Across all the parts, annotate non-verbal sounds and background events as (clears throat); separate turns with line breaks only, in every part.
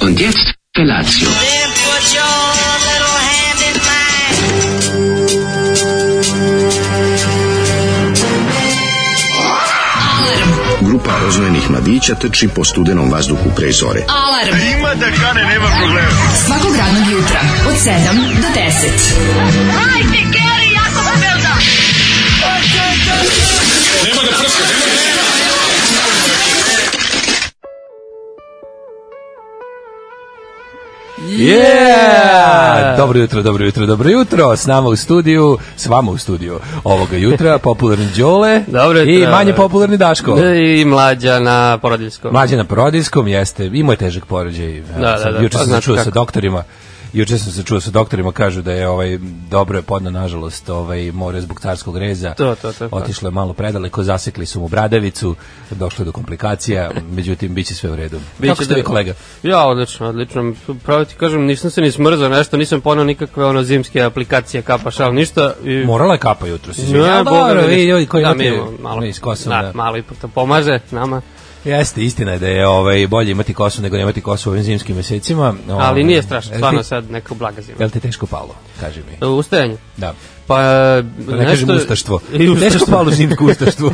Und jetzt Felatio.
Then put your little hand in mine.
Grupa rozvojenih mladića trči po studenom vazduhu pre zore.
Alarm. Ima da kane, nema problema. Svakog radnog jutra, od 7 do 10.
Yeah! Dobro jutro, dobro jutro, dobro jutro. S nama u studiju, s vama u studiju ovoga
(laughs)
jutra, popularni Đole
Dobro jutro. Da,
i manje popularni Daško.
I mlađa na porodiljskom.
Mlađe na parodijskom jeste, imao je težak porođaj. Evo,
Da,
sad,
da, da,
Juče
pa
sam se
znate
čuo sa
kako.
doktorima, juče sam se čuo sa doktorima, kažu da je ovaj dobro je podno nažalost, ovaj more zbog carskog reza.
To, to, to.
Otišlo je malo predaleko, zasekli su mu bradavicu, došlo je do komplikacija, međutim biće sve u redu. Kako
da-
ste vi kolega?
Ja, odlično, odlično. Pravo ti kažem, nisam se ni smrzao nešto, nisam ponao nikakve ono zimske aplikacije, kapaš, ali ništa. I...
Morala je kapa jutros.
Ne,
izvinjavam. A,
Boga
dobro,
mi
vi
ništa.
ljudi koji
Da,
imate
mi imamo malo,
iz Kosova,
Da,
da.
malo ipak to pomaže nama,
Jeste, istina je da je ovaj, bolje imati kosu nego nemati kosu u ovim zimskim mesecima. Ovaj,
ali nije strašno,
jel ti-
stvarno sad neka blaga zima.
Jel ti teško palo, kaži mi.
Ustajanje.
Da.
Pa,
Da ne kažem ustaštvo.
(laughs) I
Teško
ustaštvo.
palo zimsko ustaštvo.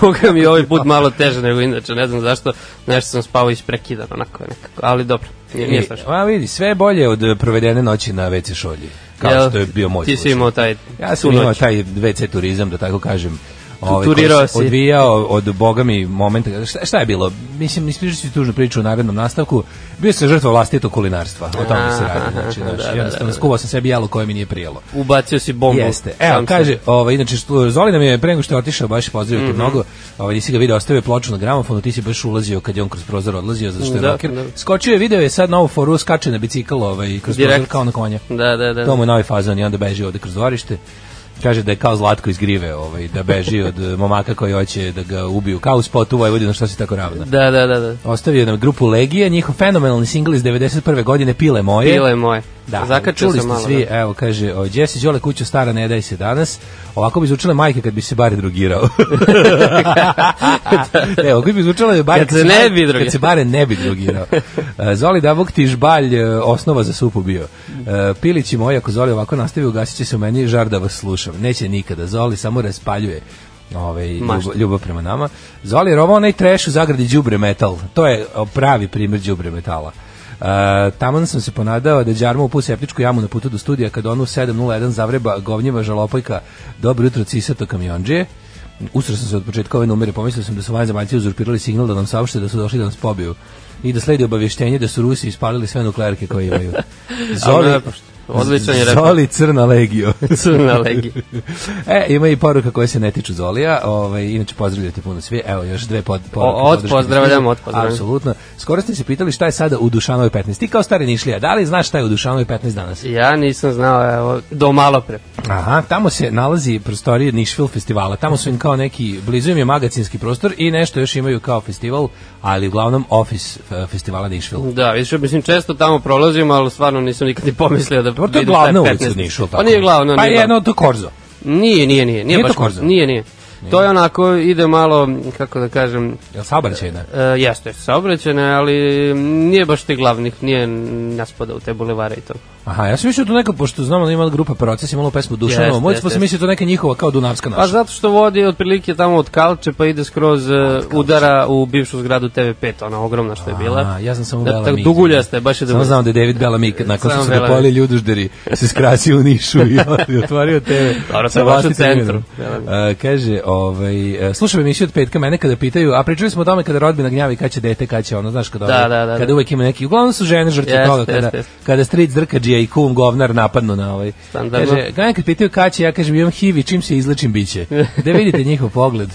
Boga mi je ovaj put malo teže nego inače, ne znam zašto, nešto sam spavao isprekidan onako nekako, ali dobro, (laughs) nije, nije
I-
strašno.
E, A vidi, sve je bolje od eh, provedene noći na WC šolji, kao
Jel,
što je bio moj
Ti si
slučaj.
imao taj
Ja sam
tu
imao
noć.
taj WC turizam, da tako kažem. ovaj, koji
Turirao
se
si.
Odvijao od boga mi momenta. Šta, šta je bilo? Mislim, ispričat ću tužnu priču u narednom nastavku. Bio sam žrtva vlastitog kulinarstva. O tome se radi. Znači,
Aha, (laughs) da,
znači,
da, da,
jednostavno,
da.
skuvao sam sebi jelo koje mi nije prijelo.
Ubacio si bombu.
Jeste. Evo,
Sam
kaže,
sebi.
ovaj inače što Zoli nam je pre nego što je otišao baš pozdravio mm
Mhm.
-hmm. mnogo. Ovaj nisi ga video, ostavio je ploču na gramofonu, ti si baš ulazio kad je on kroz prozor odlazio zato što je
Da,
rocker.
da.
Skočio je, video je sad novu foru, skače na bicikl, ovaj kroz
Direkt.
prozor kao na konja.
Da, da, da.
To mu je novi fazon i onda beži ovde kroz dvorište. Kaže da je kao Zlatko iz Grive, ovaj, da beži od eh, momaka koji hoće da ga ubiju. Kao u spotu u Vojvodinu, što si tako ravna.
Da, da, da, da.
Ostavio nam grupu Legija, njihov fenomenalni singl iz 91. godine Pile moje.
Bilo je moje.
Da,
Zakačio
čuli
sam
ste
malo. (laughs) da.
svi, evo kaže, o, Jesse Đole kuću stara ne daj se danas, ovako bi zvučale majke kad bi se bare
(laughs)
drugirao. (laughs) ne, ovako bi zvučale bare
Kad se ne bi drugirao.
Kad se bare ne bi drugirao. E, Zoli Davuk ti žbalj e, osnova za supu bio. E, Pilići moji, ako Zoli ovako nastavi, ugasit će se u meni žar da vas slušam. Neće nikada, Zoli samo raspaljuje ovaj,
Mašta.
ljubav, ljubav prema nama. Zoli je rovao onaj trash u zagradi đubre metal. To je o, pravi primer đubre metala. Uh, taman sam se ponadao da Đarmo upu septičku jamu na putu do studija kad onu 701 zavreba govnjeva žalopojka dobro jutro cisato kamionđe usro sam se od početka ove numere pomislio sam da su vanzemaljci uzurpirali signal da nam saopšte da su došli da nas pobiju i da sledi obavještenje da su Rusi ispalili sve nuklearke koje
(laughs)
imaju Zoli,
lepo pa što- odličan je rekao.
Zoli crna legio
Crna legija.
(laughs) e, ima i poruka koje se ne tiču Zolija, ovaj, inače pozdravljate puno svi, evo još dve pod, poruke.
od
podrške.
pozdravljam, od pozdravljam.
Apsolutno. Skoro ste se pitali šta je sada u Dušanovoj 15. Ti kao stari Nišlija, da li znaš šta je u Dušanovoj 15 danas?
Ja nisam znao, evo, do malo pre.
Aha, tamo se nalazi prostorije Nišvil festivala, tamo su im kao neki, blizu im je magacinski prostor i nešto još imaju kao festival, ali uglavnom ofis e, festivala Nišvil.
Da, više, mislim, često tamo prolazim, ali stvarno nisam nikad ni pomislio da
Pa to je
vidim šta
glavna
15.
ulica u Nišu, jel
Pa nije glavna,
Pa
nije glavna.
jedno, to je Korzo.
Nije, nije,
Nije
nije. Nije,
to
baš,
Korzo?
nije, nije. To je onako, ide malo, kako da kažem,
Jel saobraćajna?
E, jeste, jeste saobraćene, ali nije baš ti glavnih, nije naspada u te bulevare i to.
Aha, ja sam mislio da to neka, pošto znamo da ima grupa Proces, imala pesmu Dušanova,
Jeste,
moj
jeste,
pa sam
jeste.
mislio da to neka njihova kao Dunavska naša.
Pa zato što vodi otprilike tamo od Kalče pa ide skroz e, udara u bivšu zgradu TV5, ona ogromna što je bila.
A, ja sam samo
Da,
Bela
tako
Mik.
duguljasta je, baš je
Samo
dobro.
znam da je David Bela Mik, nakon što
Samo
su ga
Bela
pali ljudožderi, se skrasio u nišu
(laughs)
i on- otvorio TV.
Dobro, to
sa
je baš u
vlastitim
centru.
imenom. E, kaže, ovaj, e, slušam emisiju od petka, mene kada pitaju, a pričali smo o tome kada rodbina gnjavi, kad će dete, kad će ono, znaš, kada,
Da,
ovaj-
da, da, da.
kada uvek ima neki, uglavnom su žene žrtve
Jeste,
toga, kada,
jeste, jeste.
kada stric drkađija i kum govnar napadnu na ovaj.
Standardno.
Kaže, Mene kad pitaju kada će, ja kažem imam HIV i čim se izlečim biće. Da vidite njihov pogled.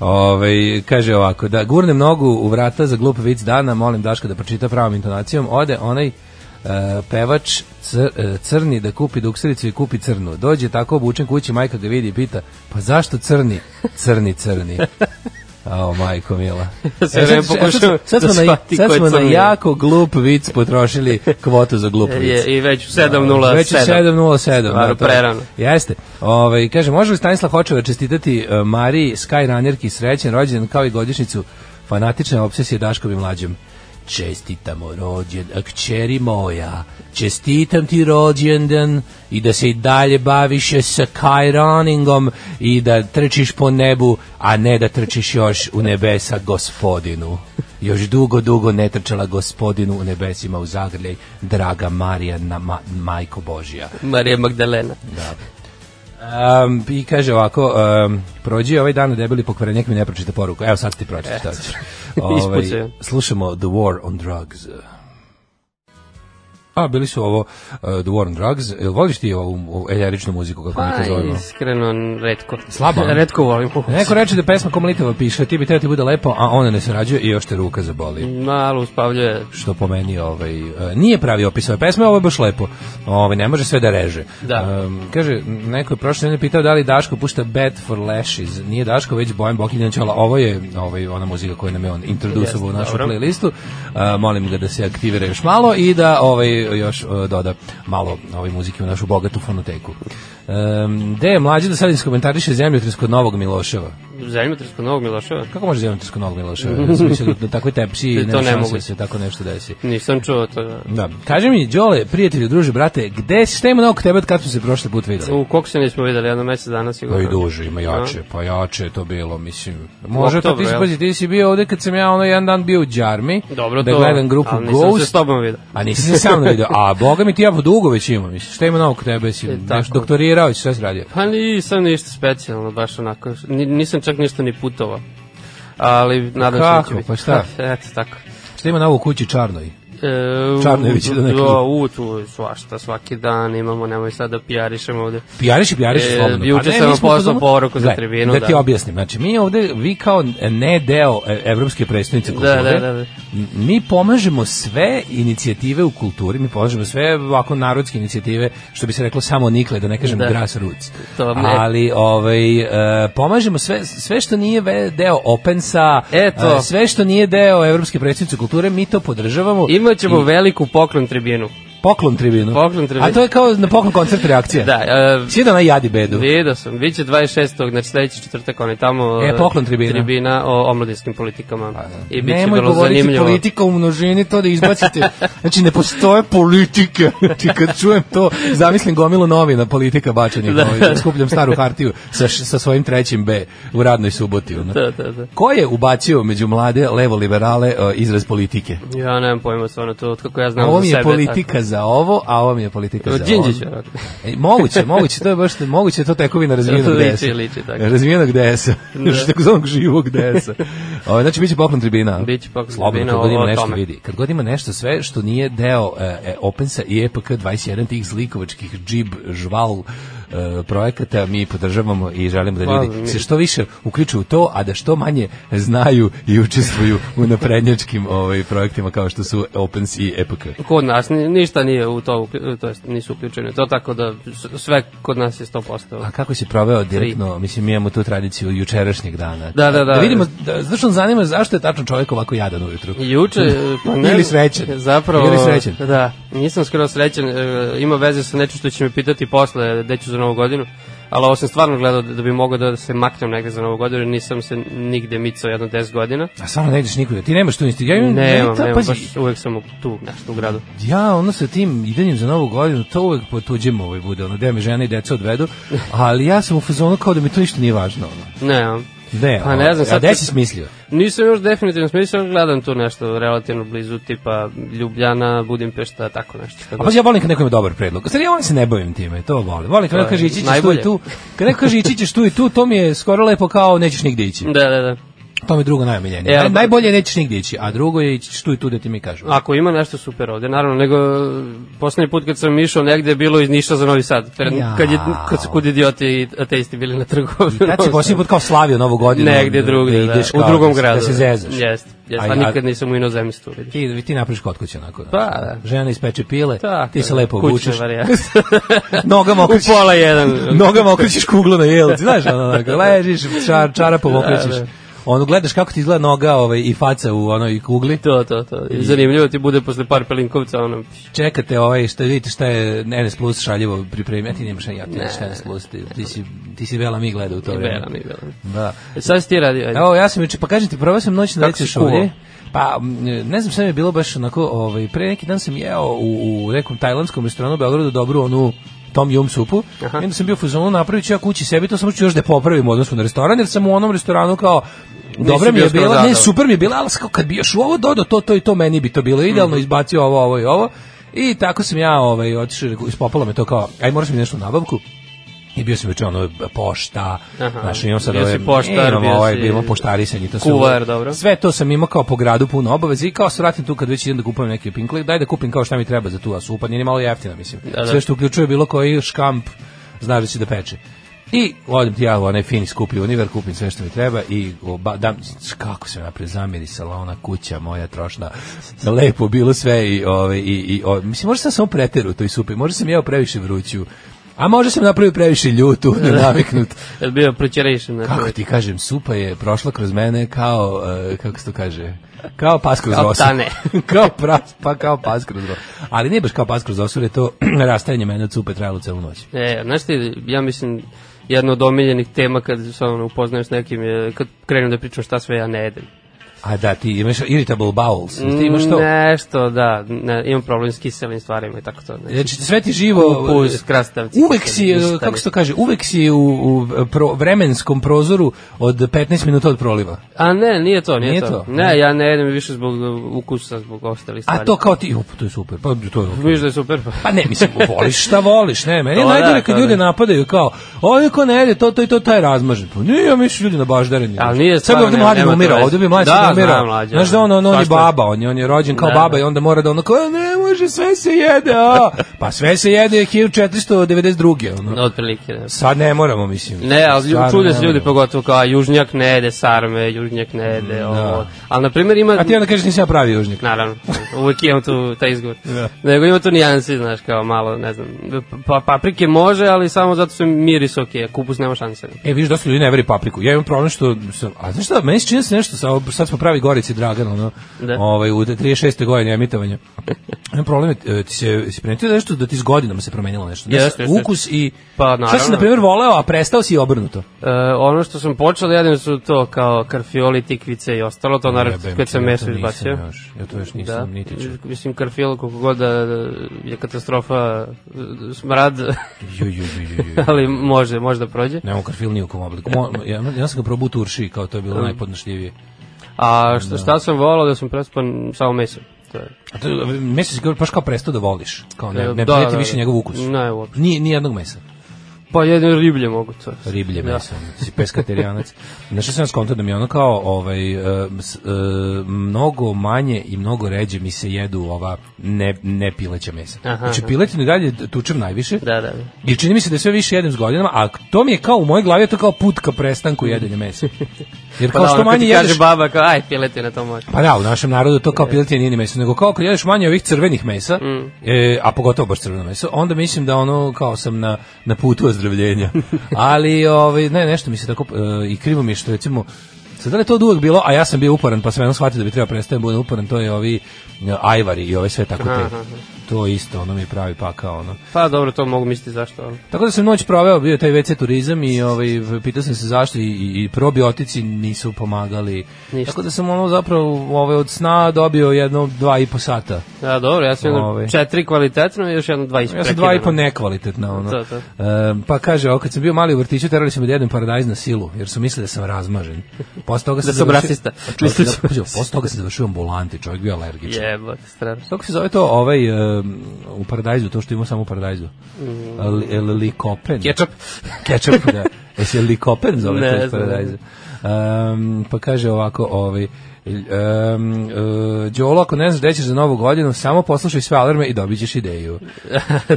Ove, kaže ovako, da gurnem nogu u vrata za glup vic dana, molim Daška da pročita pravom intonacijom, ode onaj e, pevač cr, e, crni da kupi duksericu i kupi crnu. Dođe tako obučen kući, majka ga vidi i pita, pa zašto crni? Crni,
(laughs)
crni. Ao, majko mila. E,
Sve vreme pokušavam
sad smo,
da
na,
shvatim
sad
ko je
smo na
crni.
jako glup vic potrošili kvotu za glup vic.
Je, I već u
Da, Već je
7.07.
7.07.
Stvarno,
to je-
prerano.
Jeste. Ove, kaže, može li Stanislav Hočeva čestitati e, Mariji Skyrunnerki srećen rođendan kao i godišnicu fanatične obsesije Daškovim mlađem? čestitamo rođen, a kćeri moja, čestitam ti rođendan i da se i dalje baviš sa kajraningom i da trčiš po nebu, a ne da trčiš još u nebesa gospodinu. Još dugo, dugo ne trčala gospodinu u nebesima u zagrljaj, draga Marija, na ma, majko Božija.
Marija Magdalena.
Da. Um, I kaže ovako, um, prođi ovaj dan na debeli pokvarenjak mi ne pročita poruku. Evo sad ti pročita šta ćeš. Ovaj,
Ispucaju.
slušamo The War on Drugs. A, bili su ovo uh, The War on Drugs. Jel voliš ti ovu ovu eljeričnu muziku, kako mi to zovemo?
iskreno, n- redko.
Slabo, ne?
redko volim.
Neko reče da pesma Komlitova piše, ti bi trebao ti bude lepo, a ona ne sarađuje i još te ruka zaboli.
Malo uspavljuje.
što po meni ovaj e, nije pravi opis ove pesme, ovo je baš lepo. Ovaj ne može sve da reže.
Da.
Um, kaže neko je prošle nedelje pitao da li Daško pušta Bad for Lashes. Nije Daško već Bojan Bokiljanić, ćala ovo je ovaj ona muzika koju nam je on introducovao u
Jeste,
našu
dobro.
playlistu. Uh, molim ga da se aktivira još malo i da ovaj još uh, doda malo ove muzike u našu bogatu fonoteku. Um, gde je mlađi da sad iskomentariše zemljotres kod Novog Miloševa?
Zemljotres kod Novog Miloševa.
Kako može zemljotres kod Novog Miloševa?
(laughs)
Ja sam mislio da na takvoj tepsiji
To
nema
ne
šanse
mogu.
da se tako nešto desi.
Nisam čuo to. Da.
Da. Kaži mi, Đole, prijatelju, druže, brate, gde si, šta ima novog tebe od kad smo se prošli put videli?
U koliko se nismo videli, jedno mesec dana
Pa
sigurno.
i duže,
Da.
ima jače, pa jače je to bilo, mislim. Može to ti
Oktobru, jel?
spazi, ti si bio ovde kad sam ja ono jedan dan bio u Đarmi,
Dobro
da
to,
gledam grupu
ali nisam se s
Ghost,
tobom vidio.
a nisi se sam vidio, a boga mi ti ja dugo već imam, mislim, šta ima novog tebe, si
E,
nešto
tako.
doktorirao, si sve si radio.
Pa nisam ništa specijalno, baš onako. Ni, nisam čak ništa ni putovao. Ali nadam se da
kako,
će biti.
pa šta?
(laughs) Eto, tako.
Šta ima novo u kući Čarnoj?
E, u-
Čarnojević je da ne
u-
kažem.
U, tu je svašta, svaki dan imamo, nemoj sad da pijarišemo ovde.
Pijariši, pijariši
E,
slobodno.
juče
Pa ne,
sam
mi
vam
smo
poslao
pozvali-
poruku za
Gle,
tribinu,
Da ti
da.
objasnim, znači mi ovde, vi kao ne deo e, Evropske predstavnice kulture,
da, da, da.
mi pomažemo sve inicijative u kulturi, mi pomažemo sve ovako narodske inicijative, što bi se reklo samo nikle, da ne kažem da.
Da.
grassroots.
To vam ne.
Ali ovaj, e, pomažemo sve, sve što nije ve- deo Opensa,
Eto.
e, sve što nije deo Evropske predstavnice kulture, mi to podržavamo.
Imaćemo veliku poklon tribinu.
Poklon tribinu.
Poklon tribinu.
A to je kao na poklon koncert reakcija.
Da, e,
Svi da na jadi bedu.
Vidio sam, bit će 26. znači sledeći četvrtak, on je tamo
E, poklon
e,
tribina. Pa da.
tribina o omladinskim politikama. I bit će
Nemoj
vrlo
govoriti
zanimljivo.
politika u množini, to da izbacite. Znači, ne postoje politika. Znači, kad čujem to, zamislim gomilu novina politika bačenih. Da. Ovaj, skupljam staru hartiju sa, š- sa svojim trećim B u radnoj suboti. Ono.
Da, da, da.
Ko je ubacio među mlade levo-liberale e, izraz politike?
Ja nemam pojma stvarno to, od kako ja znam
Ovo
za
mi
sebe.
je politika za ovo, a ovo mi je politika za
Od
ovo.
Đinđića, ovako.
E, moguće, moguće, to je baš moguće je to tekovina razvijenog
To liči,
DS-a.
liči, tako.
Razvijenog DS-a. Da. (laughs) Takozvanog živog DS-a. Ovo, znači, biće poklon tribina.
Biće poklon
Slobodno,
tribina,
kad god ima
ovo o
nešto
tome.
vidi. Kad god ima nešto sve što nije deo e, e, Opensa i EPK 21 tih zlikovačkih džib, žval e, projekata mi podržavamo i želimo da
Hvala,
ljudi
mi-
se što više uključuju u to, a da što manje znaju i učestvuju u naprednjačkim ovaj, projektima kao što su Opens i E EPK.
Kod nas ni- ništa nije u to, ukl- to jest nisu uključeni. u To tako da s- sve kod nas je 100%.
A kako si proveo direktno, mislim, mi imamo tu tradiciju jučerašnjeg dana.
Da, da, da.
da vidimo, da, zašto nas zanima zašto je tačno čovjek ovako jadan ujutru? (laughs)
Juče, pa ne,
Ili srećen.
Zapravo,
Ili srećen.
Da, nisam skoro srećen, e, ima veze sa nečim što će me pitati posle, gde ću za novu godinu, ali ovo sam stvarno gledao da, da bi mogao da se maknem negde za novu godinu, nisam se nigde micao jedno 10 godina.
A stvarno ne ideš nikuda, ti nemaš tu isti. Ja imam,
Ne,
ja,
nemam,
ta- Mm,
nemam,
pazi,
baš uvek sam u- tu, nešto u gradu.
ja ono sa tim idanjem za novu godinu, to uvek po tuđem ovaj bude, ono, gde me žene i deca odvedu, ali ja sam u fazonu kao da mi to ništa nije važno. Ono.
Nemam.
Ne,
Pa ne znam,
a
sad-
gde si smislio?
Nisam još definitivno smislio, gledam tu nešto relativno blizu, tipa Ljubljana, Budimpešta, tako nešto. šta
A
god.
pa ja volim kad neko ima dobar predlog. Stvari, ja volim da se ne bavim time, to volim. Volim kad
To
neko kaže
je
ići ćeš tu
najbolje.
i tu. Kad neko kaže ići ćeš tu i tu, to mi je skoro lepo kao nećeš nigde ići.
Da, da, da.
To mi je drugo najomiljenije.
E,
Naj,
ali-
najbolje je nećeš nigdje ići, a drugo je ići tu i tu da ti mi kažu.
Ako ima nešto super ovde, naravno, nego e, poslednji put kad sam išao negde je bilo iz Niša za Novi Sad, pred,
Jao.
kad, je, kad su kud idioti i ateisti bili na trgu.
Tad
(laughs)
si posljednji put kao slavio novu godinu.
Negde drugde, da,
ideš
u
kao
drugom
da se-
gradu.
Da se zezaš.
Jeste, jeste,
A-
a
a-
nikad nisam u inozemstvu vidio.
Ti, ti napraviš kod kuće onako. Da.
Pa, da.
Žena ispeče pile,
Tako
ti se
je,
lepo
kućna
obučeš.
varijanta.
(laughs) Nogama
u
okrećeš,
pola jedan.
nogama okrećeš kuglu na jelci, znaš, ono, onako, ležiš, čar, čarapom okrećeš.
da.
ono gledaš kako ti izgleda noga ovaj, i faca u onoj kugli.
To, to, to. I zanimljivo ti bude posle par pelinkovca ono...
Čekate ovaj, što vidite šta je NS Plus šaljivo pripremio, a ti nemaš ja, ti ne, šta je NS Plus, ti, ti, si, ti si Vela mi gleda u to vreme.
Vera mi, vera mi.
Da.
E, Sad si ti radio, ajde.
Evo, ja sam juče, pa kažete, probao sam noć na
Kako si
lećeš
kuvao?
ovdje. Pa, m, ne znam, sve mi je bilo baš onako, ovaj, pre neki dan sam jeo u, u nekom tajlandskom restoranu u Beogradu dobru onu tom yum supu. I onda sam bio u fazonu napravit ću ja kući sebi, to sam učio još da je popravim u odnosu na restoran, jer sam u onom restoranu kao Dobra mi
bio
je bila, ne,
skroz da,
super mi je bila, ali kao kad bi još u ovo dodao, to, to i to meni bi to bilo
Mhm.
idealno, izbacio ovo, ovo i ovo. I tako sam ja ovaj, otišao, i rekao, ispopalo me to kao, aj moraš mi nešto u nabavku. I bio sam već ono pošta,
Aha.
znaš, imam sad
Bio si
ove,
poštar,
imam
bio
ovaj,
si-
bilo poštarisanje, to
Kuvar,
sve,
dobro.
Sve to sam imao kao po gradu puno obaveza i kao se vratim tu kad već idem da kupujem neki pinkle, daj da kupim kao šta mi treba za tu asu, pa nije ni malo jeftina, mislim.
da.
Sve što uključuje bilo koji škamp, znaš da će da peče. I odim ti ja u onaj fini skupi univer, kupim sve što mi treba i oba, dam, kako se napred zamirisala ona kuća moja trošna. Lepo bilo sve i, ove, i, i ove. mislim, možda sam samo preteru u toj supi, možda sam jeo previše vruću, a možda sam napravio previše
(laughs)
ljutu, naviknut.
Jel bio znači? proćerejšen na
Kako
to?
ti kažem, supa je prošla kroz mene kao, e, kako se to kaže, kao pas kroz
Kao
osu.
tane.
(laughs) kao pra, pa kao pas kroz osu. Ali nije baš kao pas kroz osu, jer je to (clears throat) rastajanje mene od supe trajalo celu noć.
E, znaš ti, ja mislim, jedna od omiljenih tema kad se ono upoznajem s nekim je kad krenem da pričam šta sve ja ne jedem.
A da, ti imaš irritable bowels, ti imaš to.
Nešto, da, ne, imam problem s kiselim stvarima i tako to. Ne.
Znači, sve ti živo... e,
Kupus, krastavci,
Uvek si, e,
ništa
kako
ne.
se to kaže, uvek si u, u pro, vremenskom prozoru od 15 minuta od proliva.
A ne, nije to, nije,
Nije
to.
to?
Ne, ja ne jedem više zbog ukusa, zbog ostalih stvari.
A to kao ti, op, to je super, pa to je
Viš da je super, pa...
Pa ne, mislim, voliš šta voliš, ne, meni je
To da,
najgore
to
kad
da.
ljude napadaju kao, ovo ko ne jede, to, to i to, taj je razmažen. Pa nije, ja mislim, ljudi na baždareni.
Ali
Sad
nije
bi
stvarno,
ovde
nema-
mladi
nema to
umira,
veze.
ovde bi mladi
Da,
sad
znam,
umira.
mlađe,
Znaš da on, on, on je
svašta.
baba, on je, on je rođen kao
Da,
baba
da.
i onda mora da ono kao, "E, ne može, sve se jede, a. Pa sve se jede 1492. Ono.
No, (laughs) otprilike, ne.
Sad ne moramo, mislim.
Ne, ali lju-
Stvarno
čude
ne
se ljudi
moramo.
pogotovo kao a, južnjak ne jede sarme, južnjak ne jede ovo. Ali na primjer ima...
Da. A ti onda kažeš, nisam ja pravi južnik.
Naravno, uvijek imam tu taj izgovor.
Da.
Nego ima tu nijansi, znaš, kao malo, ne znam, pa, paprike može, ali samo zato su miris ok, a kupus nema šanse.
E, viš, dosta ljudi ne veri papriku. Ja imam problem što sam, a znaš šta, meni se čini da se nešto, sa, sad smo pravi Gorici Dragan, ono,
Da.
ovaj, u 36. godini emitovanja. Imam problem, e, ti se, si primetio nešto da ti s godinama se promenilo nešto. Znaš,
Jeste, jeste.
Ukus i,
Pa,
šta si,
naravno.
na primjer, voleo, a prestao si i obrnuto.
E, ono što sam počeo da jedem su to kao karfioli, tikvice i ostalo, to naravno
Jebem
kad
ti,
sam
ja to
meso
nisam
izbacio. Da.
Još, ja to još nisam, niti ću.
mislim karfiol koliko god da je katastrofa e, smrad, (laughs)
Ju, ju, ju, ju, ju.
(laughs) ali može, može da prođe.
Ne mogu karfil ni u kom obliku. Mo, ja, ja sam ga probao u turši, kao to je
Da.
bilo najpodnošljivije.
A šta, šta sam volao da sam prespan samo meso. To je.
A to, meso si kao, baš kao prestao da voliš. Kao ne, ne
Da,
prijeti
da,
više
da.
njegov ukus.
Ne, uopšte.
Ni, ni jednog mesa.
Pa jedno riblje mogu to.
riblje
Da.
meso, si peskaterijanac. Znaš što sam skontao da mi je ono kao ovaj, e, s- e, mnogo manje i mnogo ređe mi se jedu ova ne, ne pileća mesa.
Aha,
znači
aha.
piletinu i dalje tučem najviše
Da, da.
i čini mi se da sve više jedem s godinama, a to mi je kao u mojoj glavi je to kao put ka prestanku jedenja
(laughs)
mesa. Jer
Mm. Pa
kao
da,
što
ono kad
manje
ti kaže
jedeš...
baba kao, aj, pileti na to može.
Pa da, u našem narodu to kao piletina nije ni meso, nego kao kad jedeš manje ovih crvenih mesa, e, a pogotovo baš crveno meso, onda mislim da ono kao sam na, na putu ozdravljenja. Ali ovaj, ne, nešto mi se tako, e, i krivo mi je što recimo, sad da li je to od uvek bilo, a ja sam bio uporan, pa sam jednom shvatio da bi trebao prestati da budem uporan, to je ovi e, ajvari i ove sve tako te. To isto, ono mi je pravi pakao, ono.
Pa dobro, to mogu misliti zašto. ali.
Tako da sam noć proveo, bio je taj WC turizam i ovaj, pitao sam se zašto i, i, i probiotici nisu pomagali.
Ništa.
Tako da sam ono zapravo ovaj, od sna dobio jedno dva i po sata.
Da, dobro, ja sam jedno
Ove.
četiri kvalitetno i još jedno dva
Ja
isprekidano.
sam dva i po nekvalitetna. Ono.
To, to.
E, pa kaže, ovo, kad sam bio mali u vrtiću, terali su me da jedem paradajz na silu, jer su mislili da sam razmažen. Posle
(laughs)
toga
Da
sam
sam
završio-
rasista.
Pa Čovjek, da, pađe, posle toga sam završio u ambulanti, čovjek bio alergičan.
Jebote, strašno.
Kako se zove to ovaj em, u paradajzu, to što ima samo u paradajzu? Li- el- Likopen.
Kečap.
Kečap, da. E se likopen zove
Ne
to iz
znam.
paradajza. Em, pa kaže ovako, ovaj, Um, uh, Đolo, ako ne znaš gde ćeš za novu godinu, samo poslušaj sve alarme i dobit ćeš
(laughs)
ideju.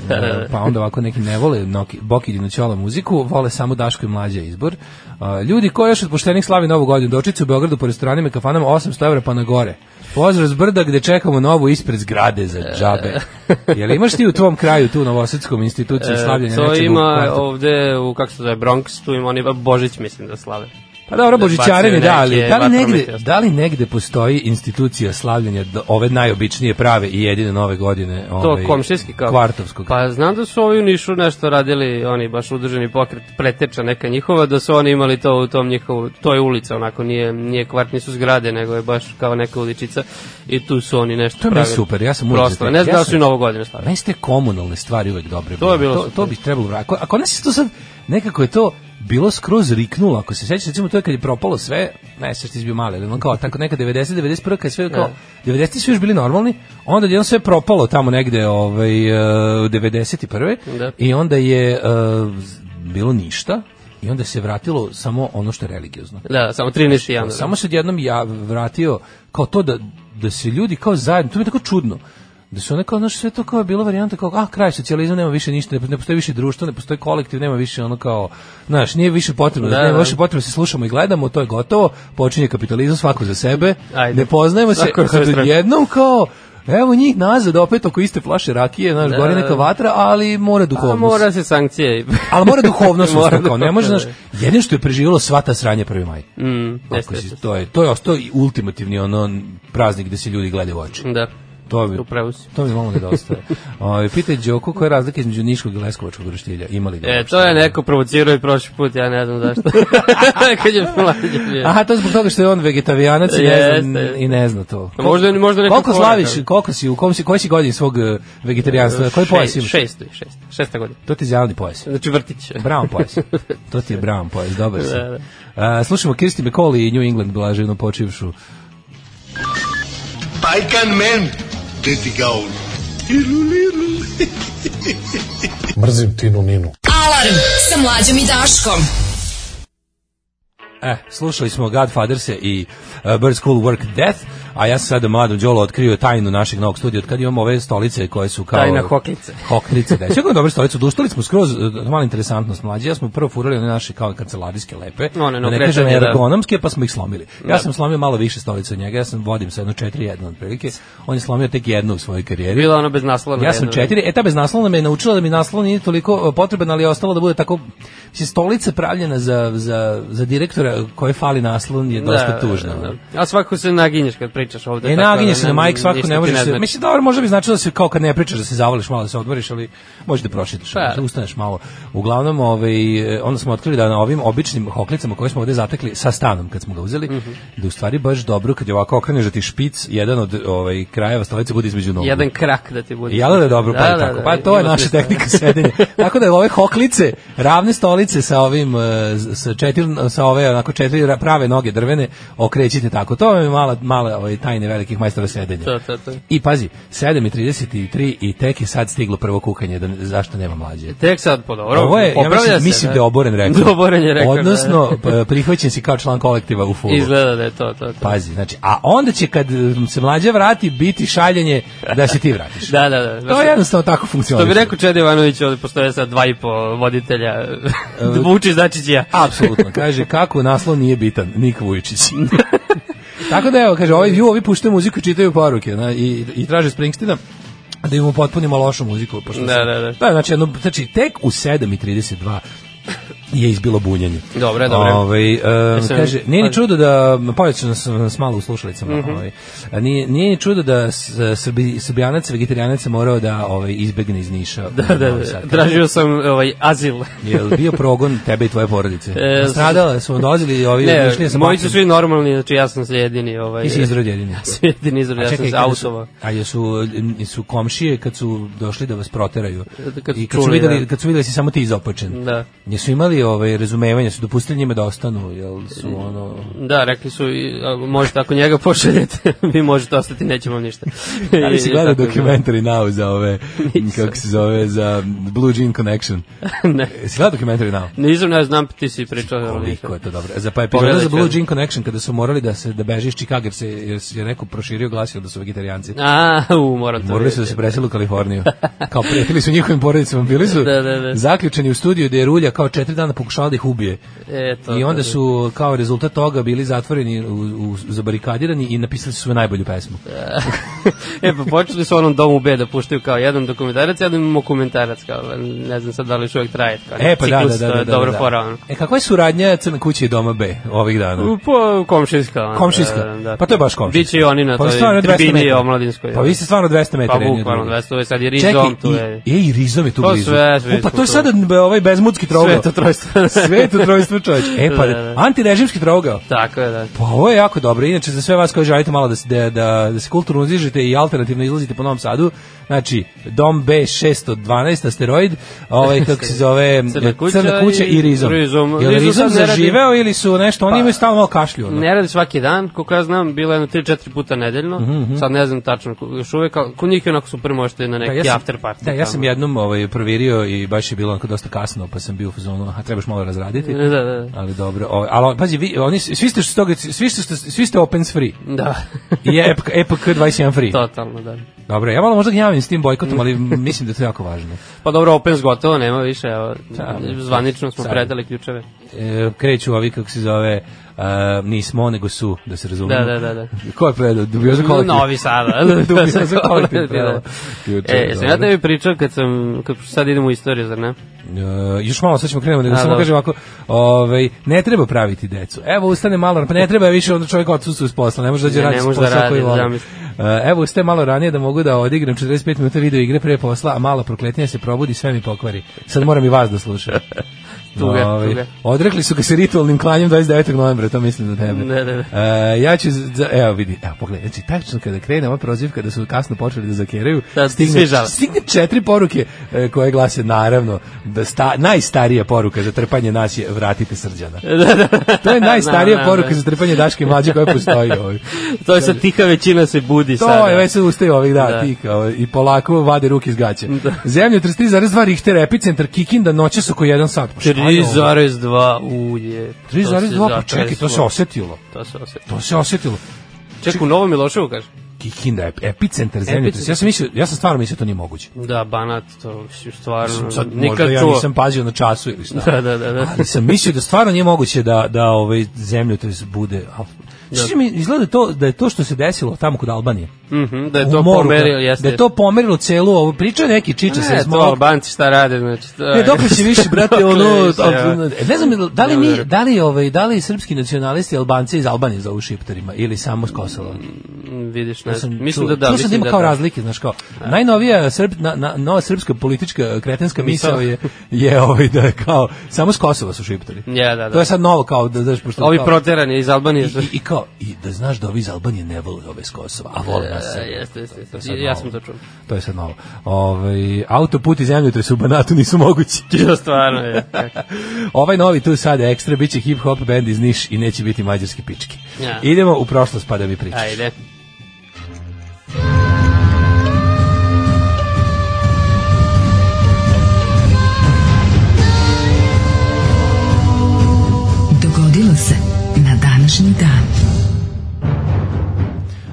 E, pa onda ovako neki ne vole Noki- Bokidinu Ćola muziku, vole samo Daško i mlađa izbor. A, ljudi koji još od poštenih slavi novu godinu, dočice u Beogradu po restoranima i kafanama 800 evra pa na gore. Pozdrav s brda gde čekamo novu ispred zgrade za
(laughs)
džabe. Jel imaš ti u tvom kraju tu u Novosadskom instituciju slavljenja
E, to
nečeg u
ima
kvartu?
ovde u, kako se zove, Bronx, tu ima oni, Božić mislim da slave.
Pa dobro, božićarenje, da, ali
neke
da li,
vatromete,
negde,
jasno.
da li negde postoji institucija slavljanja do- ove najobičnije prave i jedine nove godine?
To
ovaj,
komšijski kao?
Kvartovskog.
Pa znam da su ovi u Nišu nešto radili, oni baš udruženi pokret, preteča neka njihova, da su oni imali to u tom njihovu, to je ulica onako, nije, nije kvart, nisu zgrade, nego je baš kao neka uličica i tu su oni nešto
To je meni
pravili.
super, ja sam uvek za
Prosto,
to.
ne znam
Ja
da su
sam-
i novo godine stavili.
Meni su te Pa komunalne stvari uvek dobre.
To je
bile.
bilo
to,
super.
to bi trebalo vratiti. Ako, ako nas je to sad, nekako je to bilo skroz riknulo, ako se sećaš, recimo to je kad je propalo sve, ne, sve što izbio male, ali ono kao, tako neka 90, 91, kad je sve
Da.
kao, 90 svi još bili normalni, onda je jedno sve propalo tamo negde, ovaj, e, 91.
Da.
I onda je e, z- bilo ništa, i onda se vratilo samo ono što je religiozno.
Da, samo 13. januar.
Samo se odjednom ja vratio kao to da, da se ljudi kao zajedno, to mi je tako čudno, da su one kao, znaš, sve to kao je bilo varijanta kao, a, kraj socijalizma, nema više ništa, ne, ne postoji više društvo, ne postoji kolektiv, nema više ono kao, znaš, nije više potrebno,
Da,
da, nema
da.
više potrebno, da se slušamo i gledamo, to je gotovo, počinje kapitalizam, svako za sebe,
Ajde.
ne poznajemo se,
Svako na svoju stranu.
jednom kao, Evo njih nazad opet oko iste flaše rakije, znaš,
Da,
gori
da,
neka
da.
vatra, ali mora
A
duhovnost.
mora se sankcije.
Ali mora
(laughs)
duhovnost,
Mora
mora kao, ne može, znaš,
duhovnost,
jedino što je preživjelo sva ta sranja 1. maj.
Mm,
Ako
jeste,
si,
jeste.
to je to je ostao i ultimativni ono praznik gde se ljudi gledaju u oči.
Da,
To bi
upravo si.
to mi malo
(laughs)
nedostaje. Ovaj pitaj Đoku koja je razlika između niškog i leskovačkog roštilja? Ima li ga
E,
uopšte?
to je neko provocirao i prošli put, ja ne znam
(laughs)
zašto. (laughs) Kad je mlađe bio.
Aha, to je zbog toga što je on vegetarijanac i ne zna,
Jeste.
i ne zna to.
A možda- možda neko
Koliko
korak,
slaviš,
ali-
koliko si, u kom si, koji si godin svog eh,
E,
vegetarijanstva? Koji pojas imaš?
Šesto, šesto, šesta godina.
To ti je zeleni pojas.
Znači vrtić.
Brown pojas. To ti je brown pojas, dobar si.
Da,
A, slušamo Kirsti McCauley i New England blaženo počivšu.
Pajkan men, deti gaun.
Mrzim Tinu Ninu.
Alarm sa mlađom i Daškom.
E, slušali smo Godfatherse i uh, Bird School Work Death, a ja sam sada mladom Đolo otkrio tajnu našeg novog studija, od kad imamo ove stolice koje su kao...
Tajna hoklice.
(laughs) Hoklice, da. Sve dobro stolicu, duštali smo skroz, uh, mala interesantnost mlađe, ja smo prvo furali one naše kao kancelarijske lepe,
One, ono,
da ne kažem
kretanje, da.
ergonomske, pa smo ih slomili. Ja sam slomio malo više stolice od njega, ja sam vodim sa jedno 4-1 otprilike, on je slomio tek jednu u svojoj karijeri.
Bila ono bez naslona.
Ja sam
jedno
četiri, e ta bez naslona me je naučila da mi naslon nije toliko e, potreban, ali je ostalo da bude tako, mislim, stolica pravljena za, za, za direktora koje fali naslon je
vreme.
dosta tužna.
Da, da. A svako se naginješ kad pričaš ovde.
E,
tako da
naginje se na
ne-
majk, svako
ništa
ne
ti
može se...
znači.
Mislim, dobro, možda bi značilo da se kao kad ne pričaš da se zavališ malo, da se odmoriš, ali možeš da prošetaš,
Pa.
da ustaneš malo. Uglavnom, ovaj, e, onda smo otkrili da na ovim običnim hoklicama koje smo ovde zatekli sa stanom kad smo ga uzeli,
Mhm.
da u stvari baš dobro kad je ovako okreneš da ti špic, jedan od ovaj, krajeva stolice bude između nogu.
Jedan krak da ti bude.
Jel da je dobro, pa da, tako. Pa to je
ima
naša
smisla.
tehnika
(laughs)
sedenja. tako da je ove hoklice, ravne stolice sa ovim e, sa četiri sa ove onako četiri ra- prave noge drvene okrećite tako. To vam je mala mala ovaj tajne velikih majstora sedenja.
To, to, to.
I pazi, 7:33 i tek je sad stiglo prvo kukanje da zašto nema mlađe.
Tek sad, po dobro.
Ovo je, ja
popravlja
mislim,
se,
mislim da je oboren rekord.
(laughs) Oboren je rekord. da.
Odnosno, p- prihvaćen si kao član kolektiva u fulu.
Izgleda da je to, to, to.
Pazi, znači, a onda će kad e, se mlađe vrati, biti šaljenje da se ti vratiš.
Da, da, da.
To je jednostavno tako
To
funkcioniše.
bi rekao Čedi Ivanović, ovde postoje sad dva i po voditelja.
E,
(laughs) Vučić, Dačić i ja.
Apsolutno, (laughs) kaže kako naslov nije bitan, Nik
(laughs)
Vujičić. Tako da evo, kaže, ovi, ju, ovi puštaju muziku i čitaju poruke na, i, i traže Springsteena da im potpunimo lošu muziku. Pošto
Da,
sam-
da, da.
da znači, jedno, znači, tek u 7.32 je izbilo bunjanje.
Dobro je, dobro je.
Ovaj, em,
Mislim, pa-
kaže, nije ni
pazi.
čudo da, pojačano sam nas malo u slušalicama,
Mhm.
ovaj, a nije, nije ni čudo da s- srbi, srbijanac, vegetarijanac je morao da ovaj, izbegne iz Niša.
Da, da, da. Tražio sam ovaj, azil.
Jel bio progon tebe i tvoje porodice?
E,
E, Stradala su dolazili ovi
Ne,
išli sa
moji
bakljom?
su svi normalni, znači ja sam jedini. Ovaj,
Ti si
(laughs)
izrod jedini.
Ja sam jedini izrod, ja sam se
kada su-
autova.
A jesu su komšije kad su došli da vas proteraju.
Kad su
I kad su
čuli,
videli
da.
kad su videli da si samo ti izopačen.
Da.
Jesu imali ovaj razumevanje, su dopustili njima da ostanu, jel su ono
Da, rekli su, i, a, možete ako njega pošaljete, (laughs) vi možete ostati, nećemo vam ništa.
(laughs) Ali Da si
I
gledao
tako je bilo.
dokumentari now za ove, kako se zove, za Blue Jean Connection.
(laughs) ne.
Si gledao dokumentari now?
Nisam, ne znam, ti si pričao. ali
Koliko
nisam.
je to dobro. Za pa epizoda
Pogledat
za
ću
Blue
jednu.
Jean Connection kada su morali da se da beže iz Chicaga jer se jer se je neko proširio glasio da su vegetarijanci.
A, u, moram to
Morali su da
vidjeti.
se presele u Kaliforniju. Kao prijatelji su njihovim porodicama, bili su
(laughs) Da, da, da.
zaključeni u studiju gde je rulja kao četiri dana dana pokušala da ih ubije.
E, to,
I onda
to,
su kao rezultat toga bili zatvoreni, u, u, zabarikadirani i napisali su svoju najbolju pesmu.
Da, e, pa počeli su u onom domu B da puštaju kao jedan dokumentarac, jedan dokumentarac, kao, ne znam sad da li još uvijek traje. Kao,
E, pa da, da,
ciklus,
da,
to
da,
je
da,
dobra
da.
fora, ono.
E, kakva je suradnja Crne kuće i Doma B ovih dana?
Po, komšinska. Pa, ono,
Komšinska?
da, da.
Pa to je baš komšinska.
Biće i oni na
Pa vi ste
toj
stvarno 200
tribini
metara.
omladinskoj.
Pa vi ste stvarno 200 metara.
Pa
jedni od
bukvalno
drugih.
200, ovo je sad je
Čekaj,
Rizom, tu je.
i, i, i Rizom je tu
To
blizu.
sve, sve
U, pa
su
to je
tu.
sad b- ovaj bezmudski trougao.
Sveto
(laughs)
trojstvo.
Sveto trojstvo čovječ. E pa,
(laughs) Da, da, da.
antirežimski trougao.
Tako je, da.
Pa ovo je jako dobro. Inače, za sve vas koji želite malo da se, da, da, da se kulturno uzdižete i alternativno izlazite po Novom Sadu, znači, dom B612, asteroid,
(laughs)
ovaj, kako se zove,
Crna kuća
crna kuća i,
i
Rizom.
Rizom.
Je li
Rizom
Rizom
sad ne radi-
zaživeo ili su nešto, oni imaju stalno malo kašlju. ono.
Ne radi svaki dan, koliko ja znam, bilo je jedno 3-4 puta nedeljno,
Mhm,
sad ne znam tačno, ko- još uvek, ali kod njih je onako super možete na neki
ja sam-
after party.
Da, ja sam
tamo.
jednom ovaj, provirio i baš je bilo onako dosta kasno, pa sam bio u fazonu, aha, trebaš malo
(laughs)
razraditi.
Da, da, da.
Ali dobro, ovaj, ali pazi, vi, oni, svi ste, što, toga- svi ste, svi ste opens free.
Da,
I E je EPK, EPK 21 free.
totalno, da.
Dobro, ja malo možda gnjavim s tim bojkotom, ali mislim da je to jako važno.
Pa dobro, Opens gotovo, nema više, evo, zvanično smo
Da, Sad.
predali ključeve.
E, kreću ovi, kako se zove, e, nismo, nego su, da se razumemo.
Da, da, da, da.
Ko je predao? Dubioza kolektiv.
Novi
(laughs)
Sada. (laughs)
Dubioza kolektiv predao. Juče,
E, sam ja
da. dobro.
tebi pričao kad sam, kad sad idemo u istoriju, zar ne?
E, još malo sad ćemo krenuti, nego
A,
samo
dobro.
kažem ovako, ovaj, ne treba praviti decu. Evo, ustane malo, pa ne treba više, onda čovjek odsustu s posla, ne može dođe
Ne, ne
raditi s
može da
posla
radi,
koji voli.
zamisli.
E, Evo, ustane malo ranije da mogu da odigram 45 minuta video igre pre posla, a malo prokletinja se probudi, sve mi pokvari. Sad moram i vas da slušam.
(laughs) Tuga,
Ovaj,
tuga.
Odrekli su ga se ritualnim klanjem 29. novembra, to mislim na tebe.
Ne, ne, ne.
E, ja ću, z- za- evo vidi, evo pogledaj, znači tačno kada krene ova prozivka da su kasno počeli da zakeraju,
Da, svi žale.
stigne četiri poruke e, koje glase naravno da sta, najstarija poruka za trpanje nas je vratite
(laughs)
srđana. To je najstarija
Da, da,
poruka
da.
za trpanje Daške mlađe koja
(laughs)
postoji. Ovaj.
To je sad tiha većina se budi sada.
To je već se ustaju ovih da,
Da.
tih, ovaj, i polako vade ruke iz gaće. Zemlje 33,2 Richter, epicentar Kikinda, noće su oko 1 sat. Pa šta je ovo?
3,2 ulje.
3,2, pa čekaj, to se osetilo.
To se osjeti.
To se osetilo.
Čekaj, u Novom Miloševu kaže?
Kikinda, ep- epicentar zemlje.
Epicentar.
Ja sam, mislio, ja sam stvarno mislio da to nije moguće.
Da, Banat, to je stvarno...
Sad, možda
nikad
ja
čuo.
nisam pazio na času ili šta.
Da, da, da, da.
ali sam mislio da stvarno nije moguće da da ovaj zemljotres bude. al- Znači mi izgleda to da je to što se desilo tamo kod Albanije.
Mhm, da je
u
to
moru, da-
pomerilo, jeste.
Da je to pomerilo celu ovu priču je neki čiča
Ne,
se
to Albanci šta rade, znači... to
Ne,
je-
dokle će
(laughs)
više, brate, ono...
Dokle više, evo.
e, Ne znam, jel- da li,
Ne
mi,
verujem.
da li, ovaj, da li srpski nacionalisti Albanci iz Albanije zovu šiptarima ili samo s Kosova?
Mm, Vidiš, ne
Ja sam
znam. Mislim
čuo-
da da,
čuo sam da
mislim
ima
da
kao
da.
razlike, znaš kao. Najnovija srp, na, na, nova srpska politička eh, kretenska misao
Misao.
je je ovaj da je kao samo s Kosova su šiptari.
Ja, da, da.
To je sad novo kao da znaš pošto
Ovi
kao-
proterani iz Albanije.
I, i, kao i da znaš da ovi iz Albanije ne vole ove s Kosova, a vole nas.
E,
Srbe.
Jeste, jeste,
To je
jeste.
sad
Ja
novo.
sam to čuo.
To je sad novo. Ovaj autoput i zemljotres u Banatu nisu mogući. (laughs)
Ja, stvarno je.
ovaj novi tu sad ekstra biće hip hop band iz Niš i neće biti mađarski pički.
Ja.
Idemo u prošlost pa da mi pričaš.
Ajde.
Dogodilo se na današnji dan.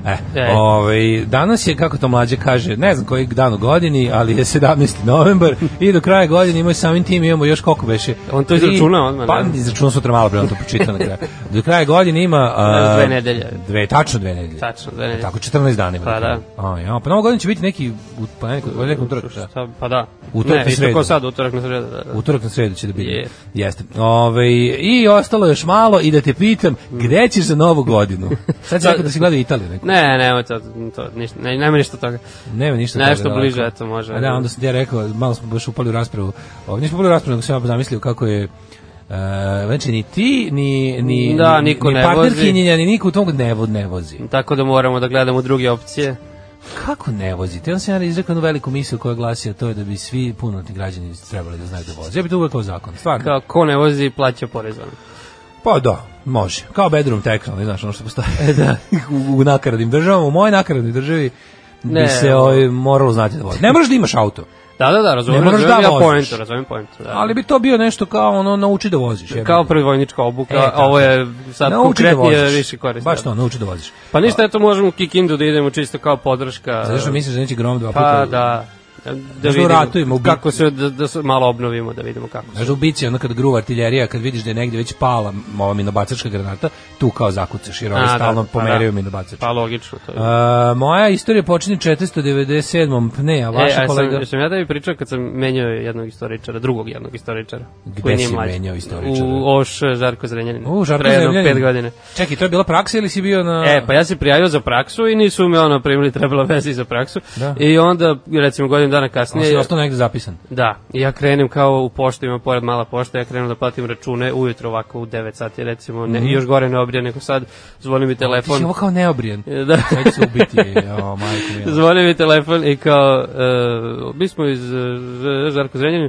E,
E.
ovaj, danas je, kako to mlađe kaže, ne znam koji dan u godini, ali je 17. novembar i do kraja godine imamo samim tim imamo još koliko beše.
On to
Tri-
izračunao odmah,
Pa
ne?
izračunao sutra malo, bre, on to pročitao na kraju. Do kraja godine ima... a,
(laughs) Dve nedelje.
Dve, tačno dve nedelje.
Tačno, dve nedelje.
Tako, 14 dana ima.
Pa
na kraju. A, ja, pa novo godin će biti neki, u, pa nekom, u nekom utorak, da.
Šta, pa da.
Utorak na
ne, isto
sredu.
ko sad, utorak na sredu. Da, da.
Utorak na sredu će da biti.
Je.
Jeste. Ove, I ostalo je još malo i da te pitam, gde ćeš za novu
(laughs)
godinu? Sad si
Da.
rekao da si gledao Italiju neku.
Ne, nemoj to, to ništa, ne, nema ništa toga.
Nema ništa
Nešto
toga,
bliže,
ovako.
eto, može.
A da, onda sam ti ja rekao, malo smo baš upali u raspravu. Ovo, nismo upali u raspravu, nego sam ja zamislio kako je Uh, znači ni ti, ni, ni,
Da,
ni,
niko
ni
ne
partnerkinjenja, ni niko u tom ne, vo- ne vozi.
Tako da moramo da gledamo druge opcije.
Kako ne vozi? Te on sam ja izrekao jednu veliku misiju koja glasi, a to je da bi svi punotni građani trebali da znaju da voze. Ja bi to uvek kao zakon, stvarno.
Kao, ko ne vozi, plaća porez. ono.
Pa da, može. Kao bedroom tax, ali znaš ono što postoje.
E,
da. (laughs) u, u nakaradnim državama, u mojoj nakaradnoj državi bi
Ne,
se ovaj, moralo znati da vozi. Ne moraš da imaš auto,
Da, da, da, razumijem,
Ne moraš
razumijem
da
ja
voziš.
poentu, razumijem poentu. Da.
ali bi to bio nešto kao ono nauči da voziš. jebe.
Kao predvojnička obuka,
E,
a ovo je sad
nauči da
konkretnije
voziš.
više korisno.
Baš to, nauči da voziš.
Pa ništa, eto možemo u Kikindu da idemo čisto kao podrška.
Zato što misliš da neće grom dva puta.
Pa da. da
Možda u
vidimo
ratu ima, u bi-
kako se da, da se malo obnovimo da vidimo kako se
Znaš, u bici, ono kad gruva artiljerija, kad vidiš da je negdje već pala m, ova minobacačka granata, tu kao zakucaš, jer ovi
A, da,
stalno
pa
pomeraju
da.
minobacače.
pa logično to je.
A, moja istorija počinje 497. pne, a
E,
vaša
a
kolega...
sam, sam ja da bi pričao kad sam menjao jednog istoričara, drugog jednog istoričara.
Gde
koji nije
si
mlađi.
menjao istoričara?
U Oš Žarko Zrenjanin.
U, Žarko
Pre jedno
Zemljanin.
pet godine.
Čekaj, to je bila praksa ili si bio na...
E, pa ja se prijavio za praksu i nisu me ono primili, (laughs) trebala vezi za praksu.
Da.
I onda, recimo, godinu dana
On
kasnije...
si ostao negde zapisan.
Da, i ja krenem kao u poštu, ima pored mala pošta, ja krenem da platim račune ujutro ovako u 9 sati recimo, ne, još gore ne obrija nego sad, zvoni
Mhm.
mi
Ti si
telefon.
ovo kao neobrijan.
(laughs) Da.
Čovjek se ubiti, o, majko
(laughs)
mila.
Zvoni mi telefon i kao, uh, mi smo iz uh, Žarko Zrenjanin,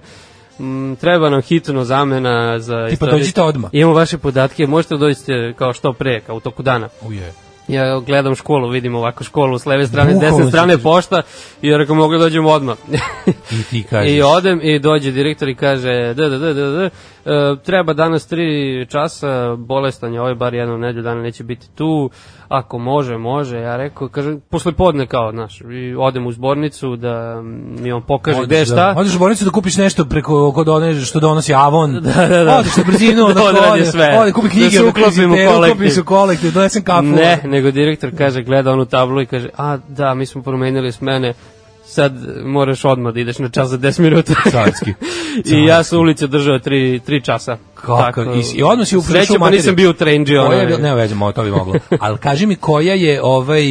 Mm, treba nam hitno zamena za
Tipa,
istoriju.
dođite odmah.
Imamo vaše podatke, možete da dođete kao što pre, kao u toku dana.
Uje.
Ja gledam školu, vidim ovako školu s leve strane, s
Bukvalno
desne
si
strane
ti-
pošta i ja rekao mogu da dođem odmah. (laughs)
I ti kažeš.
I odem i dođe direktor i kaže da, da, da, da, da, e, treba danas tri časa, bolestan je ovaj, bar jednom nedelju dana neće biti tu, ako može, može, ja rekao, kaže, posle podne kao, znaš, i odem u zbornicu da mi on pokaže
Odeš,
gde je šta.
Da. Odeš u bolnicu da kupiš nešto preko kod one što donosi Avon.
(laughs) Da, da, da.
Odeš na brzinu,
(laughs) Da
onako,
odradi
ode-
sve.
Ode, kupi
Da
knjige,
se
ono,
uklopim u
knjižiteru,
kolektiv.
Kupi se u kolektiv, donesem kafu.
Ne, nego direktor kaže, gleda onu tablu i kaže, a da, mi smo promenili smene, sad moraš odmah da ideš na čas za 10 minuta.
Carski.
(laughs) I ja sam u ulici držao 3 3 časa.
Kako? I- i odmah si uprešao
Srećem, pa
materiju.
nisam bio u trendži.
Koja je
Ono,
bila, ne veze, mo, to bi moglo. Ali kaži mi koja je ovaj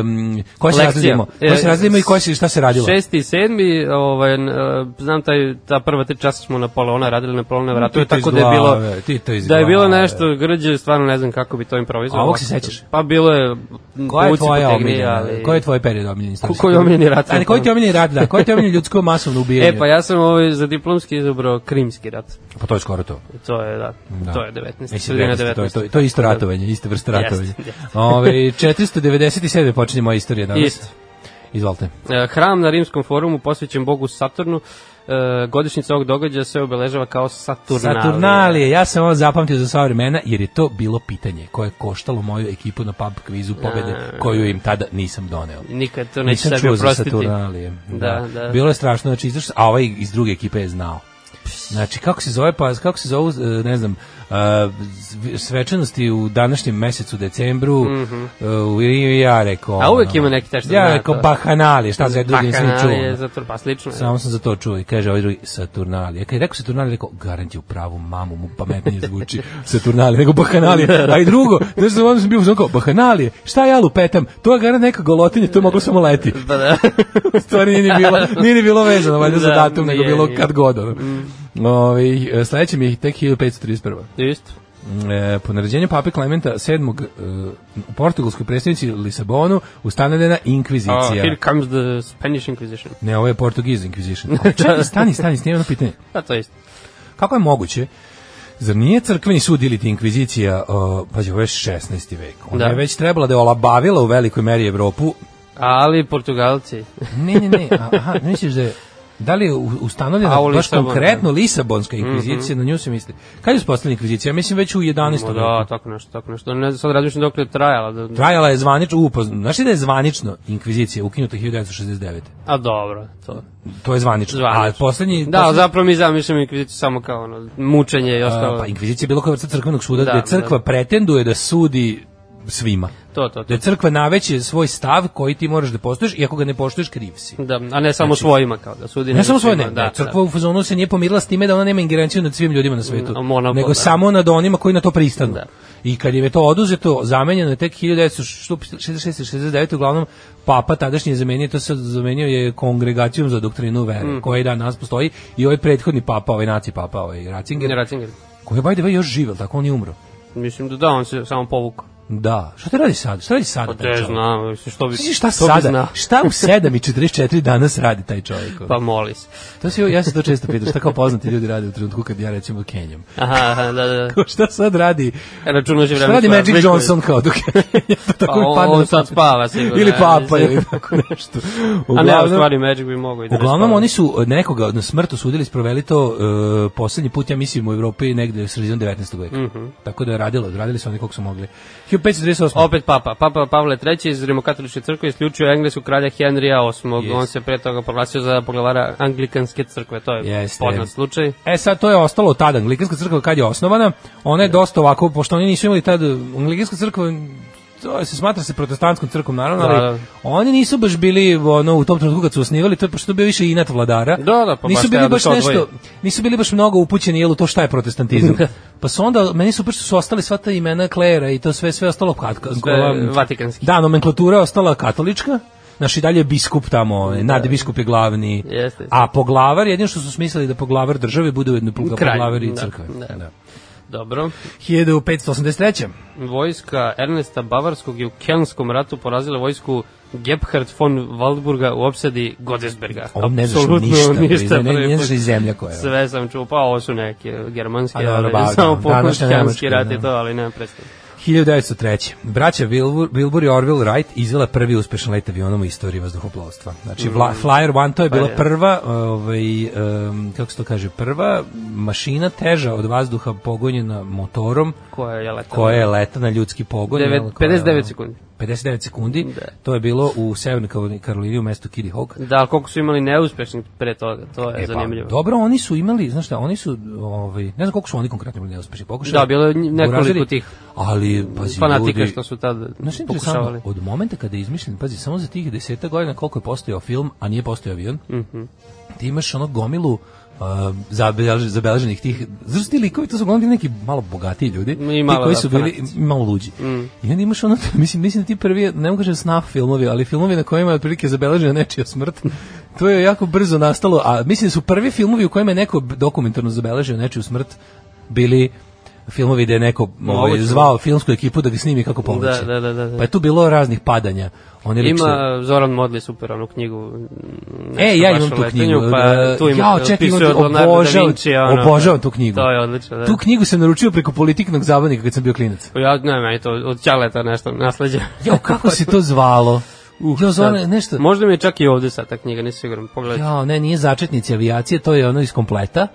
um, koja se
Lekcija.
razlimo? Koja se
E,
razlimo i koja se šta se radilo?
Šesti i sedmi, ovaj, n- e, znam taj, ta prva tri časa smo na pola ona radili na pola ona vratu,
Ti to iz
tako da je bilo,
glave, e, ti to iz
da je bilo
glave.
nešto grđe, stvarno ne znam kako bi to improvizovao.
A ovog se sećaš?
Pa bilo je,
Koja je
povuci
tvoja
potegni,
omiljena?
ali- E,
Koji je tvoj period omiljen?
Ko- koji je omiljeni rat?
Ali koji ti je omiljeni rat, da? Koji ti je omiljeni ljudsko masovno ubijanje?
E, pa ja sam ovaj, za diplomski izabrao Krimski rat.
pa to je skoro to.
To je, da,
Da.
to je 19.
Mislim,
sredina
19, To, je, to,
19.
je- to je isto ratovanje, iste vrste
da. Jeste,
ratovanja. (laughs)
jeste.
Ove, 497. počinje moja istorija danas.
Isto.
Izvolite.
E, Hram na Rimskom forumu posvećen bogu Saturnu. E, godišnjica ovog događaja se obeležava kao Saturnalija.
Saturnalije, ja sam ovo zapamtio za sva vremena, jer je to bilo pitanje koje je koštalo moju ekipu na pub kvizu pobede, koju im tada nisam doneo.
Nikad to neće
Nisam
sebi
čuo za
oprostiti.
Saturnalije. Da.
Da, da.
Bilo je strašno, znači izašao, a ovaj iz druge ekipe je znao. Znači, kako se zove, pa kako se zovu, e, ne znam, e, zv- svečanosti u današnjem mesecu, decembru, e, u- i ja rekao...
Mhm. A uvek
ono,
ima neki taj što
Ja
zna
rekao,
to.
bahanalije, šta za Ovaj drugi nisam ni čuo. da.
Bakanalije, Saturn, pa slično. je.
Samo sam za to čuo i kaže ovaj drugi Saturnalije. Kad je rekao Saturnalije, rekao garant je u pravu mamu, mu pametnije
(laughs)
zvuči Saturnalije nego Bahanalije. A i drugo, znaš da ono sam bio u kao Bahanalije, šta ja lupetam, to je garant neka golotinja, to je moglo samo leti.
Pa (laughs) da.
U stvari nije ni bilo, nije ni bilo vezano valjda za
Da,
datum, nego
nije, Mm.
bilo
nije.
kad god. Ono. Ovaj, e, sledeći mi je tek 1531.
Isto.
E, po naređenju pape Klementa VII e, u portugalskoj predstavnici Lisabonu ustanovljena
Oh,
inkvizicija.
here comes the Spanish Inquisition.
Ne, ovo je Portuguese Inquisition. (laughs) A, Čekaj, stani, stani, stani, jedno pitanje.
Pa to isto.
Kako je moguće? Zar nije crkveni sud ili ti inkvizicija, uh, pazi, ovo je 16. vek. Ona
Da.
je već trebala da je olabavila u velikoj meri Evropu.
Ali Portugalci.
Ne, ne, ne, a- aha, ne misliš da je... Da li je u- ustanovljena
A, u da. Mhm.
baš
Lisabonu,
konkretno Lisabonska inkvizicija, na nju se misli. Kad je uspostavljena inkvizicija? Ja mislim već u 11.
Ma
veku.
Da, tako nešto, tako nešto. Ne znam, sad razmišljam dok je trajala. Da,
Trajala je zvanično, upozno. Znaš li da je zvanično inkvizicija ukinuta 1969.
A dobro, to.
To je zvanično.
Zvanično.
A poslednji...
Da,
poslednji-
zapravo mi zamišljam Inkviziciju samo kao ono, mučenje i ostalo.
A, pa inkvizicija je bilo koja vrsta crkvenog suda
Da,
gde crkva
da.
pretenduje da sudi svima.
to, to, to.
Da je crkva naveće svoj stav koji ti moraš da postojiš i ako ga ne postojiš kriv si.
Da, a ne samo svojima kao da sudi.
Znači- Ne
nego
samo svoje,
svima,
ne, ne, crkva u fazonu se nije pomirila s time da ona nema ingerenciju nad svim ljudima na svetu,
Na monopol,
nego
da.
samo nad onima koji na to pristanu.
Da.
I kad im je to oduzeto, zamenjeno je tek 1966-69, uglavnom papa tadašnji je zamenio, to se zamenio je kongregacijom za doktrinu vere,
Mm.
koja i dan nas postoji, i ovaj prethodni papa, ovaj naci papa, ovaj Ratzinger,
Ne, Ratzinger.
koji je by the way još živel, tako on je umro.
Mislim da da, on se samo povukao. Da.
Šta te radi sad? Šta radi sad?
Pa te znam, mislim, što bi...
da, šta
što bi znao?
sada? Šta u 7 i 44 danas radi taj čovjek?
Pa moli se.
To si, ja se to često pitam, šta kao poznati ljudi rade u trenutku kad ja recimo Kenjam.
Aha, aha, da, da,
(laughs)
da.
Kao, šta sad radi?
Računaš i
Šta
Znači, vreme.
radi
stvarno,
Magic
Bitcoin.
Johnson kao dok (laughs) Kenjam? To
Pa
tako mi
on-
padne
on
na
sad
pamet.
spava sigurno,
Ili
ja
papa
mislim.
ili tako nešto.
A ne, u
Uglavnom,
stvari Magic bi mogao i da ne
Uglavnom
spava.
oni su e, nekoga na smrt osudili, sproveli to e,
Mhm.
poslednji put, ja mislim, u Evropi negde u sredinom 19. veka. Tako da je radilo, radili su oni koliko su mogli. u 538.
Opet papa. Papa Pavle III iz Rimokatoličke crkve isključio engleskog kralja Henrya VIII.
Jest.
On se pre toga proglasio za poglavara anglikanske crkve. To je
Jeste.
poznat slučaj.
E sad, to je ostalo od tada. Anglikanska crkva kad je osnovana, ona
Da.
je dosta ovako, pošto oni nisu imali tada, Anglikanska crkva to se smatra se protestantskom crkvom naravno,
Da,
ali
da.
oni nisu baš bili ono u tom trenutku kad su osnivali, to je pošto je bio više inat vladara.
Da, da, pa
nisu bili
baš treba da
baš
se
nešto,
odvoji.
nisu bili baš mnogo upućeni jel u to šta je
(laughs)
protestantizam. pa su onda meni su što su ostali sva ta imena klera i to sve sve ostalo
Da,
kad,
Sve vatikanski.
Da, nomenklatura je ostala katolička. Naš i dalje je biskup tamo, ovaj, nadbiskup je glavni.
Da. Jeste.
A poglavar, jedino što su smislili da poglavar države bude ujedno pogla-
Kralj,
poglavar i
da,
crkve.
da.
Da.
Dobro.
1583.
Vojska Ernesta Bavarskog je u Kelskom ratu porazila vojsku Gebhard von Waldburga u opsadi Godesberga.
Ovo ne znaš
Apsolutno
ništa, ne- ne
prvi
znaš
put.
i zemlja koja je.
Sve sam čuo, pa ovo su neke germanske,
A dobro,
ali
bagno.
samo poput
Današnja
Kelski
Nemačka,
rat i
da.
to, ali nema predstavu.
1903. Braća Wilbur, Wilbur i Orville Wright izvela prvi uspešan let avionom u istoriji vazduhoplovstva. Znači, Vla,
Mm.
Flyer One to je bila
je.
prva, ovaj, em, kako se to kaže, prva mašina teža od vazduha pogonjena motorom
Koja je letala?
koja je leta na ljudski pogon.
Devet-
jel, koja je,
59
ono,
sekundi.
59 sekundi.
Da.
To je bilo u Severnoj Karolini- Karolini u mestu Kitty Hawk.
Da, ali koliko su imali neuspešnih pre toga, to je
E, pa,
zanimljivo.
dobro, oni su imali, znaš šta, oni su, ovaj, ne znam koliko su oni konkretno bili neuspešni pokušali.
Da, bilo je nj- nekoliko
Buražeri,
tih
Ali, pazi,
Fanatike
ljudi,
što su tad
Znaš što je
pokušavali.
interesantno, od momenta kada je izmišljen, pazi, samo za tih deseta godina koliko je postojao film, a nije postojao avion,
Mhm.
ti imaš ono gomilu uh, zabelež- zabeleženih tih, znaš ti likovi, to su uglavnom bili neki malo bogatiji ljudi, ti
malo, Mm.
koji
da,
su bili
fanatici.
malo luđi. I onda imaš ono, (laughs) mislim, mislim da ti prvi, ne mogu kažem snaf filmovi, ali filmovi na kojima je otprilike zabeležena nečija smrt, to je jako brzo nastalo, a mislim da su prvi filmovi u kojima je neko dokumentarno zabeležio nečiju smrt bili filmovi gde je neko ovaj,
Moguće.
zvao filmsku ekipu da ga snimi kako povlači.
Da, da, da, da, da.
Pa je tu bilo raznih padanja. On je lik se-
Ima eh, Zoran Modli super onu knjigu. m,
E,
nešto
ja
baš
imam
o
tu
letenju,
knjigu. e, eh,
Pa, tu ima,
ja, čekaj, imam
opisuje
tu,
od Leonardo da
obožavam,
Vinci, ono,
obožavam tu knjigu.
To je odlično, da. Pa
Tu knjigu sam naručio preko politiknog zabavnika kad sam bio klinac.
Ja, ne, meni to od Ćaleta nešto nasleđa. (laughs)
Jo, kako se to zvalo? Uh, jo, zvalo je
Sad,
nešto...
Možda mi je čak i ovde sad ta knjiga, nisam siguran, pogledaj.
Jo, ne, nije začetnici avijacije, to je ono iz kompleta.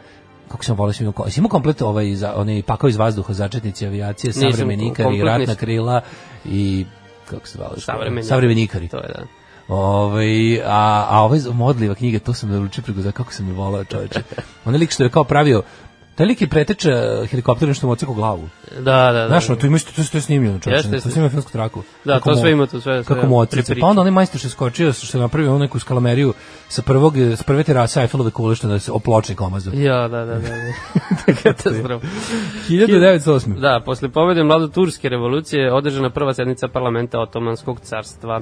Kako sam volio sam imao, imao komplet ovaj, za, onaj pakao iz vazduha, začetnici avijacije,
Nisam,
savremenikari,
komplet
ratna
nisam.
krila i kako se zvalo?
Savremenikari.
Savremenikari.
To je da.
Ovaj a, a ove modliva knjige, to sam naručio preko za kako sam je volao čoveče. Onaj lik što je kao pravio, taj lik je preteča helikopterom što mu oceku glavu.
Da, da, da.
Znaš, ono, tu ima isto, to je snimljeno čoveče,
Jeste,
to
jeste.
snima filmsku traku.
Da,
Kako
to
mu-
sve ima, to sve- sve
Kako mu oceku.
prepriča.
Pa onda onaj majstor što je skočio, što je napravio onu neku skalameriju sa prvog, s prve terase Eiffelove kule što da se opločnik omazu.
Ja, da, da, da.
(laughs)
da. (laughs) Katastrofa.
1908.
Da, posle pobede mlado-turske revolucije je održana prva sednica parlamenta Otomanskog carstva.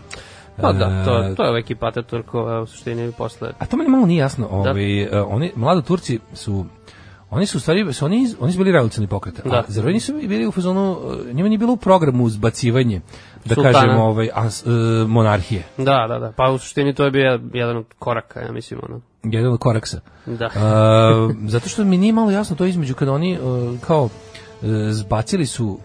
Pa da, to, to je uvek i Turkova u suštini posle.
A to meni malo nije jasno.
Da.
Ovi, e, oni, mlado Turci su Oni su u stvari, su oni, oni su bili revolucionarni pokret. A
Da.
zar oni nisu bili u fazonu, e, njima nije bilo u programu zbacivanje, da
Sultana.
kažem, ovaj, as, e, monarhije.
Da, da, da. Pa u suštini to je bio jedan od koraka, ja mislim, ono.
Jedan od koraksa.
Da.
E, zato što mi nije malo jasno to između kada oni e, kao e, zbacili su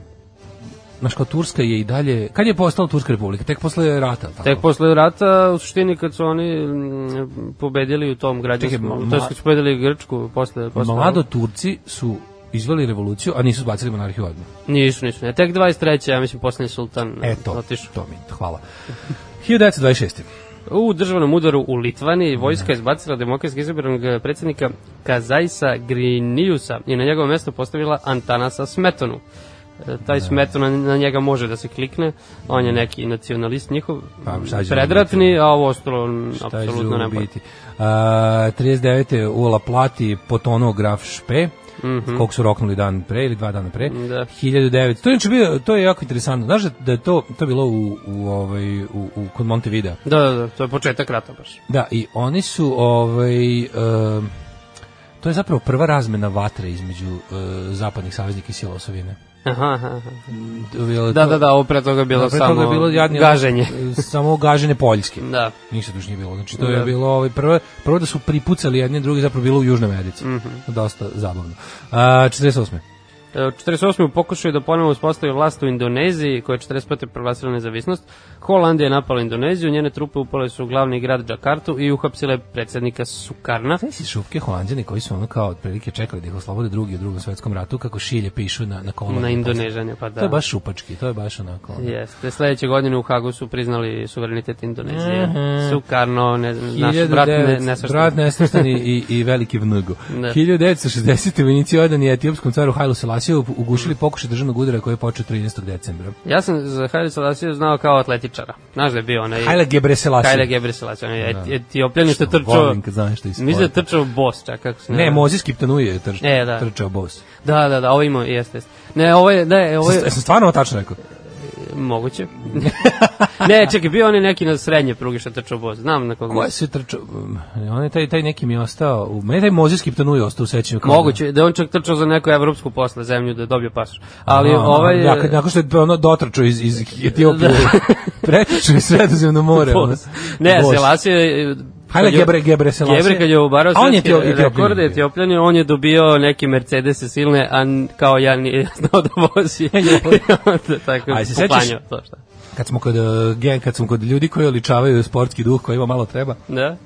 Znaš, kao Turska je i dalje... Kad je postala Turska republika? Tek posle rata, tako?
Tek posle rata, u suštini kad su oni mm, pobedili u tom građanskom,
Čekaj,
to je
mla-
kad su pobedili Grčku posle... posle
Mlado Turci su izveli revoluciju, a nisu zbacili monarhiju odmah.
Nisu, nisu. Ne, tek 23. ja mislim, poslednji sultan
Eto,
otišao.
to mi, hvala. (laughs) 1926.
U državnom udaru u Litvani vojska je izbacila demokratski izabranog predsjednika Kazajsa Grinijusa i na njegovo mesto postavila Antanasa Smetonu. E,
Da.
Taj Smetona na njega može da se klikne, on je neki nacionalist njihov,
Pa, šta će
predratni, a ovo ostalo m,
Šta je
apsolutno
drugo
nema. pojma.
biti? A, 39. u La Plati potonuo graf Špe, kog su roknuli dan pre ili dva dana pre.
Mhm. Da.
1900. To je, inače bio, to je jako interesantno. Znaš da- da je to, to je bilo u, u, ovaj, u, u, kod Montevideo.
Da, da, da, to je početak rata baš.
Da, i oni su ovaj em, to je zapravo prva razmena vatre između eh, zapadnih saveznika i sila Osovine.
Aha, aha, aha. Da,
Da,
da, da, ovo pre toga je bilo
pre
samo
toga je bilo jadni-
gaženje.
(laughs) Samo gaženje Poljske.
Da,
Ništa duž nije bilo. Znači, to je
Da.
bilo ovaj, prvo, prvo da
Mhm.
su pripucali jedni drugi, zapravo bilo u Južnoj Americi. Dosta zabavno. A, 48.
E, 48. u pokušaju da ponovno uspostavi vlast u Indoneziji, koja je 45. proglasila nezavisnost. Holandija je napala Indoneziju, njene trupe upale su u glavni grad Džakartu i uhapsile predsednika Sukarna.
Znaš si šupke holandjani koji su ono kao otprilike čekali da ih oslobode drugi u drugom svetskom ratu, kako šilje pišu na, na kolonije.
Na Indonežanje, pa da.
To je baš šupački, to je baš onako. ono.
Jeste, sledeće godine u Hagu su priznali suverenitet Indonezije. Sukarno, ne, naš brat ne,
1900
nesvršten.
Mhm. brat nesvrstani i, i veliki vnugo.
Da.
1960. vojnici odani etiopskom caru Hailu Selassiju ugušili pokušaj državnog udara koji je počeo 13. decembra.
Ja sam za Haile Selassie znao kao atletičara. Znaš da je bio onaj...
Haile Gebre Selassie. Da.
Haile Gebre Selassie, onaj et, etiopljanin što je trčao...
volim kad znam što je iz
Mislim da je
sporta.
trčao bos, čak kako se
Ne, Mozis Kiptanuje je trč,
E, da.
trčao bos.
Da, da, da, ovo ima, jeste, jeste. Ne, ovo je,
(laughs)
ne, ovo je...
Sam stvarno ovo tačno rekao.
Moguće. (laughs) ne, čekaj, bio on je neki na srednje pruge što je trčao bos. Znam na koga.
Ko je se trčao? Mm, On je taj, taj neki mi je ostao, u, meni je taj Mozis Kiptanuje ostao u sećanju. kao da-
Moguće, da je on čak trčao za neku evropsku posle zemlju da je dobio pasoš. Ali
Aha,
ovaj...
Ja, da, kad, nakon što je ono dotrčao iz, iz Etiopije, da. (laughs) pretičao je sredozemno more. ono.
Bos. Ne,
Bos.
Selassie eh, je...
Hajde Gebre, Gebre Selassie.
Gebre kad je obarao
A on je
svetske
Etio- Etiopljanin
rekorde
bio.
Etiopljanin, on je dobio neke Mercedese silne, a n- kao ja nije (laughs) znao da vozi. (laughs) Onda Tako
A
je
jesi se
poklanjao to šta.
Kad smo kod, e, gen, kad smo kod ljudi koji oličavaju sportski duh kojima malo treba,
Da?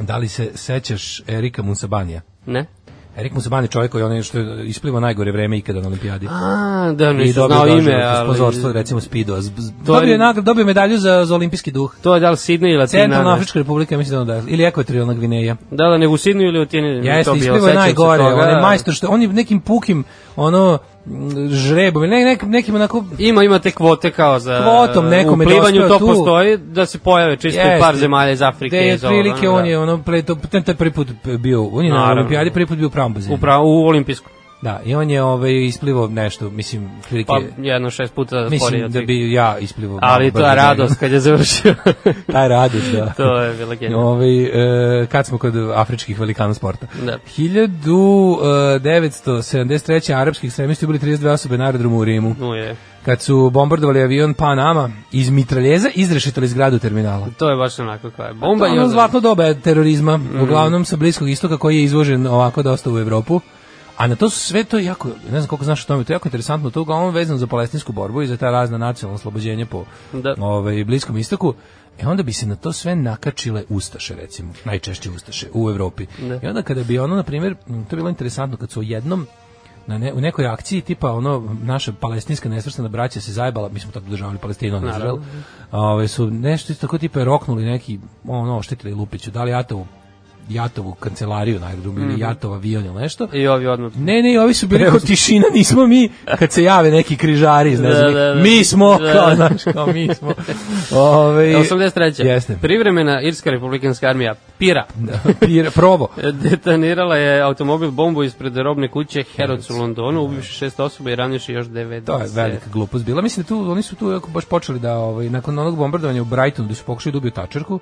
da li se sećaš Erika Musabanija?
Ne?
Erik Musabani je čovjek koji je onaj što je ispliva najgore vreme ikada na olimpijadi.
A, da,
I
nisam
dobio
znao ime,
doživotno sponzorstvo,
ali...
recimo Spido. Z- z-
To je-
Dobio je, nagrad, dobio je medalju za, za olimpijski duh.
To je da li Sidney ili Latina?
Centralna
ne?
Afrička republika, mislim da ono da je, ili ekvatorijalna Gvineja.
Da, da, nego u Sidney ili u Tini.
Jeste, isplivo je najgore, on
da.
je majstor što, on je nekim pukim, ono, m, žrebom, ili ne, nek, nekim onako,
Ima, ima te kvote kao za...
Kvotom nekom je
U plivanju
dospeo
to
tu.
postoji da se pojave čisto i
Jeste.
par zemalja iz Afrike.
gde je
iz ovoga,
prilike,
ono,
on
da.
je, ono, pre, to, ten, taj prvi put bio, on je na
Naravno.
olimpijadi prvi put bio u pravom bazinu.
Upravo, u olimpijskom.
Da, i on je ovaj, isplivao nešto, mislim, prilike,
Pa jedno šest puta sporije
mislim
od
da
svih.
bi ja isplivao.
Ali to je
(laughs)
radost kad je završio. (laughs)
Ta radost, da.
to je bila genijalna.
Ovaj e, kad smo kod afričkih velikana sporta.
Da.
e, 1973. arapski ekstremisti ubili 32 osobe na aerodromu u Rimu.
No je.
Kad su bombardovali avion Panama iz mitraljeza izrešetali zgradu terminala.
To je baš onako kao je bomba i
ono
onda- Mm.
zlatno doba terorizma, uglavnom sa bliskog istoka koji je izvožen ovako dosta u Evropu. A na to su sve to je jako, ne znam koliko znaš o tome, to je jako interesantno, to je uglavnom vezano za palestinsku borbu i za ta razna nacionalna oslobođenja po
Da.
ovaj, bliskom istoku. E onda bi se na to sve nakačile Ustaše, recimo, najčešće Ustaše u Evropi. I onda kada bi ono, na primjer, m, to je bilo interesantno, kad su jednom na ne, u nekoj akciji tipa ono naša palestinska nesvrstana braća se zajebala mi smo tako državali Palestinu a ne Izrael ovaj su nešto isto tako tipa roknuli neki ono oštetili Lupiću da li Jatovu Jatovu kancelariju na aerodromu ili Jatov avion ili nešto
I ovi odmah.
Ne, ne, ovi su bili kao tišina, nismo mi, kad se jave neki (laughs) križari, ne znam,
Da, da, da.
mi smo,
Da.
kao, znaš, kao mi smo. Ovaj, Ove,
83.
Jeste.
Privremena irska republikanska armija Pira
(laughs) Pir, probo.
detonirala je automobil bombu ispred robne kuće Herods u Londonu, ubivši šest osoba i ranjuši još devet.
Da. To je velika glupost bila. Mislim da tu oni su tu jako baš počeli da ovaj nakon onog bombardovanja u Brightonu da su pokušali da ubiju Tačerku.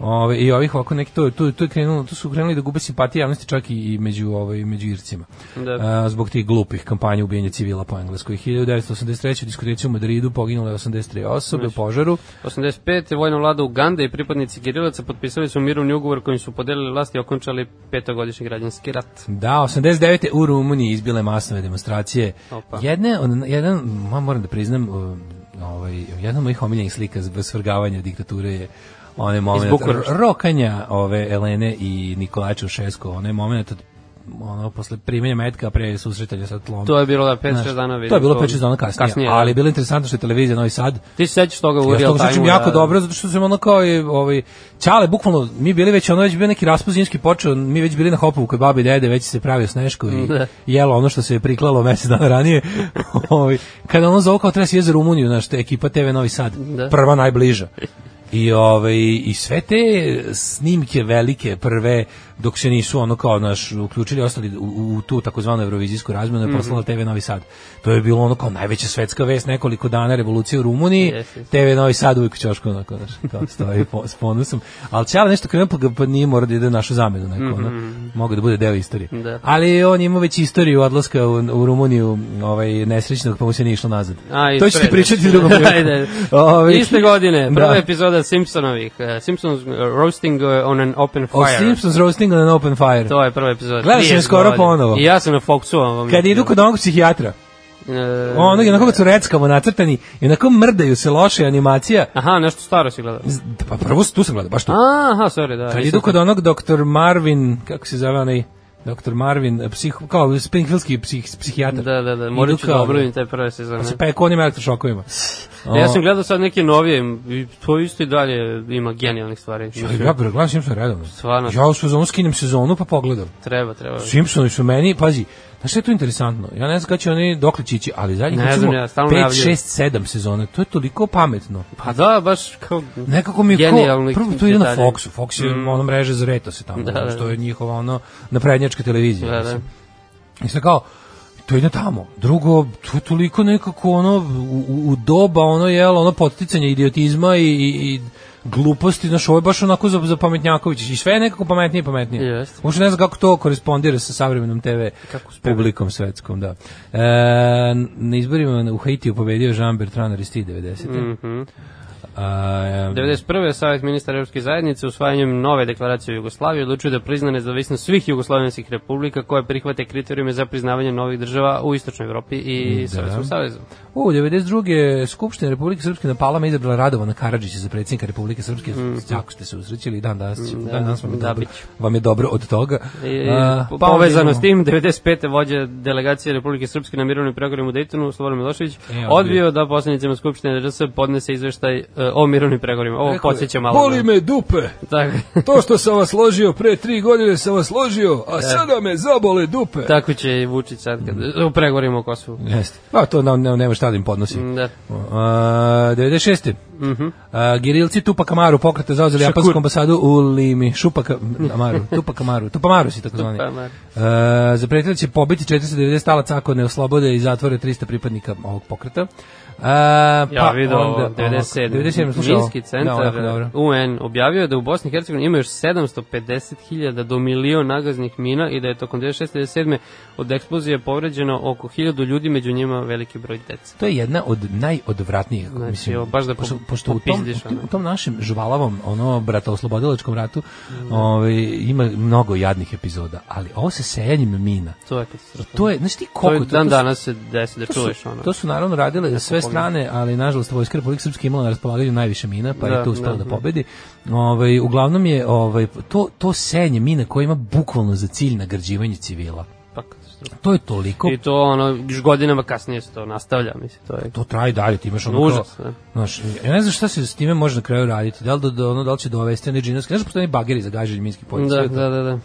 Ovaj i ovih ovako neki to to to je krenulo, tu su krenuli da gube simpatije javnosti čak i, i među ovaj među Ircima.
Da.
A, zbog tih glupih kampanja ubijanja civila po Engleskoj 1983. u diskoteci u Madridu poginule 83 osobe u požaru.
85. vojna vlada Ugande i pripadnici Girilaca potpisali su mirovni ugovor kojim su podelili vlast i okončali petogodišnji građanski rat.
Da, 89. u Rumuniji izbile masove demonstracije.
Opa.
Jedne, on- jedan, ma moram da priznam, uh, ovaj, jedna od mojih omiljenih slika zbog svrgavanja diktature je onaj moment
Bukurešta.
rokanja ove Elene i Nikolaja Čušesko, onaj moment od ono, posle primjenja metka pre susretanja sa tlom.
To je bilo da 5-6
Znaš,
dana vidim.
To je bilo 5-6 dana kasnije,
kasnije da.
ali
ali...
je bilo interesantno što je televizija Novi Sad
Ti se sećaš toga u
ja
real
to
time?
sećam jako dobro zato što sam ono kao i ovaj Ćale bukvalno mi bili već ono već bio neki raspust zimski počeo, mi već bili na hopovu kod babi i dede, već se pravio sneško i
Da.
jelo ono što se je priklalo mesec dana ranije. (laughs) ovaj kada ono zove kao treba se ide za Rumuniju, znaš, te ekipa TV Novi Sad,
Da.
prva najbliža. I ovaj i sve te snimke velike prve dok se nisu ono kao naš uključili ostali u, u tu takozvanu evrovizijsku razmenu je poslala TV Novi Sad. To je bilo ono kao najveća svetska vest nekoliko dana revolucije u Rumuniji.
Jes, jes.
TV Novi Sad uvijek u ćošku onako, znaš, kao stoji po, s ponosom. Ali Ćala nešto krenuo, pa, ga- pa nije mora da ide na našu zamenu, neko, ono. Mogu da bude deo istorije.
Da.
Ali on ima već istoriju odlaska u, u Rumuniju ovaj, nesrećnog, pa mu se nije išlo nazad.
A,
to ću ti
ispred.
pričati
(laughs)
drugom prilikom.
Ajde.
Ovaj,
Iste godine, prva
da.
epizoda Simpsonovih, eh, Simpsons eh, Roasting eh, on an Open
O
Fire.
Simpsons roasting on an open fire.
To je prva epizoda.
Gledao sam je
30
skoro
godina.
ponovo.
I ja sam na Foxu. Vam
Kad idu kod onog psihijatra.
E,
Ono, onako kad su reckamo nacrtani, i onako mrdaju se loše animacija.
Aha, nešto staro si gledao.
Z- Pa prvo, tu sam gledao, baš tu.
Aha, sorry, da.
Kad
nisam
idu kod onog doktor Marvin, kako se zove onaj, doktor Marvin, eh, psih, kao springfieldski psih, psihijatar.
Da, da, da, morat
Idu
ću
kao
da
ono,
obrovim taj prve sezone.
Pa se peko onim elektrošokovima.
Ja sam gledao sad neke novije, i to isto i dalje ima genijalnih stvari. Mislim,
Ja gledam Simpson redovno.
Stvarno.
Ja u sezonu skinem sezonu pa pogledam.
Treba, treba.
Simpsonovi su meni, pazi, znaš šta je tu interesantno? Ja ne znam kada će oni dokle će ići, ali zadnjih
Ne znam
recimo
ja, stalno
5,
najavljuju.
6, 7 sezona, to je toliko pametno.
Pa da, baš kao...
Nekako mi je ko,
Genijalni
prvo to ide na
detalji.
Foxu, Fox je mm. ono mreže za reto se tamo,
Da,
ono
da.
što je njihova ono naprednjačka televizija.
Da, da.
mislim. I sad kao, to ide tamo. Drugo, to je toliko nekako ono, u, u- u doba ono, jel, ono poticanje idiotizma i, i, i gluposti, znaš, ovo je baš onako za, za pametnjaković i sve je nekako pametnije i pametnije.
Jeste.
Uopšte ne znam kako to korespondira sa savremenom TV
Kako uspeva.
publikom svetskom, da. E, na izborima u Haitiju pobedio Jean Bertrand Aristide 90. Mm.
Mhm.
A,
91. je Savjet ministara Europske zajednice usvajanjem nove deklaracije o Jugoslaviji odlučio da prizna nezavisnost svih jugoslavenskih republika koje prihvate kriterijume za priznavanje novih država u Istočnoj Evropi i
Da.
da. Sovjetskom savezu.
U 92. Skupština Republike Srpske na Palama izabrala Radovana Karadžića za predsjednika Republike Srpske. Mm. Jako ste se usrećili i dan danas, će,
da,
dan danas vam, je
Mhm. da
dobro,
bit će.
vam je dobro od toga.
I,
A,
E, po-
pa onda
povezano
imamo-
s tim, 95. vođa delegacije Republike Srpske na mirovnim pregovorima u Dejtonu, Slobodan Milošević,
odbio.
odbio da poslanicima Skupštine RS podnese izveštaj e, o mirovnim pregovorima. Ovo
Rekao je,
podsjeća malo. na-
Boli me dupe!
(laughs) Tako,
To što sam vas složio pre tri godine sam vas složio,
E.
a sada me zabole dupe!
tako će i Vučić sad kad, u pregovorima o Kosovu.
Jeste. Pa to nam ne, nema šta da im podnosi.
Da.
A, 96. Mhm. Gerilci Tupak Amaru pokreta zauzeli
Šakur.
japansku ambasadu u Limi. da, Šupak Amaru, Tupak Amaru, Tupamaru si tako zvani.
Tupak Amaru.
E, zapretili da će pobiti 490 talaca ako ne oslobode i zatvore 300 pripadnika ovog pokreta. E,
Ja
pa
video
onda,
ovo, 97.
Ovako, 97. slušaj ovo.
Minski centar
Da, ovako, dobro.
UN objavio je da u Bosni i Hercegovini ima još 750.000 do milion nagaznih mina i da je tokom 1967. od eksplozije povređeno oko 1000 ljudi, među njima veliki broj dece.
To je jedna od najodvratnijih,
Znači,
mislim,
evo, baš da po-
pošto, pošto u, tom,
popizdiš,
u tom-
ono.
u tom našem žvalavom, ono, bratoslobodilačkom ratu,
Mhm.
ovaj, ima mnogo jadnih epizoda, ali ovo sa sejanjem mina,
To je katastrofa.
to je, znaš ti
To je
koliko...
dan
to su-
danas se desi da
To
čuješ
su,
ono.
to su naravno radile sve
pogledam.
strane, ali nažalost Vojska Republike Srpske imala na raspolaganju najviše mina, pa je
Da,
to uspela da,
da, da.
pobedi. Ovaj, uglavnom je ovaj, to, to senje mina koje ima bukvalno za cilj nagrađivanje civila.
Pa katastrofa.
To je toliko
I to ono, još godinama kasnije se to nastavlja, mislim, to je
to traje dalje, ti imaš ono
Užas,
kao,
da.
znaš, ja ne znam šta se s time može na kraju raditi, da li, da, da, ono, da li će dovesti onaj džinovski, znaš, da postoje oni bageri za gaženje minskih poljica,
Da, da, da, da.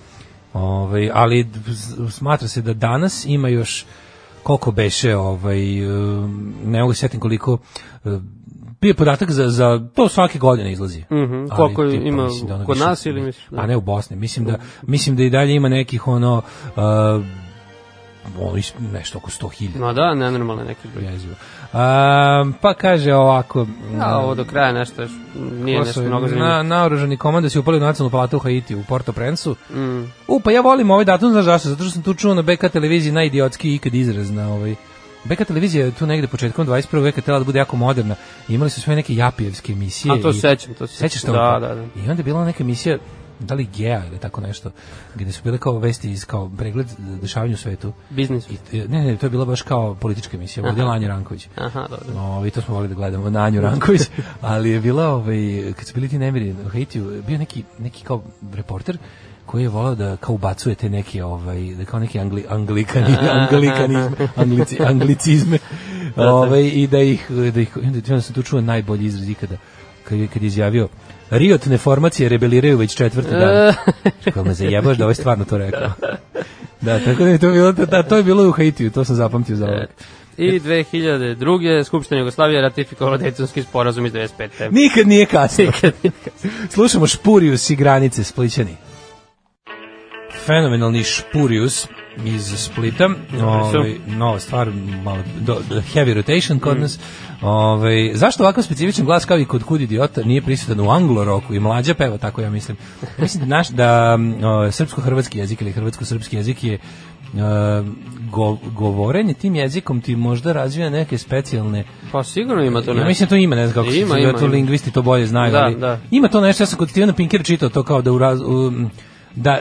Ovaj, ali d- z- smatra se da danas ima još koliko beše, ovaj, e, ne mogu se setim koliko, e, bio je podatak za, za to svake godine izlazi.
Mhm,
Ali
koliko ima
mislim ono
kod
više-
nas ili misliš, da?
A ne u Bosni, mislim da, mislim da i dalje ima nekih ono, uh, ono is- nešto oko 100.000.
No da, nenormalno je neki broj.
Jezivo. Um, pa kaže ovako...
A ovo do kraja nešto još, nije nešto
Kosovo,
mnogo zanimljivo.
na, naoružani komanda se upali u nacionalnu palatu u Haiti u Porto Prensu.
Mm.
U, pa ja volim ovaj datum, znaš zašto? Zato što sam tu čuo na BK televiziji najidiotski ikad izraz na ovaj... BK televizija je tu negde početkom 21. veka trebala da bude jako moderna. I imali su sve neke japijevske emisije.
A to
i-
sećam, to se
Sećaš to?
Da, da, da.
I onda je bila neka emisija da li Gea ili tako nešto, gde su bile kao vesti iz kao pregled dešavanja u svetu.
Biznis.
Ne, ne, to je bila baš kao politička emisija, vodila Anja Ranković.
Aha, dobro.
Ovi, to smo volili da gledamo na Anju Ranković, ali je bila, ovaj, kad su bili ti nemiri u Haitiju, bio neki, neki kao reporter koji je volao da kao ubacuje te neke ovaj da kao neki angli, anglikani anglikanizme anglici, anglicizme ovaj i da ih da ih i onda ti- onda sam tu čuo najbolji izraz ikada kad je, kad je izjavio Riotne formacije rebeliraju već četvrti dan. Kako me zajebaš da ovaj stvarno to rekao. Da, tako da je to bilo, da, to je bilo u Haitiju, to sam zapamtio za ovaj.
I 2002. Skupština Jugoslavije ratifikovala Dejtonski sporazum iz 95.
Nikad nije kasno. Slušamo Špurius i granice Splićani. Fenomenalni Špurius iz Splita.
su.
Ovaj, nova stvar, malo, do, do, heavy rotation kod nas. Ovaj, zašto ovakav specifičan glas kao i kod Kud idiota nije prisutan u anglo-roku i mlađa peva, tako ja mislim. Ja mislim da, naš, da mm, o, srpsko-hrvatski jezik ili hrvatsko-srpski jezik je e, go, govorenje tim jezikom ti možda razvija neke specijalne
Pa sigurno ima to
Ja
nešto.
mislim da to ima, ne znam kako se
Ima,
zove,
ima,
to
ima.
lingvisti to bolje znaju,
Da,
ali
da.
ima to nešto, ja sam kod Stevena Pinkera čitao to kao da u raz, um, da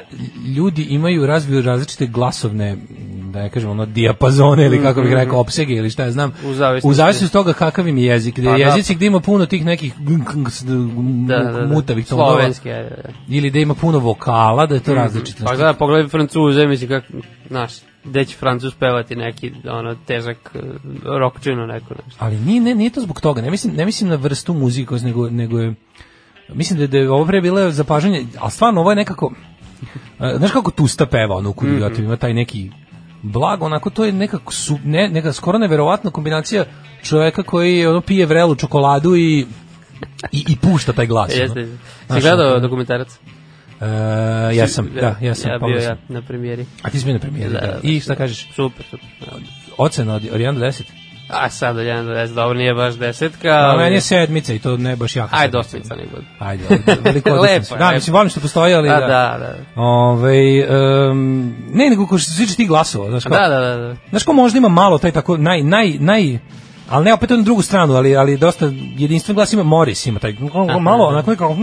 ljudi imaju razviju različite glasovne mm, da ne kažem ono dijapazone ili kako bih rekao opsege ili šta ja znam.
Mhm, U zavisnosti.
U zavisnosti od toga kakav im je jezik. Gde
Pa da.
jezici gde ima puno tih nekih da, mutavih tonova
Slovenski, ajde, da.
ili da ima puno vokala, da je to različito.
Pa da, pogledaj Francuze, mislim kako, znaš, gde će Francus pevati neki, ono, težak eh, rockčinu neku, znaš.
Ali nije, ne, nije to zbog toga. Ne mislim, ne mislim na vrstu muzike, nego, nego je... Mislim da, da je ovo pre bilo zapažanje, ali stvarno ovo je nekako... e, znaš kako Tusta peva ono u
Mhm.
Kuriotu, ima taj neki blago, onako to je nekako su, ne, neka skoro neverovatna kombinacija čoveka koji ono pije vrelu čokoladu i i, i pušta taj glas. ono.
Jeste, jeste. si
Znaš,
gledao
ono,
dokumentarac?
E, ja sam, da, ja sam.
Ja bio
pogledao
ja
sam.
na premijeri.
A ti si bio na premijeri, da,
Da, da,
I šta kažeš?
Super, super. da.
Ocena od, od 1 do 10?
A sad od 1 do 10, dobro, nije baš desetka,
A,
ali...
meni je sedmica i to ne baš jako.
Ajde,
sedmica.
osmica nego.
Ajde,
(laughs)
veliko
Lepo je,
odlično. Da,
lepo.
mislim, volim što postoji, ali
Da,
da.
da, da.
Ovaj, em, ne, nego ko što se tiče tih glasova, znaš kao,
Da, da, da, da.
znaš ko možda ima malo taj tako, naj, naj, naj, ali ne opet na drugu stranu, ali, ali dosta jedinstven glas ima Morris, ima taj, malo, onako je kao,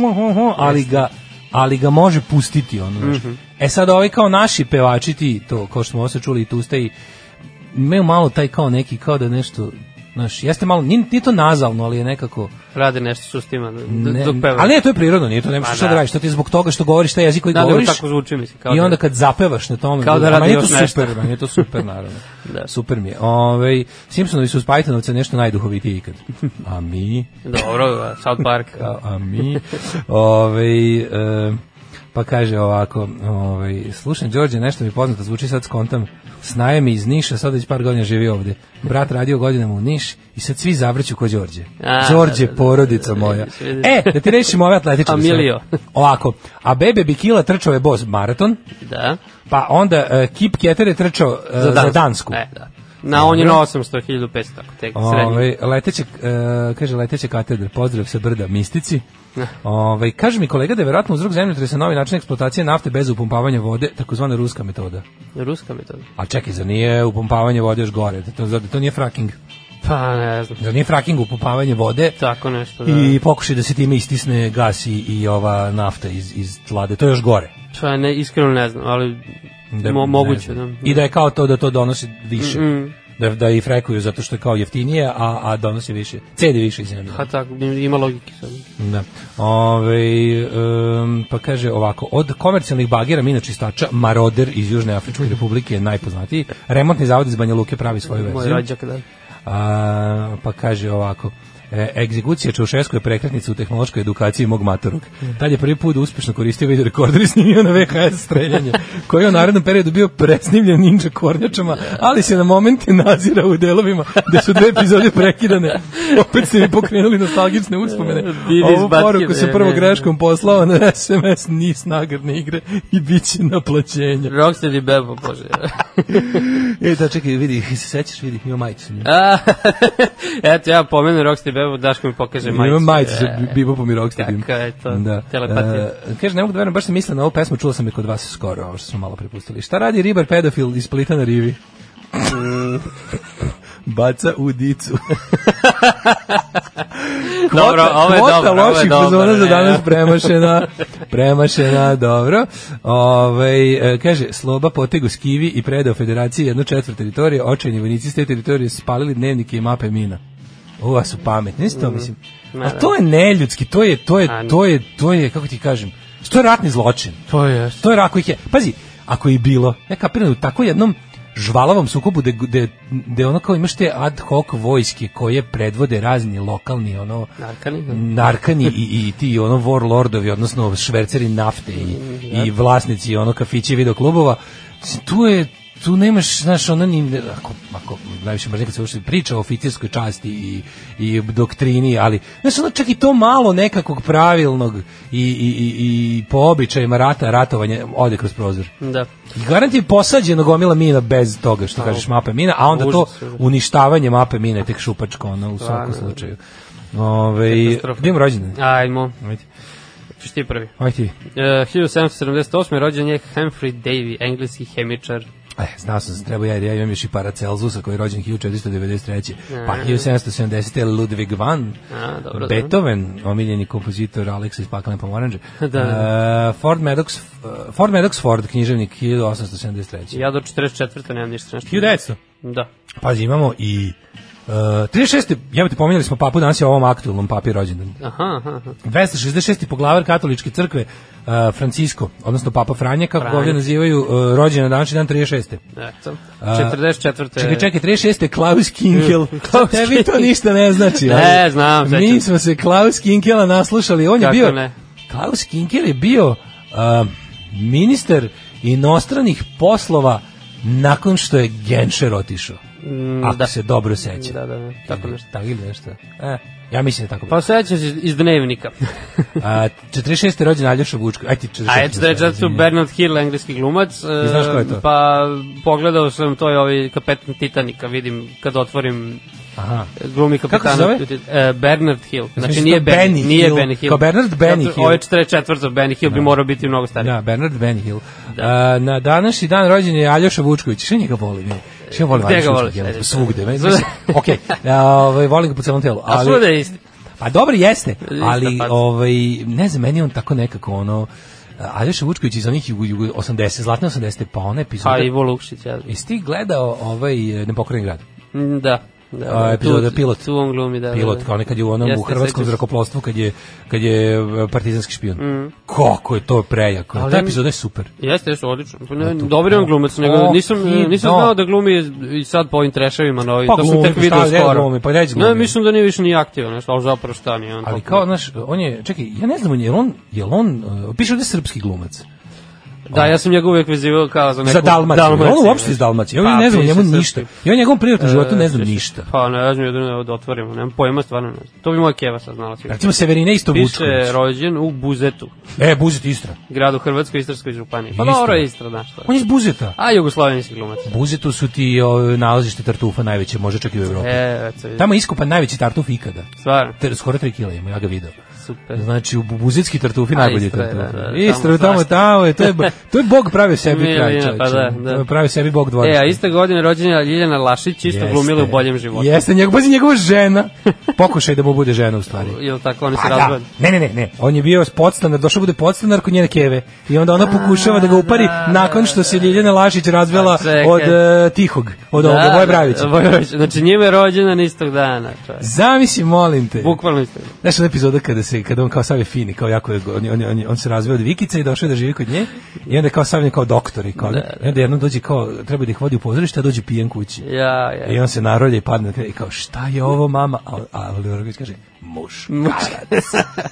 ali ga, ali ga može pustiti, ono, znaš.
Mhm.
E sad, ovi kao naši pevači ti, to, kao što smo ovo se čuli i Tusta i, imaju malo taj kao neki, kao da nešto, znaš, jeste malo, nije, nije to nazalno, ali je nekako,
Rade nešto su s tima,
ne,
dok peva.
ali ne, to je prirodno, nije to nemaš
Ma
šta
da.
da radiš, to ti je zbog toga što govoriš taj jezik koji
Da, dobro,
govoriš.
tako zvuči, mislim. Kao
I
da-
onda kad zapevaš na tome,
Kao da
a
radi
meni je to
još nešto.
super, meni je to
(laughs)
super naravno.
Da.
Super mi je. Ovaj Simpsonovi su uz Pythonovce nešto najduhovitiji ikad. A mi,
Dobro, da, South Park.
(laughs) a, Pa, a mi, ovaj e, pa kaže ovako, ovaj slušam Đorđe, nešto mi je poznato zvuči sad skontam. Snaje mi iz Niša, sad već par godina živi ovde. Brat radio godinama u Niš i sad svi zavrću ko Đorđe.
A,
Đorđe,
da, da,
porodica
da,
moja.
vidiš, vidiš.
E, da ti rešimo ove atletičke.
Familio.
Ovako, a Bebe Bikila trčao je boz maraton,
Da.
Pa onda e, Kip Keter je trčao e, za, Dansku.
E, da. Na, on je na 800, 1500, tako tek srednji.
Ove, Ovaj, leteće, e, kaže leteće katedre, pozdrav se brda mistici. Ove, kaže mi kolega da je verovatno uzrok zemljotresa novi način eksploatacije nafte bez upumpavanja vode, takozvana ruska metoda.
Ruska metoda.
A čekaj, zar nije upumpavanje vode još gore? Da To, to, to nije fracking.
Pa, ne znam.
Zar nije fracking upumpavanje vode
Tako nešto, da.
i pokušaj da se time istisne gas i, i ova nafta iz, iz tlade? To je još gore.
Pa, ne, iskreno ne znam, ali
Da,
mo,
ne
moguće. Da.
znam. I da je kao to da to donosi više. Da, da i frekuju zato što je kao jeftinije, a, a donosi više. Cedi više zemlje.
Pa tako, ima logike sad.
Da. Ove, um, pa kaže ovako, od komercijalnih bagera mina čistača, Maroder iz Južne Afričke republike je najpoznatiji. Remontni zavod iz Banja Luke pravi svoju
Moj
verziju.
rođak, da.
A, pa kaže ovako, e, egzekucija Čaušesku je prekretnica u tehnološkoj edukaciji mog matorog. Tad je prvi put uspešno koristio video rekorder i snimio na VHS streljanje, koji je u narednom periodu bio presnimljen ninja kornjačama, ali se na momente nazira u delovima gde su dve epizode prekidane. Opet ste mi pokrenuli nostalgične (laughs) uspomene.
Didi iz
Ovu
batke,
poruku se
ne,
prvo
ne, ne.
greškom poslao na SMS nis nagradne igre i bit će naplaćenja.
Rocksteady Bebo, bože.
(laughs) E, da, čekaj, vidi, se sećaš, vidi, ima majicu.
A, (laughs) Eto, ja pomenu Rocksteady Bebo, Daško mi pokaže majicu.
Ima majicu sa
E,
Bibo po Mirokstadijom.
Kako je to? Telepatija.
E, kaže, ne mogu da verujem, baš sam mislila na ovu pesmu, čula sam je kod vas skoro, ovo što smo malo prepustili. Šta radi ribar pedofil iz Splita na
(laughs)
rivi? Baca u dicu.
Dobro, ovo je
Kvota
dobro, ovo je
loših
dobro,
fazona za
ne.
danas premašena. Premašena, dobro. Ovaj e, kaže, sloba potegu skivi i predao federaciji jednu četvrt teritorije, očajni vojnici s te teritorije spalili dnevnike i mape mina. Ova su pametni, nisi to mislim.
Ma
A
da.
to je neljudski, to je, to je,
A ne.
to je, to je, kako ti kažem, to je ratni zločin.
To je.
To je ako ih je, pazi, ako je i bilo, ja kapiram da u tako jednom žvalavom sukobu gde, gde, gde ono kao imaš te ad hoc vojske koje predvode razni lokalni ono
Narkani, da.
narkani i, i ti ono warlordovi odnosno šverceri nafte i,
Mm,
i
da.
vlasnici ono kafići i videoklubova Mislim, tu je tu nemaš, znaš, ono ni, ako, ako najviše mrzim kad se uopšte priča o oficirskoj časti i, i doktrini, ali, znaš, ono čak i to malo nekakvog pravilnog i, i, i, i po običajima rata, ratovanje, ode kroz prozor.
Da.
I garant je posađeno gomila mina bez toga što kažeš mape mina, a onda to
užas, užas.
uništavanje mape mine je tek šupačko ono, u svakom
Stvarno. da.
slučaju. Ove,
Katastrofa.
gde im rođendan?
Ajmo,
Ajde.
ćeš ti prvi.
Ajde ti.
E, 1778. rođen je Humphrey Davy, engleski hemičar.
E, znao sam da treba ja, jer ja imam još i Paracelsusa koji je rođen 1493. Pa 1770. je Ludwig van
A, dobro, da.
Beethoven, omiljeni kompozitor Aleksa iz Paklene pomoranđe.
(laughs) Da.
E, Ford Madox, e, Ford Madox Ford, književnik 1873.
Ja do 44. nemam ništa nešto.
1900.
Da.
Pazi, imamo i Uh, 36. jebate, pominjali smo papu, danas je ovom aktualnom papi rođendan.
Aha, aha, aha.
266. poglavar katoličke crkve uh, Francisco, odnosno papa Franje, kako ga ovdje nazivaju, uh, rođen na današnji dan 36.
Eto.
A,
44.
Čekaj, čekaj, 36. je Klaus Kinkel.
(laughs) Klaus
Tebi to ništa ne znači.
Ne,
ali
znam,
Mi
sećam.
smo se Klaus Kinkela naslušali. On je
Kako
bio...
ne?
Klaus Kinkel je bio uh, ministar inostranih poslova nakon što je Genscher otišao.
Mm,
Ako
da.
se dobro seća.
Da, da, da. Tako nešto.
Tako ili nešto. E, ja mislim da je tako.
Pa sećaš iz,
(laughs)
iz dnevnika.
A, 46. je rođen Aljoša Vučko. Aj ti 46.
A da je 44. Bernard Hill, engleski glumac. E,
I znaš ko je to?
Pa pogledao sam, to je ovaj kapetan Titanika, vidim kad otvorim e,
Aha.
glumi kapetana.
se zove?
Titan- E, Bernard Hill. Znači
mislim
nije
da je
Benny,
Benny
nije
Hill.
Benny Hill.
Kao Bernard Benny
Zato-
Hill.
Ovo je 44. Benny Hill bi morao biti mnogo stariji.
Da, Bernard Benhill. Da. na današnji dan rođen je Aljoša Vučković. Sve njega volim. ja. Sve volim
Gde ga
Aljoša
voliš?
Vučkovića.
Ajde.
Svugde. meni- Mislim,
(laughs)
Okej. ja, ovaj, volim ga po celom telu.
A pa-
Ali,
svuda je isti.
pa dobro jeste, ali
faca.
ovaj, ne znam, meni je on tako nekako ono... Aljoša Vučković iz onih jugo, jugo 80, zlatne 80, pa ona epizoda...
A Ivo Lukšić, ja.
Jesi ti gledao ovaj e, Nepokoreni grad?
Mm, Da. da
A,
da.
epizoda
Tu-
pilot.
Tu on glumi, da.
pilot, kao nekad je u onom
Jeste,
u hrvatskom
sećaš se.
zrakoplovstvu kad je, kad je e, partizanski špion. Kako je to prejako.
Mm. Ali-
Ta epizoda je super.
Jeste, jeste, odlično. Pa ne, dobar je on glumac, nego
o,
nisam,
i
nisam
da.
znao da glumi i sad po ovim treševima novim,
Pa
to sam
glumi,
tek
šta
vidio
je,
skoro.
glumi, pa neće
Ne,
glumi.
mislim da nije više ni aktivan, nešto, ali zapravo šta nije. On
Ali
toliko-
kao, znaš, on je, čekaj, ja ne znam, on je, jel on, jel on, uh, piše ovde srpski glumac.
Da, ja sam njega uvijek vezivao kao za neku...
za Dalmaciju. On uopšte iz Dalmacije. Ja
Pa,
ne znam o
piše
njemu
srpski.
ništa. Ja o njegovom privatnom životu ne znam
piše-
ništa.
Pa ne znam, jedino da otvorimo, nemam pojma, stvarno ne znam. To bi moja keva saznala sigurno.
Recimo Severine isto Vučković.
Piše rođen u Buzetu,
E, Buzet Istra.
gradu Hrvatskoj, Istarskoj županiji. Pa
Istra.
dobro je Istra, da, šta.
On je iz Buzeta.
A jugoslovenski glumac.
Buzetu su ti o, nalazište tartufa najveće, može čak i u Evropi.
E, eto, vidiš,
Tamo je iskupan najveći tartuf ikada.
stvarno,
Ter, skoro 3 kila ima, ja ga video.
super.
Znači, u bu- buzetski tartufi
A,
najbolji
Istra je,
tartufi.
da, da, tamo
Istra, tamo,
svašta.
tamo, je, to je, to je Bog pravio sebi
Milina,
kraj, čoveče.
pa da, da.
To je Pravio sebi Bog dvorište.
E, a iste godine rođena Ljiljana Lašić, isto
Jeste.
glumila u boljem životu.
Jeste, njegov, pazi, njegova žena. Pokušaj da mu bude žena u stvari.
Jel tako, oni se
Pa da,
razvode?
ne, ne, ne, ne. On je bio podstanar, došao bude podstanar kod njene keve. I onda ona pokušava da ga upari nakon što se Ljiljana Lašić razvela
Pa čekaj. Da,
od e, Tihog, od ovoga, Voje Bravića.
Voje Bravić. Znači njima je rođena istog dana. čovječe.
Zamisli, molim te.
Bukvalno istog dana.
Znaš, ona epizoda kada, se, kada on kao sav je fini, kao jako, je- on, je- on, je- on, je- on se razveo od Vikice i došao je da živi kod nje. I onda je kao sav je kao doktor. I,
Da,
kao, i onda jednom dođe kao, treba da ih vodi u pozorište, a dođe pijen kući.
Ja, ja.
I on se narolje i padne na kraj i kao, šta je ovo mama? A, a Oliver kaže, muš.
(laughs)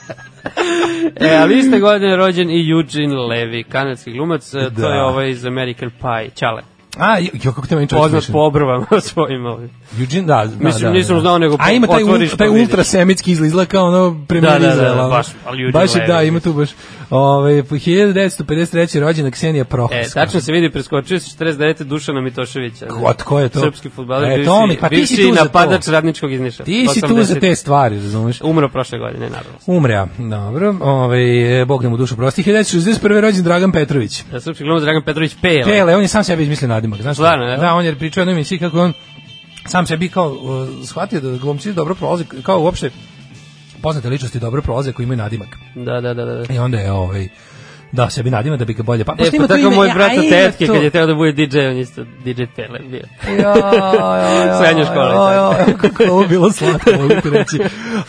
E, ali iste godine je rođen i Eugene Levy, kanadski glumac, e, to
Da.
je ovaj iz American Pie, Čale.
A, jo, jo, kako te meni čovjek
Poznat
smešan.
po obrvama (laughs) svojim ovim.
Eugene, da, da,
Mislim,
da,
nisam
da.
znao, nego
A ima taj,
otvoriš
ul,
pa
taj
vidiš.
ultrasemitski izlizla kao ono
Da,
premijer
da, da,
Izraela. ono.
baš, ali Eugene
baš je, da,
Levy.
ima tu baš. ovaj, Ove, 1953. rođena Ksenija
E,
Prohaska.
tačno se vidi, preskočio se 49. Dušana Mitoševića.
Od ko je to?
Srpski futbaler,
E,
bivši,
Tomi, pa ti si
bivši
tu za to.
napadač radničkog izniša.
Ti si tu za
80.
te stvari, razumeš?
Umro prošle godine, naravno.
Umre, a, dobro. Ove, Bog da mu dušu prosti. 1961. rođen Dragan Petrović.
E, Srpski glumac Dragan Petrović Pele.
Pele, on je sam sebi izmislio nadimak. Znaš,
Stvarno, je?
da, on je pričao jednoj emisiji kako je on sam sebi kao uh, shvatio da glumci dobro prolaze, kao uopšte poznate ličnosti dobro prolaze koji imaju nadimak.
Da, da, da, da. da.
I onda je ovaj da sebi nadima da bi ga bolje. Pa pošto
E,
ima
pa
to
tako
ime,
moj
ja,
brat
a
od
ima
tetke,
to.
kad je teo da bude DJ, on je isto DJ Pele bio.
Ja, ja, ja,
Srednja škola i
Ja, ja,
tako.
ja, (laughs) kako je ovo bilo slatko, mogu ti reći.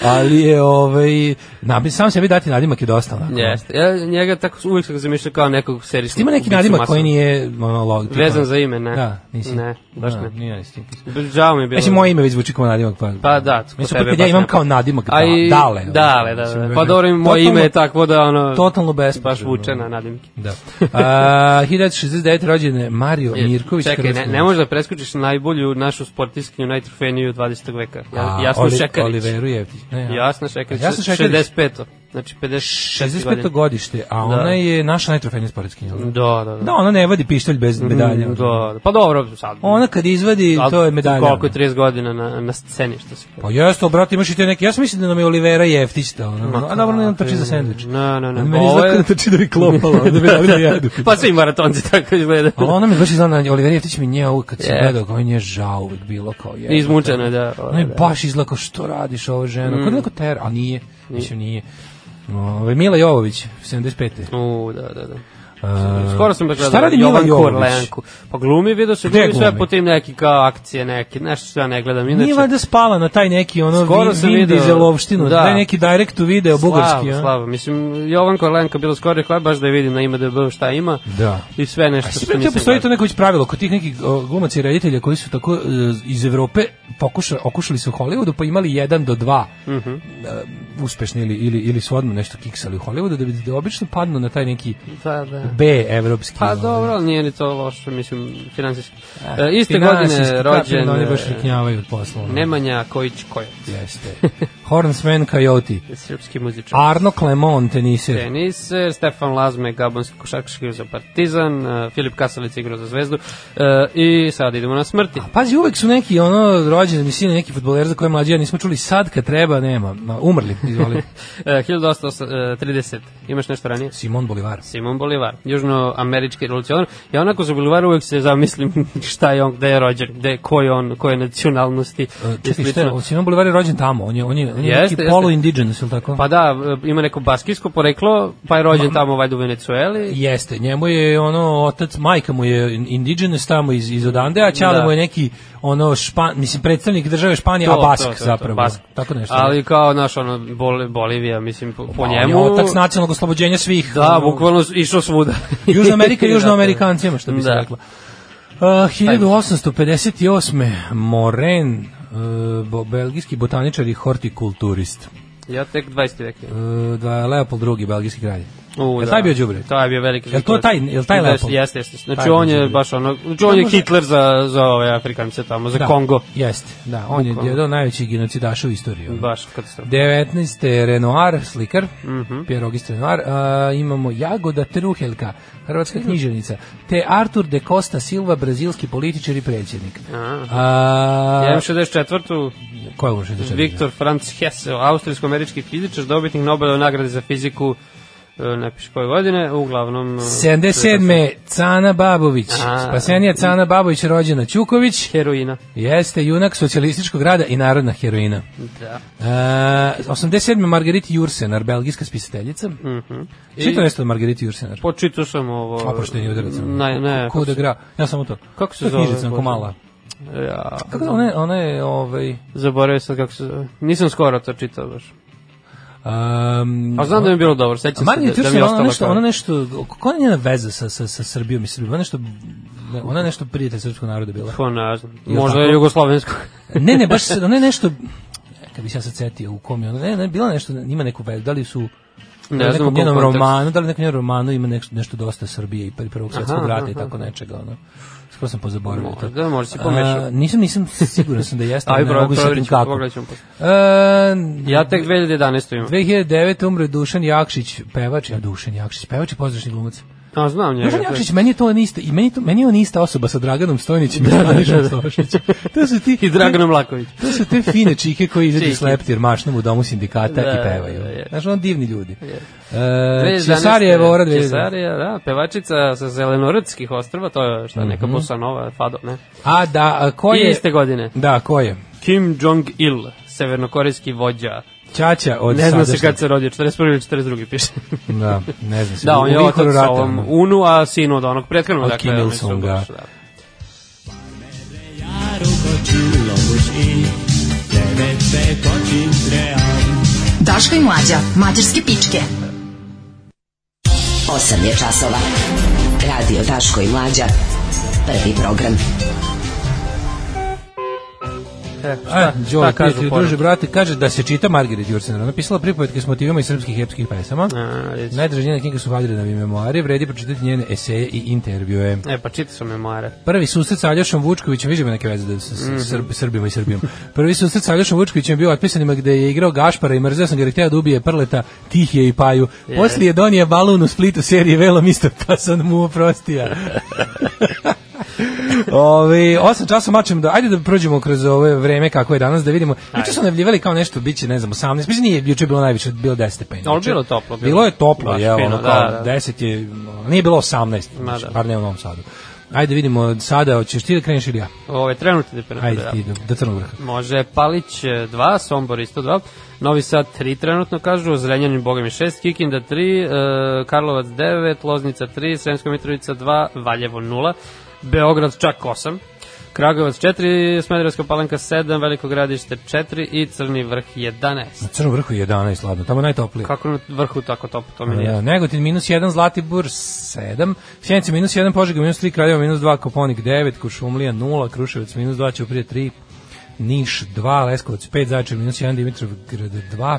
Ali je ovaj nabi sam sebi dati nadimak je dosta onako.
Jeste. Ja njega tako uvijek sam zamišljao kao nekog serijskog.
Ima neki
ubicu
nadimak
masovnog.
koji nije monolog.
Vezan za ime, ne.
Da, nisi.
Ne, baš
Da,
ne.
Nije isti.
Žao mi je bilo. da.
Mislim, Znači, moje ime već zvuči kao nadimak. Pa,
Pa da, kod
Mislim,
tebe
opet kad ja
baš
imam
ne.
kao nadimak, da,
A i-
dale.
Dale, da,
Mislim,
da. Pa dobro, moje ime je
totalno-
takvo da ono...
Totalno bespotrebno.
Baš vuče na nadimke. (laughs)
Da. A, 1969. rođen je Mario Pa Mirković.
Čekaj, ne,
hrvatski
ne možeš da preskočiš najbolju našu sportiskinju, najtrofejniju 20. veka. Ja,
A,
Jasno
Oli-
Šekarić.
Oliveru Jevtić. Ne,
Jasna Šekarić,
Jasna Šekarić.
65. Znači 56.
65.
godina.
godište, a ona
Da.
je naša najtrofejnija sportskinja. jel da?
Da, da, da.
Da, ona ne vadi pištolj bez medalja.
Mm, Da, da. Pa dobro, sad.
Ona kad izvadi,
Al
to je medalja.
Koliko je 30 godina na, na sceni, što se kaže.
Pa jeste, brate, imaš i te neke. Ja sam mislio da nam je Olivera Jeftić ta, ona. Pa, A dobro, ne, on trči za sendvič.
Ne, ne, ne.
Meni
pa ovo
izgleda
je-
da trči da bi klopala, da bi dali da jedu.
(laughs) Pa svi maratonci tako izgledaju.
Ali ona mi baš izgleda, Olivera Jeftić mi nje uvijek kad sam
Je.
gledao, kao nje je žao uvijek bilo kao je.
Izmučena je, da.
Ona je pa-
Da.
baš izgleda kao što radiš ovo ženo.
Mm.
Kao da je neko ter, a nije, mislim nije. Ove, Mila Jovović, 75.
U, da, da, da.
A,
Skoro sam baš
E, šta
gledao
radi
Jovan
Mila Jovović?
Kurlenku. Pa glumi, vidio se
Gde
glumi sve
glumi?
po tim neki kao akcije neke, nešto što ja ne gledam. Inače,
Nije valjda spala na taj neki ono
Skoro
Skoro
sam
Vin, Vin
video-
Dieselovštinu,
Da.
da. taj neki direct u video bugarski.
Slavo,
a?
slavo. Mislim, Jovan Kurlenka bilo skoro rekao, aj baš da vidim na IMDB šta ima.
Da.
I sve nešto što
Sve
nisam
to postoji to
gledao.
neko već pravilo kod tih nekih o, glumaca i reditelja koji su tako e, iz Evrope pokušali okušali su u Hollywoodu pa imali jedan do dva
Mhm.
e, uspešni ili ili ili su odmah nešto kiksali u Hollywoodu da bi da obično padnu na taj neki
Da, da.
B evropski.
Pa
ono. da.
dobro, ali nije ni to loše, mislim, finansijski. E, iste
Finansijski,
godine
kapiram
rođen
da oni baš
e,
riknjavaju od posla. ono.
Nemanja Kojić Kojac,
Jeste. Hornsman
(laughs)
Coyote.
srpski muzičar.
Arno Clement, teniser.
Tenis, e, Stefan Lazme, gabonski košarkaški igrao za Partizan, e, Filip Kasalica igrao za Zvezdu e, i sada idemo na smrti.
Pazi, uvek su neki ono rođeni, mislim neki fudbaleri za koje mlađi ja nismo čuli sad kad treba, nema. Ma, Umrli, izvoli.
E, 1830, imaš nešto ranije?
Simon Bolivar.
(laughs) Simon Bolivar, južnoamerički revolucionar. Ja onako za Bolivara uvek se zamislim (laughs) šta je on, gde je rođen, gde, ko je on, koje je nacionalnosti.
E,
i
Čekaj, šta
slično.
je, Simon Bolivar je rođen tamo, on je, on je, on je
Jeste,
neki
jeste.
polu-indigenous, ili tako?
Pa da, e, ima neko baskijsko poreklo, pa je rođen tamo valjda u Venecueli.
Jeste, njemu je ono otac, majka mu je indigenous tamo iz, iz odande, a ćale
Da.
mu je neki ono špan, mislim predstavnik države Španije,
To,
a Bask
to, to, to,
zapravo.
Bask.
Tako nešto.
Ali kao naš ono Bol- Bolivija, mislim po, po
Pa, on je
njemu.
otac nacionalnog oslobođenja svih.
Da,
ono,
bukvalno s- išao
(laughs)
svuda.
Južna
(laughs)
Amerika i Južnoamerikancima, što bi se
Da.
reklo. Uh, 1858. Moren, uh, bo, belgijski botaničar i hortikulturist.
Ja tek 20. vek. je.
Uh, da, Leopold II, belgijski kralj.
U, da.
Jel taj bio đubre?
Taj je bio veliki.
Jel to taj- jel taj
Jeste,
Leopold?
Jeste, jeste. Znači
Taj
on
bio
je
đubre. Da,
baš ono, znači on je
može-
Hitler za, za ove Afrikance tamo, za
Da,
Kongo.
Jeste, da, on je jedan od najvećih genocidaša u istoriji. ono.
Baš
Da.
katastrofa.
19. Renoir, slikar,
Mhm.
Pierogist Renoir, a, imamo Jagoda Truhelka,
Mhm.
hrvatska književnica, te Artur de Costa Silva, brazilski političar i predsjednik.
A.
A,
Ja imam 64.
ko je ovo što je došao?
Viktor Franz Hesse, austrijsko-američki fizičar, dobitnik Nobelove nagrade za fiziku e, ne piše koje godine, uglavnom... e,
77. Cana Babović,
A.
spasenija Cana Babović, rođena Ćuković,
Heroina.
jeste junak socijalističkog rada i narodna heroina.
Da.
Uh, 87. Margariti Jursenar, belgijska spisateljica. Mm
Mhm.
-hmm. Čito nešto o Margariti Jursenar?
Počitao sam ovo...
Oprošteni udarac.
Ne, ne.
Ko da gra? Ja samo to.
e, Kako se
To je
zove,
Knjižica,
Bože?
onako mala.
Ja,
Kako da, ona je, ona je, ovaj...
zaboravio sam kako se zove. Nisam skoro to čitao baš.
Um,
A znam da mi je bilo dobro, sećam se da,
Margarita
da mi je
Jursenar, ona
ostalo
nešto,
kao...
ona nešto, kako je njena veza sa, sa, sa Srbijom i Srbijom? Ona nešto, ne, ona je nešto prijatelj srpskog naroda
(laughs)
bila.
Ko ne znam,
Jel
možda
tako?
je jugoslovensko.
ne, ne, baš, se- ona je nešto, kad bi se ja sad setio u kom je ona, ne, ne, bila nešto, ima neku vezu, da li su,
Ne
da li
znam u
nekom
kom
njenom
kontekstu.
romanu, da li nekom njenom romanu ima nešto, nešto dosta Srbije i pri prvog svjetskog
Aha,
rata i
aha.
tako nečega, ono. Skoro sam pozaboravio to.
Možda, možda si pomešao.
A, nisam, nisam, siguran sam da jeste,
Aj,
ali ne
bro,
mogu se setim
provjerit ću,
kako.
pogledat ćemo posle.
E,
Ja tek 2011. imam.
2009. umre Dušan Jakšić, pevač, ja Dušan Jakšić, pevač i pozdrašni glumac.
A, znam njega.
Dušan
to je-
Jakšić, meni je to on isto, i meni, to, meni je on ista osoba sa Draganom Stojnićem
Da,
i Stanišom Stošićem. To su ti...
I Draganom Laković.
To su te fine čike koji izađu
Čike.
s leptir mašnom u domu sindikata
Da,
i pevaju.
da, je.
Znaš, ono divni ljudi.
E,
E, Cesarija Vora 2011.
Cesarija, da, pevačica sa Zelenorodskih ostrva, to je šta, neka bossa nova, fado, ne?
A da, a ko
I
Mhm. je...
iste godine.
Da, ko je?
Kim Jong-il, severnokorejski vođa.
Ćaća od
Ne zna se
sadašnjeg-
kad se rodio, 41. ili 42.
(laughs)
piše.
Da, ne znam se.
da,
U- E,
on je
u vihoru
otac sa
rata,
ovom
ono.
Unu, a sin od onog prethodnog.
Od
dakle,
Kim
oni
Il
su
Sunga.
baš, da.
Daško i mlađa, mađarske pičke.
8 je časova. Radio Daško i Mlađa. Prvi program.
E,
E,
šta,
Đole,
šta kažu
kažu, druže, brate, kaže da se čita Margaret Jursener. Napisala pripovetke s motivima iz srpskih epskih pesama.
A, recimo.
Najdraže njene knjige su Valjerinavi memoari, vredi pročitati njene eseje i intervjue.
E, pa čita sam memoare.
Prvi susret sa Aljošom Vučkovićem, vidim neke veze da sa
Mhm.
mm Srb, Srbima i Srbijom. Prvi susret sa Aljošom Vučkovićem je bio otpisanima gde je igrao Gašpara i mrzeo sam ga jer je hteo da ubije Prleta, Tihije i Paju. Poslije je donio balun u Splitu serije Velo Mister, pa sam mu
(laughs)
oprostija. Ovi, 8 časa mačem da, ajde da prođemo kroz ove vreme kako je danas, da vidimo. Juče su najavljivali kao nešto, bit će, ne znam, 18, mislim nije, juče je bilo najviše, bilo 10 stepeni.
Ali
juče.
bilo je toplo, bilo.
Bilo je toplo,
Baš
je,
fino,
ono,
da,
kao,
da.
10 je, nije bilo 18,
Ma
znači,
da.
bar ne u Novom Sadu. Ajde vidimo sada, hoćeš ti da kreneš ili ja?
Ove, trenutne temperature.
Ajde
da.
ti do, do Crnog vrha.
Može Palić 2, Sombor isto 2, Novi Sad 3 trenutno kažu, Zrenjanin Boga mi 6, Kikinda 3, e, Karlovac 9, Loznica 3, Sremska Mitrovica 2, Valjevo 0, Beograd čak 8, Kragovac 4, Smederevska palanka 7, Veliko gradište 4 i Crni vrh 11.
Na Crnom vrhu je 11 hladno, tamo je najtoplije.
Kako na vrhu tako topo, to mi nije.
Ja, Negotin minus 1, Zlatibor 7, Sjenica minus 1, Požega minus 3, Kraljevo minus 2, Koponik 9, Kušumlija 0, Kruševac minus 2, Ćuprije 3, Niš 2, Leskovac 5, Zajčar minus 1, Dimitrovgrad 2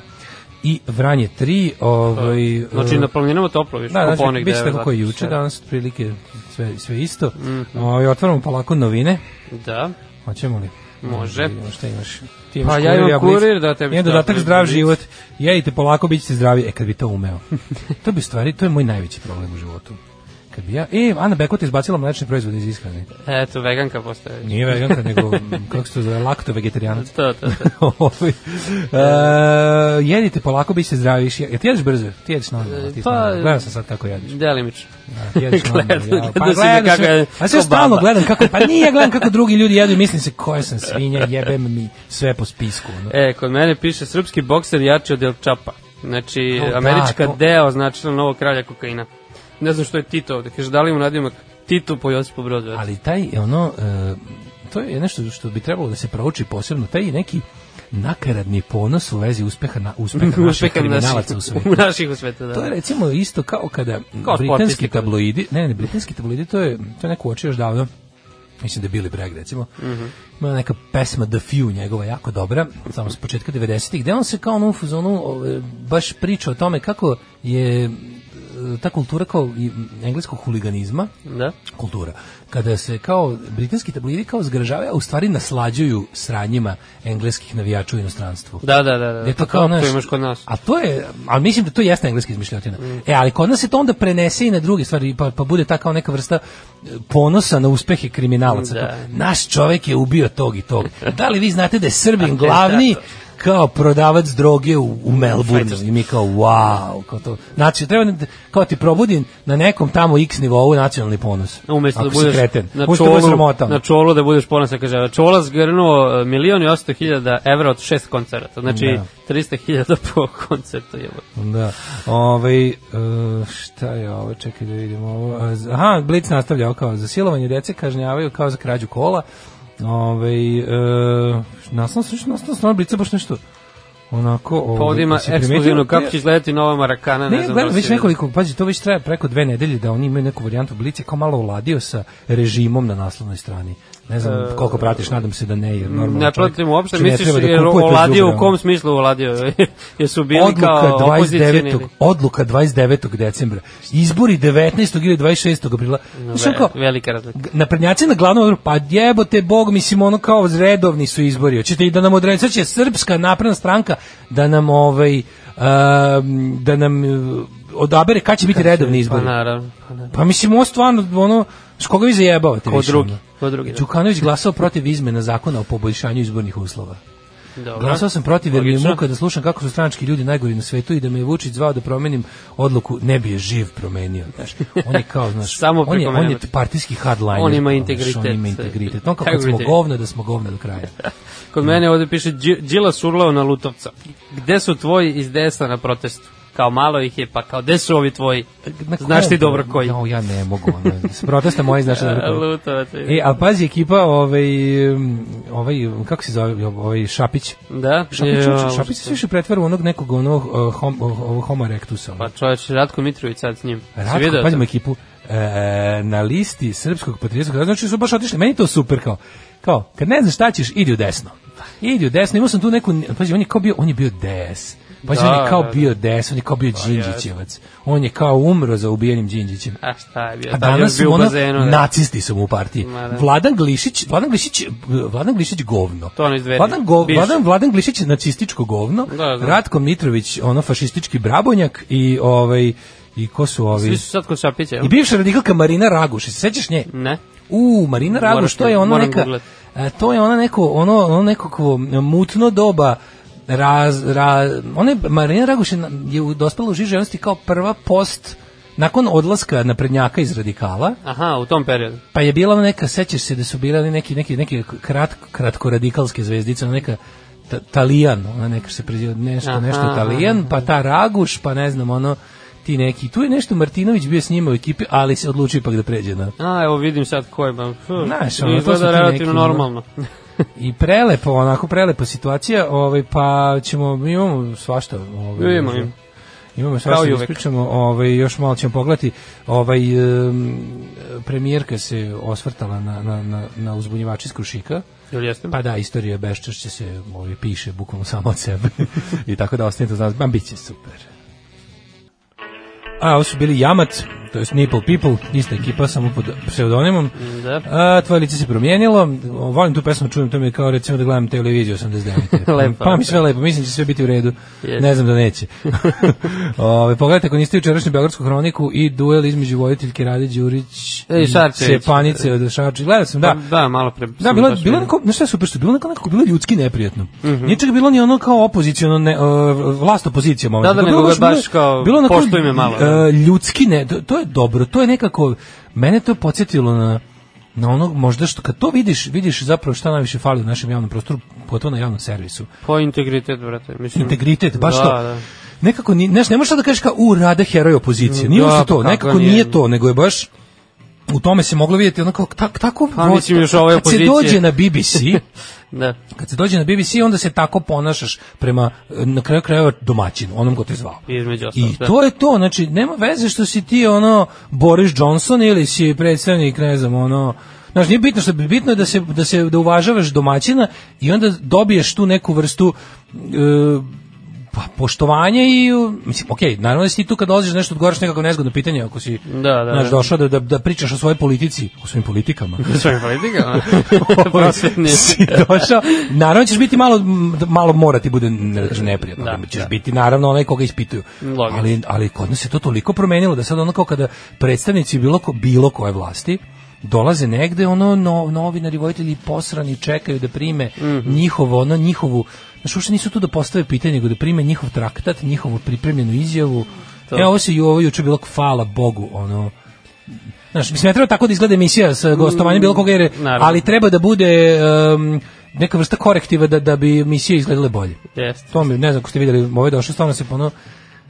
i Vranje 3. Ovaj,
Pa, Znači,
eh,
na planinama toplo više,
Da, znači,
Koponik
bit će
9,
tako kako je
Zlatibor
juče,
7.
danas otprilike sve, sve isto.
Mhm.
Ovaj, otvaramo polako novine,
Da,
hoćemo li?
Može.
Vidimo Šta imaš? Ti
Pa ja imam
Blic.
kurir, da, tebi
Imam
šta,
dodatak
Blic,
zdrav
Blic.
život. Jedite polako, bit ćete zdravi. E, kad bi to umeo. (laughs) to bi u stvari, to je moj najveći problem u životu. Kad bi ja, e, Ana Bekota izbacila mlečne proizvode iz ishrane.
eto, veganka postoje.
Nije veganka, nego,
(laughs)
m, kako se to zove, lakto vegetarijanac.
To, to, to.
(laughs) Ovaj, e, jedite polako, bit ćete zdravi. više. Jel ti jedeš brzo? Ti jedeš normalno. Ti
Pa-
pa, Gledam sam sad kako jedeš.
Delimično.
Da, jedeš normalno,
Gledam-
ja. Pa
gledam se
gledam
kako je-
se, a sve
ko
stalno
baba.
gledam kako, pa nije gledam kako drugi ljudi jedu i mislim se koja sam svinja, jebem mi sve po spisku. Ono.
E, kod mene piše srpski bokser jači od El Čapa. Znači,
O, da,
američka
to-
deo označila novog kralja kokaina. Ne znam što je Tito ovde. Kaže, da li mu nadimak Tito po Josipu Brozu? Ali,
ali taj je ono e, to je nešto što bi trebalo da se prouči posebno taj neki nakaradni ponos u vezi uspeha na
(laughs)
uspeha da, naših kriminalaca u svetu.
U naših u svetu, da.
To je recimo isto kao kada
Kao
britanski
sportisti.
tabloidi, ne, ne, britanski tabloidi, to je, to je neko uočio još davno, mislim da je Billy Bragg recimo, ima neka pesma The Few njegova jako dobra, samo s početka 90-ih, gde on se kao ono u fazonu ove, baš priča o tome kako je e, ta kultura kao i engleskog huliganizma,
Da?
kultura. Kada se kao britanski tabloidi kao zgražavaju, a u stvari naslađuju sranjima engleskih navijača u inostranstvu.
Da, da, da. da.
Je to
Pa
kao naš,
To imaš kod nas. Mm.
A to je, ali mislim da to jeste engleski izmišljotina. E, ali kod nas se to onda prenese i na druge stvari, pa, pa bude ta kao neka vrsta e, ponosa na uspehe kriminalaca.
Da.
Kao, Naš čovek je ubio tog i tog. Da li vi znate da je Srbin glavni
da.
kao prodavac droge u, u Melbourneu i mi kao wow kao to znači treba da- kao ti probudi na nekom tamo x nivou nacionalni ponos
Umesto da
Ako si
budeš
kreten.
na
Umesto da budeš
čolu,
sramotan.
na čolu da budeš ponosan, kaže, čola zgrnuo e, milion i 800 hiljada evra od šest koncerta, znači
Da.
300 hiljada po koncertu je.
Da. Ovaj e, šta je ovo? Čekaj da vidimo ovo. A, z- Aha, Blitz nastavlja ovo kao za silovanje dece kažnjavaju kao za krađu kola. Ovaj e, naslov slušaj, naslov stvarno Blitza baš nešto onako ovaj,
Pa ovdje ima
jesi primetio?
ekskluzivno kako
Ne,
će izgledati nova Marakana, ne,
Ne,
znam. da
gledam
li
već
si-
nekoliko, pazi, to već traje preko dve nedelje da oni imaju neku varijantu Blice kao malo uladio sa režimom na naslovnoj strani. Ne znam koliko pratiš, nadam se da ne, jer normalno
E, Ne
čovjek-
pratim uopšte,
znači, ne
misliš
treba da
jer
kupuje to
oladio
đubre,
u
ono.
kom smislu oladio? (laughs) Jesu bili kao
odluka
opozicijani?
29. odluka 29. decembra. Izbori 19. ili 26. aprila. Znaš, ono kao,
Ve- Velika razlika.
g- naprednjaci na glavnom odboru, pa jebote bog, mislim ono kao redovni su izbori. Hoćete i da nam odredi, sad će srpska napredna stranka da nam ovaj em, da nam eh, odabere kad će biti redovni
Pa
izbori.
naravno. Pa naravno.
Pa mislim ovo stvarno ono s koga vi zajebavate
Ko
više,
drugi,
ono?
ko drugi, da.
Đukanović glasao protiv izmena zakona o poboljšanju izbornih uslova.
Dobro.
Glasao sam protiv jer mi je
Logično.
muka da slušam kako su stranački ljudi najgori na svetu i da me je Vučić zvao da promenim odluku, ne bi je živ promenio. Znaš. On je kao, znaš,
(laughs) Samo
on, je,
preko
on je
mene.
partijski hardliner.
On ima
znaš,
integritet.
On ima integritet. On kao kad smo
Integritet.
govna, da smo govna do
(laughs)
kraja.
Kod mene ovde piše Đi- Đilas urlao na Lutovca. Gde su tvoji iz DS-a na protestu? Kao malo ih je, pa kao gde su ovi tvoji?
Na
Znaš ti
kom-
dobro koji.
No, ja ne mogu. Ono, s protesta moje znaš
(laughs)
dobro koji.
Lutovac. je.
E, a pazi, ekipa, ovaj, um, ovaj, kako se zove, ovaj, Šapić.
Da?
Šapić,
Jo,
Šapić se više pretvara u onog nekog onog uh, hom, uh, ovog homo erectusa. ono.
Pa čovječ, Ratko Mitrović sad s njim. Si
Ratko,
video
pazimo
to?
ekipu, e, na listi srpskog patriotskog, znači su baš otišli, meni je to super kao, kao, kad ne znaš šta ćeš, idi u desno. Idi u desno, imao sam tu neku, pazi, on je kao bio, on je bio DS. Pazi,
Da,
on je kao
da, da.
bio DS, on je kao bio Đinđićevac. On je kao umro za ubijenim Đinđićem.
A šta je bio?
A
Tad je
danas
bio
su
u
ono,
bazenu. da.
nacisti su mu u partiji.
Ma da.
Vladan Glišić, Vladan Glišić, Vladan Glišić govno.
To ono iz Dveri,
Vladan, gov,
bivši.
Vladan, Vladan Glišić nacističko govno,
Da, da.
Ratko Mitrović, ono fašistički brabonjak i ovaj, i ko su ovi?
Svi su sad kod Šapića, jel?
I bivša radikalka Marina Raguš, se sećaš nje?
Ne.
U, Marina
Mm. Moram
Raguš, to
te-
je ona
moram
neka,
googlat.
e, to je ona neko, ono, ono nekako mutno doba raz, ra, ona je, Marina Raguš je, na- je u- dospela u žiži javnosti kao prva post nakon odlaska naprednjaka iz radikala,
Aha, u tom periodu.
pa je bila ona neka, sećaš se da su birali neki, neki, neki krat, kratkoradikalske zvezdice, ona neka ta, Talijan, ona neka se preziva nešto,
Aha,
nešto Talijan, pa ta Raguš, pa ne znam, ono, ti neki. Tu je nešto Martinović bio s njima u ekipi, ali se odlučio ipak da pređe na
A, evo vidim sad ko je. ba, fu,
Znaš, ono, to su ti
Izgleda
neki,
relativno
ono.
normalno.
I prelepo, onako prelepa situacija, ovaj pa ćemo mi imamo svašta, ovaj.
Imamo,
možda.
imamo.
Imamo svašta
i
da
uvek.
ispričamo, ovaj još malo ćemo pogledati. Ovaj em, premijerka se osvrtala na na na na uzbunjivače iz Krušika.
Jel jeste?
Pa da, istorija beščašće se ovaj, piše bukvalno samo od sebe. (laughs) I tako da ostanite uz nas. Ma, bit će super. A, ovo su bili Jamac, to je Nipple People, ista ekipa, samo pod pseudonimom.
Da.
A, tvoje lice se promijenilo, volim tu pesmu, čujem, to mi je kao recimo da gledam televiziju 89.
(laughs) Lepo.
Pa mi sve lepo, mislim da će sve biti u redu.
Jeste.
Ne znam da neće. (laughs) Ove, pogledajte, ako niste jučerašnju Beogradsku hroniku i duel između voditeljke Rade Đurić
E, i Šarčević.
Sepanice od Šarčević. Gledao sam, da.
Da, malo pre.
Da, bilo bilo neko, znaš šta je super što je bilo neko nekako bilo ljudski neprijatno.
Mhm.
Nije čak bilo ni ono kao opoziciono ne, uh, vlast opozicija moment.
Da, da,
bilo
nego
baš-
baš kao poštuj me malo, da.
uh, ljudski ne, to, to je dobro, to je nekako mene to je podsjetilo na na ono možda što kad to vidiš, vidiš zapravo šta najviše fali u našem javnom prostoru, pogotovo na javnom servisu.
Po integritet, brate. Mislim,
Integritet, baš
da,
to.
Da.
Nekako, ni, znaš, ne možeš sad da kažeš kao, u, rade heroj opozicije. Nije
Da,
uopšte
pa
to,
kako
nekako
nije.
nije to, nego je baš u tome se moglo vidjeti ono kao tak, tako
Pa, mislim, još ove
kad se
opozicije.
dođe na
(laughs)
BBC
da.
kad se dođe na BBC onda se tako ponašaš prema e, na kraju krajeva domaćinu, onom ko te zvao.
Između ostalog,
I
(laughs) da.
to je to, znači nema veze što si ti ono Boris Johnson ili si predstavnik, ne znam, ono Znaš, nije bitno što bi bitno je da se da se da uvažavaš domaćina i onda dobiješ tu neku vrstu e, pa poštovanja i u- mislim okej, naravno da si ti tu kad dolaziš nešto odgovaraš nekako nezgodno pitanje ako si
Da, da,
znaš,
da.
došao da, da, da pričaš o svojoj politici, o svojim
(laughs)
politikama.
Svojim
(laughs)
politikama.
si došao, naravno ćeš biti malo, malo mora ti bude ne, znači, neprijatno,
Da,
ćeš
da.
biti naravno onaj koga ispituju.
Logično.
Ali, ali kod nas je to toliko promenilo da sad ono kao kada predstavnici bilo, ko, bilo koje vlasti dolaze negde, ono no, novinari, vojitelji posrani čekaju da prime
Mhm.
njihovo, ono njihovu, znaš uopšte nisu tu da postave pitanje, nego da prime njihov traktat, njihovu pripremljenu izjavu. E, ovo se ju, ovo juče bilo, hvala Bogu, ono, Znaš, mislim, ne treba tako da izgleda emisija sa gostovanjem bilo koga, jer, je-
Mm, naravno.
ali treba da bude em, neka vrsta korektiva da, da bi emisije izgledale bolje.
Jeste.
To mi, ne znam ako ste vidjeli, ovo je došlo, stvarno se pono...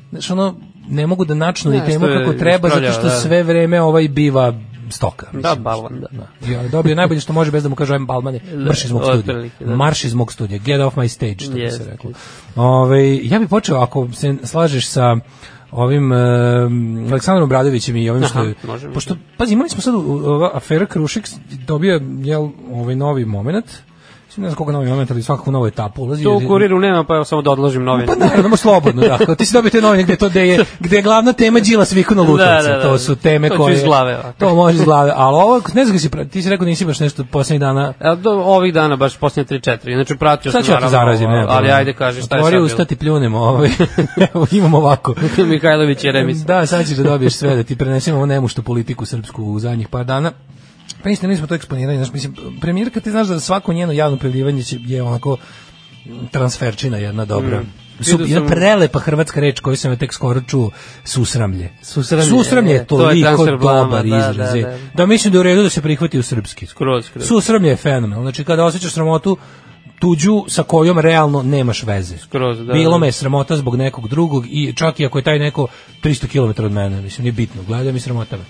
Znaš, ono, ne mogu da načnu ni
Ne,
temu
što je
kako treba, zato
ispravljao,
što
da.
sve vreme ovaj biva stoka.
Da,
Mislim,
balvan, da.
Ja, dobio je najbolje što može bez da mu kaže ajme balmane, marš iz mog studija.
otprilike, da.
Marš iz mog studija, get off my stage, što bi se
Jeste.
reklo. Ove, ja bih počeo, ako se slažeš sa ovim em, Aleksandrom Bradovićem i ovim što je,
Aha, da. može, može.
pošto, pazi, imali smo sad u- u- ova afera Krušik dobija jel, ovaj novi moment, ne znam koga novi moment, ali svakako u novu etapu ulazi.
To
jer-
u kuriru nema, pa evo samo da odložim novine.
pa naravno, možeš slobodno, da. Kao ti si dobio te novine gde, to, gde, je, gde je glavna tema Đilas vikuna Lutovca.
Da, da, da.
To su teme
To ću
koje...
iz glave, ovako.
To može iz glave. Ali ovo, ne znam, kako si, pra- ti si rekao da nisi baš nešto poslednjih dana...
A E, do ovih dana baš posljednje 3-4. Znači pratio sam
Sad ću ja te zarazim, ne,
ali ajde kaži šta je sad
Otvori
bilo.
usta ti pljunemo, ovaj. (laughs) Evo, imamo ovako.
(laughs) Mihajlović je remis.
Da, sad ćeš da dobiješ sve, da ti prenesemo ovu nemuštu politiku srpsku u zadnjih par dana. Pa istina, mi smo to eksponiranje, znaš, mislim, premijerka ti znaš da svako njeno javno prijavljivanje će- je onako transferčina jedna dobra. Su,
Mm. Vidio
jedna
sam-
prelepa hrvatska reč koju sam ja tek skoro čuo, susramlje.
Susramlje,
susramlje je
je, to je
toliko
transfer blama,
dobar
da,
izraz.
da,
je.
da.
da mislim da je u redu da se prihvati u srpski.
Skroz, skroz.
Susramlje je fenomenalno. Znači, kada osjećaš sramotu tuđu sa kojom realno nemaš veze.
Skroz, da,
Bilo
da.
me je sramota zbog nekog drugog i čak i ako je taj neko 300 km od mene, mislim, nije bitno, gleda mi sramota me.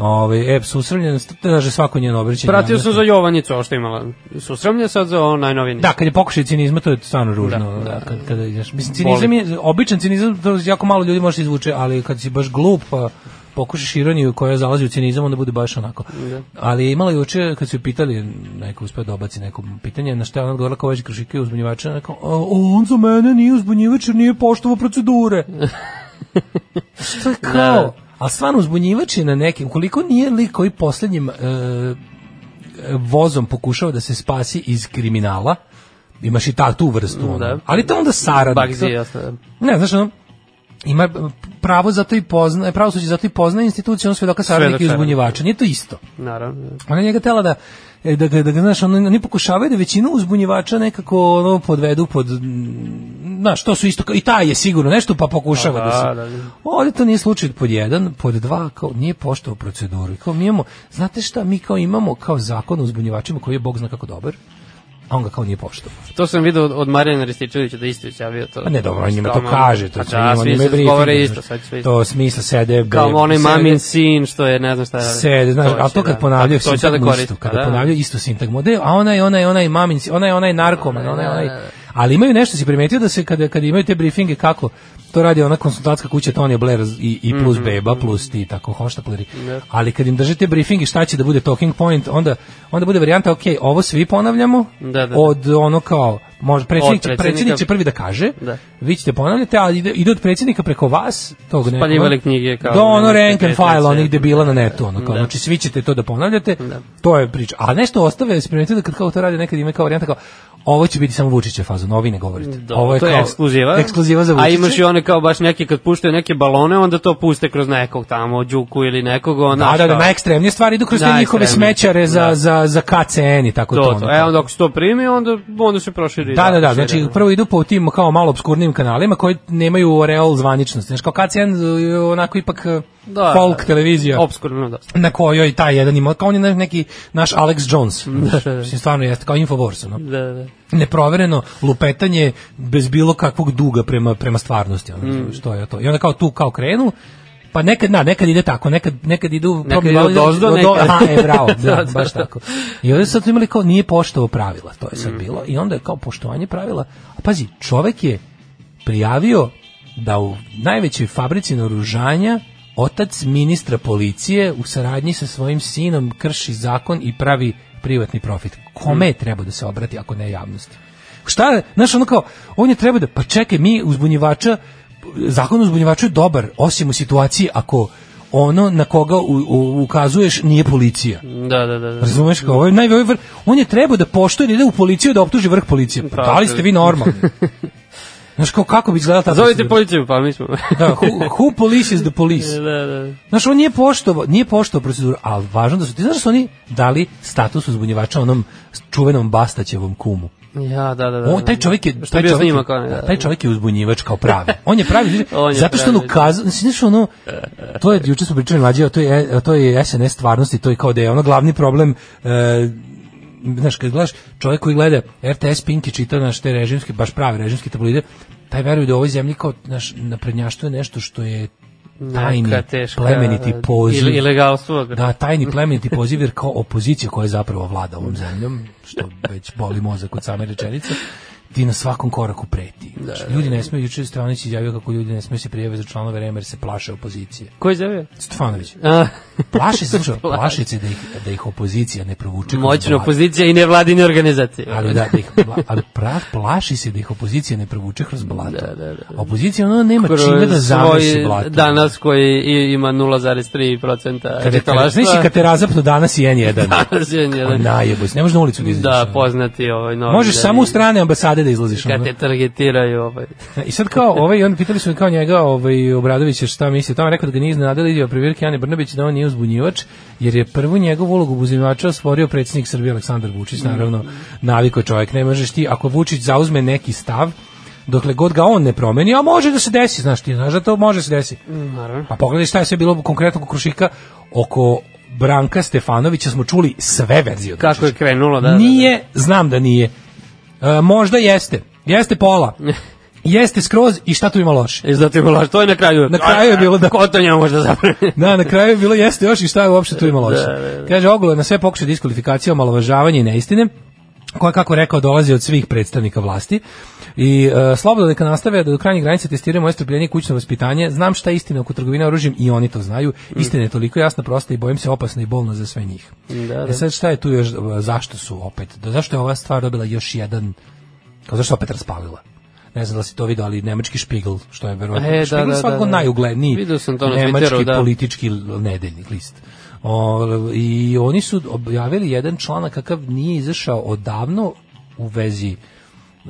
Ove, e, susramljen, znaže svako njeno obraćanje.
Pratio sam
javnosti.
za Jovanjicu, ovo što je imala. Susramlje sad za ovo najnovinije.
Da, kad je pokušaj cinizma, to je stvarno ružno.
Da,
Da,
da.
kad, kada ideš. Mislim, cinizam je, običan cinizam, to jako malo ljudi može da izvuče, ali kad si baš glup, pa, pokušaš ironiju koja zalazi u cinizam, onda bude baš onako.
Da.
Ali je imala juče, kad su ju pitali, neko uspeo da obaci neko pitanje, na što je ona odgovorila kao već krušike uzbunjivača, ona kao, "A, on za mene nije uzbunjivač jer nije poštovao procedure. što je
Da.
kao? Ali stvarno uzbunjivač je na nekim, ukoliko nije lik koji poslednjim e, vozom pokušao da se spasi iz kriminala, imaš i ta, tu vrstu. ono.
Da.
Ali to je onda saradnik.
Bagzi i ostalo.
Ne, znaš, ono, ima pravo zato i pozna, pravo suđe zato i pozna instituciju, on svedoka saradnika i
saradnika.
uzbunjivača. Nije to isto.
Naravno. da.
Ona je njega tela da e, da ga, da ga znaš, ono, oni pokušavaju da većinu uzbunjivača nekako ono, podvedu pod, mm, znaš, to su isto, kao- i taj je sigurno nešto, pa pokušava
A,
da se...
da, da.
Ovde to nije slučaj pod jedan, pod dva, kao nije poštovao proceduru. I Kao mi imamo, znate šta, mi kao imamo kao zakon o uzbunjivačima koji je Bog zna kako dobar, a on ga kao nije poštovao.
To sam video od- od Marijana Rističevića da isto izjavio to.
Pa ne, dobro, on njima to
Stalno.
kaže, to
Pa
su
da,
njima-
svi
njima je
se govore
briefing,
isto,
znaš.
sad sve isto.
To smisla sede,
Kao
be-
onaj
sede-
mamin sin što je, ne znam šta radi.
sede, znaš, ali to kad ponavljaju
to će da
sintagmu isto,
koristi.
kada ponavljaju isto sintagmu, da, a onaj, onaj, onaj mamin, si- onaj, onaj narkoman, onaj,
Da,
onaj, ali imaju nešto, si primetio da se kada, kada imaju te briefinge kako, to radi ona konsultantska kuća Tony Blair i, i
Mhm.
plus beba, plus ti, tako, hoštapleri,
Da.
ali kad im držite briefinge šta će da bude talking point, onda, onda bude varijanta, ok, ovo svi ponavljamo,
Da, da.
od ono kao, može, predsjednik, će-
predsjednika.
predsjednik će prvi da kaže,
Da.
vi ćete ponavljati, ali ide, ide od predsjednika preko vas, tog nekog.
Spaljivali Pa knjige kao-
Do ono
nemojte
rank and file,
petnice.
onih debila na netu, ono kao,
Da.
znači svi ćete to da ponavljate, to je priča. A nešto ostave, spremite da kad kao to rade nekad ima kao varijanta kao, ovo će biti samo Vučićev fazon, ovi ne govorite.
Do,
ovo je,
Da, to
kao,
je ekskluziva.
Ekskluziva za
A
Vučića.
imaš i one kao baš neki kad puštaju neke balone, onda to puste kroz nekog tamo, Đuku ili nekog. Onda,
Da, da, da, najekstremnije stvari idu kroz te njihove
Najekstremnije.
smećare za,
Da.
za, za KCN i tako
To,
to.
to,
ono,
E,
kao.
onda ako se to primi, onda, onda se proširi.
Da, da, da, znači
proširi.
prvo idu po tim kao malo obskurnim kanalima koji nemaju oreol zvaničnosti. Znači kao KCN je onako ipak eh,
Da,
folk
da, da.
televizija.
Obskurno dosta.
na kojoj taj jedan ima, kao on je neki naš Alex Jones, znaš, mislim, stvarno jeste, kao Infowars, ono.
Da, da, da.
neprovereno lupetanje bez bilo kakvog duga prema, prema stvarnosti, ono,
Mm.
što je to. I onda kao tu kao krenu, pa nekad, na, nekad ide tako, nekad, nekad idu... da
Nekad ide od ozdo, nekad-
Aha, e, bravo,
Da,
da,
da,
baš
da.
tako. I ovdje sad su imali kao nije poštovo pravila, to je sad bilo, i onda je kao poštovanje pravila, a pazi, čovek je prijavio da u najvećoj fabrici naoružanja otac ministra policije u saradnji sa svojim sinom krši zakon i pravi privatni profit. Kome je treba da se obrati ako ne javnosti? Šta je, znaš, ono kao, on je treba da, pa čekaj, mi uzbunjivača, zakon o uzbunjivaču je dobar, osim u situaciji ako ono na koga u, u, ukazuješ nije policija.
Da, da, da. da.
Razumeš kao, ovo je najveći vrh. On je trebao da poštuje da ide u policiju da optuži vrh policije. Pa,
Pa,
da li ste vi normalni? Znaš kao, kako bi izgledala ta
Zovite
procedura?
policiju, pa mi smo.
Da, who, who police is the police?
da, da.
Znaš, on nije poštovao, nije poštovao proceduru, ali važno da su, ti znaš da su oni dali status uzbunjivača onom čuvenom Bastaćevom kumu.
Ja, da, da, da.
On, taj čovjek je,
Što
taj
je bio
čovjek,
s njima kao
je,
ne,
da,
da.
taj čovjek je uzbunjivač kao pravi. On je
(laughs)
pravi,
On je
zato što on
pravi. da.
ukazuje, znači, znaš ono, to je, juče smo pričali mlađe, a to je, a to je SNS stvarnosti, to je kao da je ono glavni problem, e, znaš, kad gledaš čovjek koji gleda RTS Pink i čita naš te režimske, baš prave režimske tabloide, taj veruje da u ovoj zemlji kao naš naprednjaštvo je nešto što je tajni,
Neka teška,
plemeniti
da,
poziv.
ili- ilegalstvo.
Da, tajni plemeniti poziv jer kao opozicija koja je zapravo vlada ovom zemljom, što već boli mozak od same rečenice, ti na svakom koraku preti.
Da,
Znači, ljudi ne smeju, juče je Stefanović izjavio kako ljudi ne smeju se prijave za članove REM jer se plaše opozicije.
Ko je zavio?
Stefanović,
A,
plaše se,
(laughs)
slušaj, plaše se da ih, da ih opozicija ne provuče. kroz
moćna
blato.
opozicija i nevladine organizacije.
Ali da, da ih, bla- ali pra, plaši se da ih opozicija ne provuče kroz blato.
Da,
A Opozicija ono nema čime da zamesi
svoj
blato.
Danas koji i- ima 0,3%
Kad je- kad-
etalaštva.
Znaš
(laughs)
i kad te razapnu danas i N1.
Danas je
Па
jedan-
Najebo, Pa ne možeš na ulicu da izađeš.
Da, poznati ovaj novi.
Možeš samo u strane ambasade da izlaziš.
Kad
ono.
te targetiraju ovaj.
I sad kao, ovaj, on pitali su me kao njega, ovaj, Obradović, šta misli, tamo rekao da ga nije iznenadila izjava previrke Ane Brnabić da on nije uzbunjivač, jer je prvu njegovu ulogu uzbunjivača stvorio predsjednik Srbije Aleksandar Vučić, naravno, naviko čovjek, ne možeš ti, ako Vučić zauzme neki stav, dokle god ga on ne promeni, a može da se desi, znaš ti, znaš da to može da se desi.
Naravno.
Pa pogledaj šta je sve bilo konkretno kod Krušika oko Branka Stefanovića smo čuli sve verzije. od
Kako je krenulo, da. da, da.
nije, znam da nije. E, možda jeste. Jeste
(laughs)
pola. Jeste skroz i šta tu ima loše?
I zato je bilo, to je na kraju.
Na kraju je bilo, da.
Ko to njemu možda
(laughs)
zapravi?
Da, na kraju je bilo
Da,
jeste još i šta je uopšte tu ima loše. Kaže, ogolo je na sve pokušaj diskvalifikacije, omalovažavanje i neistine. koja kako je rekao dolazi od svih predstavnika vlasti i e, slobodno neka nastave da do krajnje granice testiraju moje strpljenje i kućno vaspitanje znam šta je istina oko trgovine oružjem i oni to znaju istina je toliko jasna prosta i bojim se opasna i bolna za sve njih
Da,
E
da.
sad šta je tu još, zašto su opet, da zašto je ova stvar dobila još jedan, kao zašto se opet raspalila? Ne znam da li si to vidio, ali nemački Špigl, što je verovatno,
E, da,
Špigl je
da,
svakako
da, da.
najugledniji
Vidio sam to na
nemački
Twitteru, da.
politički l- nedeljnik list. O, I oni su objavili jedan članak kakav nije izašao odavno u vezi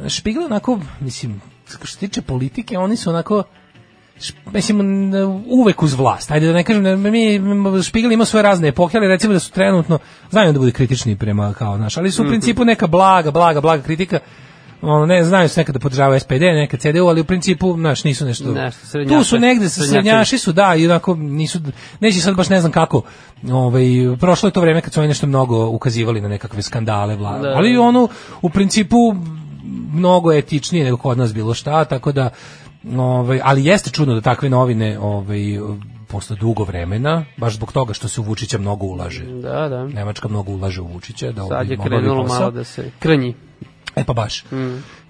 Špigl je onako, mislim, što se tiče politike, oni su onako š- mislim, n- uvek uz vlast. Ajde da ne kažem, da mi m- Špigel ima svoje razne epohe, ali recimo da su trenutno, znaju da bude kritični prema kao naš, ali
Mhm.
su u principu neka blaga, blaga, blaga kritika, ono, ne, znaju se da nekada podržava SPD, neka CDU, ali u principu, znaš, nisu nešto...
Nešto,
tu
srednjače.
su negde, sa-
Srednjače.
srednjači su, da, i onako nisu, neće sad baš ne znam kako, ovaj, prošlo je to vreme kad su oni nešto mnogo ukazivali na nekakve skandale, vla,
Da.
ali ono, u principu, mnogo etičnije nego kod nas bilo šta, tako da ovaj ali jeste čudno da takve novine ovaj posle dugo vremena baš zbog toga što se u Vučića mnogo ulaže.
Da, da.
Nemačka mnogo ulaže u Vučića da
Sad
obavi-
je
obavi
krenulo
posao.
malo da Mm. se krnji.
E pa baš.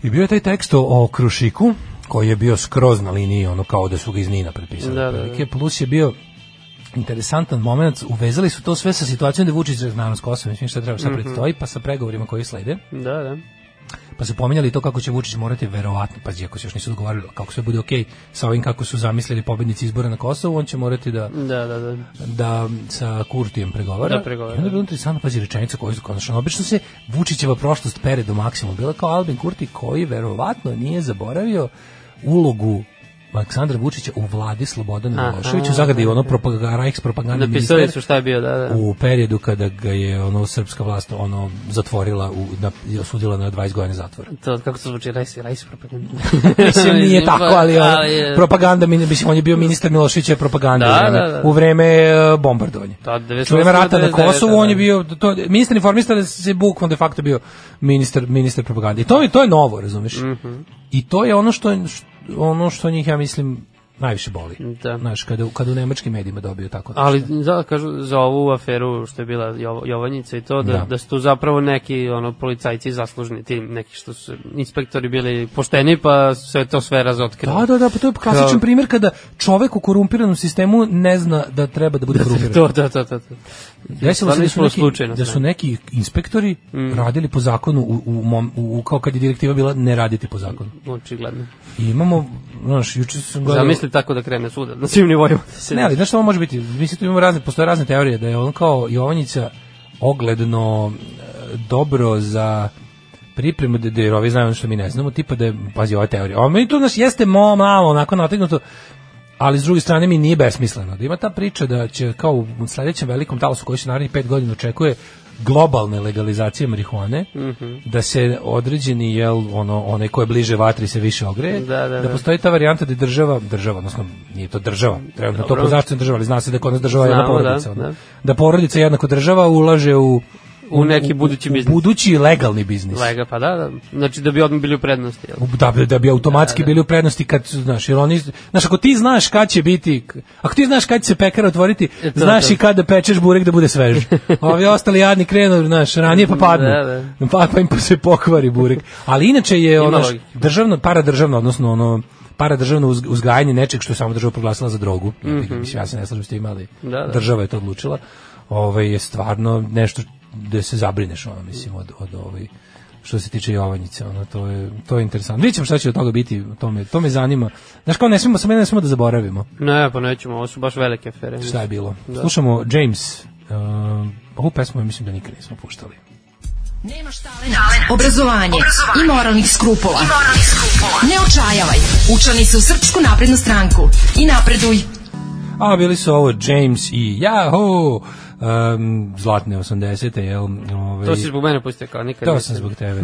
I bio je taj tekst o- o Krušiku, koji je bio skroz na liniji, ono kao da su ga iz Nina prepisali.
Da, da, da.
otprilike. Plus je bio interesantan moment, uvezali su to sve sa situacijom da je Vučić razmaran s Kosovom, mislim šta treba, šta
Mhm.
predstoji, pa sa pregovorima koji slede.
Da, da.
Pa su pominjali to kako će Vučić morati verovatno, pa ako se još nisu dogovarali, kako sve bude okej sa ovim kako su zamislili pobednici izbora na Kosovu, on će morati da
Da, da, da.
da sa Kurtijem pregovara.
Da, pregovara.
I onda je bilo interesantno, pazi, rečenica koju su konačno. Obično se Vučićeva prošlost pere do maksimuma. Bila kao Albin Kurti koji verovatno nije zaboravio ulogu Aleksandra Vučića u vladi Slobodana
Aha, da,
Miloševića, u zagradi ono propaganda, Rajks propaganda
Napisali su šta je bio, da, da.
u periodu kada ga je ono srpska vlast ono zatvorila u, na, i osudila na 20 godina zatvora.
To, kako to zvuči, rajs, rajs
(laughs)
propaganda. (laughs) pa,
Mislim, nije tako, ali, ono,
je-
propaganda, mi- mislim, on je bio ministar Miloševića propaganda
Da,
u vreme,
da, da.
u vreme e, bombardovanja.
Da, 98,
U vreme rata na
99,
Kosovu,
da.
on je bio, to, ministar informista da se bukvom de facto bio ministar, ministar propagande. I to, je- to je novo, razumeš?
Mhm.
I to je ono što, ono što njih, ja mislim, najviše boli.
Da.
Znaš, kada, kada u nemačkim medijima dobiju tako nešto.
Ali da, kažu, za ovu aferu što je bila Jovo- Jovanjica i to, da,
Da.
da. su tu zapravo neki ono, policajci zaslužni, ti neki što su inspektori bili pošteni, pa sve to sve razotkrili.
Da, da, da, pa to je klasičan
Kao-
primjer kada čovek u korumpiranom sistemu ne zna da treba da bude korumpiran.
To, da, da, da. da.
Desilo se
Stvarno
da su,
ispalo
neki,
slučajno
da
sve. Mhm.
su neki inspektori radili po zakonu u, u, mom, u, kao kad je direktiva bila ne raditi po zakonu.
Očigledno.
I imamo, znaš, juče sam gledao...
Zamisli tako da krene suda, na svim nivoima. Da se...
Ne, ali znaš šta ovo može biti? Mislim, tu imamo razne, postoje razne teorije da je on kao Jovanjica ogledno e, dobro za pripremu da, da jer ovi znaju ono što mi ne znamo, tipa da je, pazi, ova teorija. Ovo meni tu, znaš, jeste mo, malo onako nategnuto, ali s druge strane mi nije besmisleno. Da ima ta priča da će kao u sledećem velikom talasu koji se narednih pet godina očekuje globalne legalizacije marihuane,
Mhm.
da se određeni, jel, ono, one koje bliže vatri se više ogreje,
Da, da,
da
da.
postoji ta varijanta da je država, država, odnosno nije to država, trenutno to
Dobro.
po zaštitu država, ali zna se da je kod nas država jedna
Znamo, da,
porodica. ono.
da.
da porodica jednako država ulaže u
U neki budući
u
biznis.
budući legalni biznis.
Lega, pa da, da. Znači da bi odmah bili u prednosti. Jel?
Da, bi- da bi automatski bili u prednosti kad su, znaš, jer oni, znaš, ako ti znaš kad će biti, ako ti znaš kad će se pekara otvoriti,
E, to,
znaš
to.
i kad da pečeš burek da bude
(laughs)
svež. Ovi ostali jadni krenu, znaš, ranije pa padnu.
Da,
Pa, pa im se pokvari burek. Ali inače je ono,
logike.
državno, paradržavno, odnosno ono, paradržavno uz, uzgajanje nečeg što je samo država proglasila za drogu. Mislim, ja se ne slažem s tim, ali
Mhm. Da, da.
država je to odlučila. Ovaj je stvarno nešto da se zabrineš, ono, mislim, od, od ovaj što se tiče Jovanjice, ono, to je, to je interesantno. Vidjet ćemo šta će od toga biti, to me, to me zanima. Znaš kao, ne smijemo, samo ne smijemo da zaboravimo
Ne, pa nećemo, ovo su baš velike afere.
šta je bilo.
Da.
Slušamo James, uh, ovu pesmu mislim da nikad nismo puštali.
Nemaš talenta, obrazovanje, i moralnih skrupula. Ne očajavaj, učlani se u Srpsku naprednu stranku i napreduj.
A bili su ovo James i Yahoo! Um, zlatne 80-te, jel? Ovaj, Ove,
To si zbog mene pustio kao nikad.
To
nisam.
sam zbog tebe.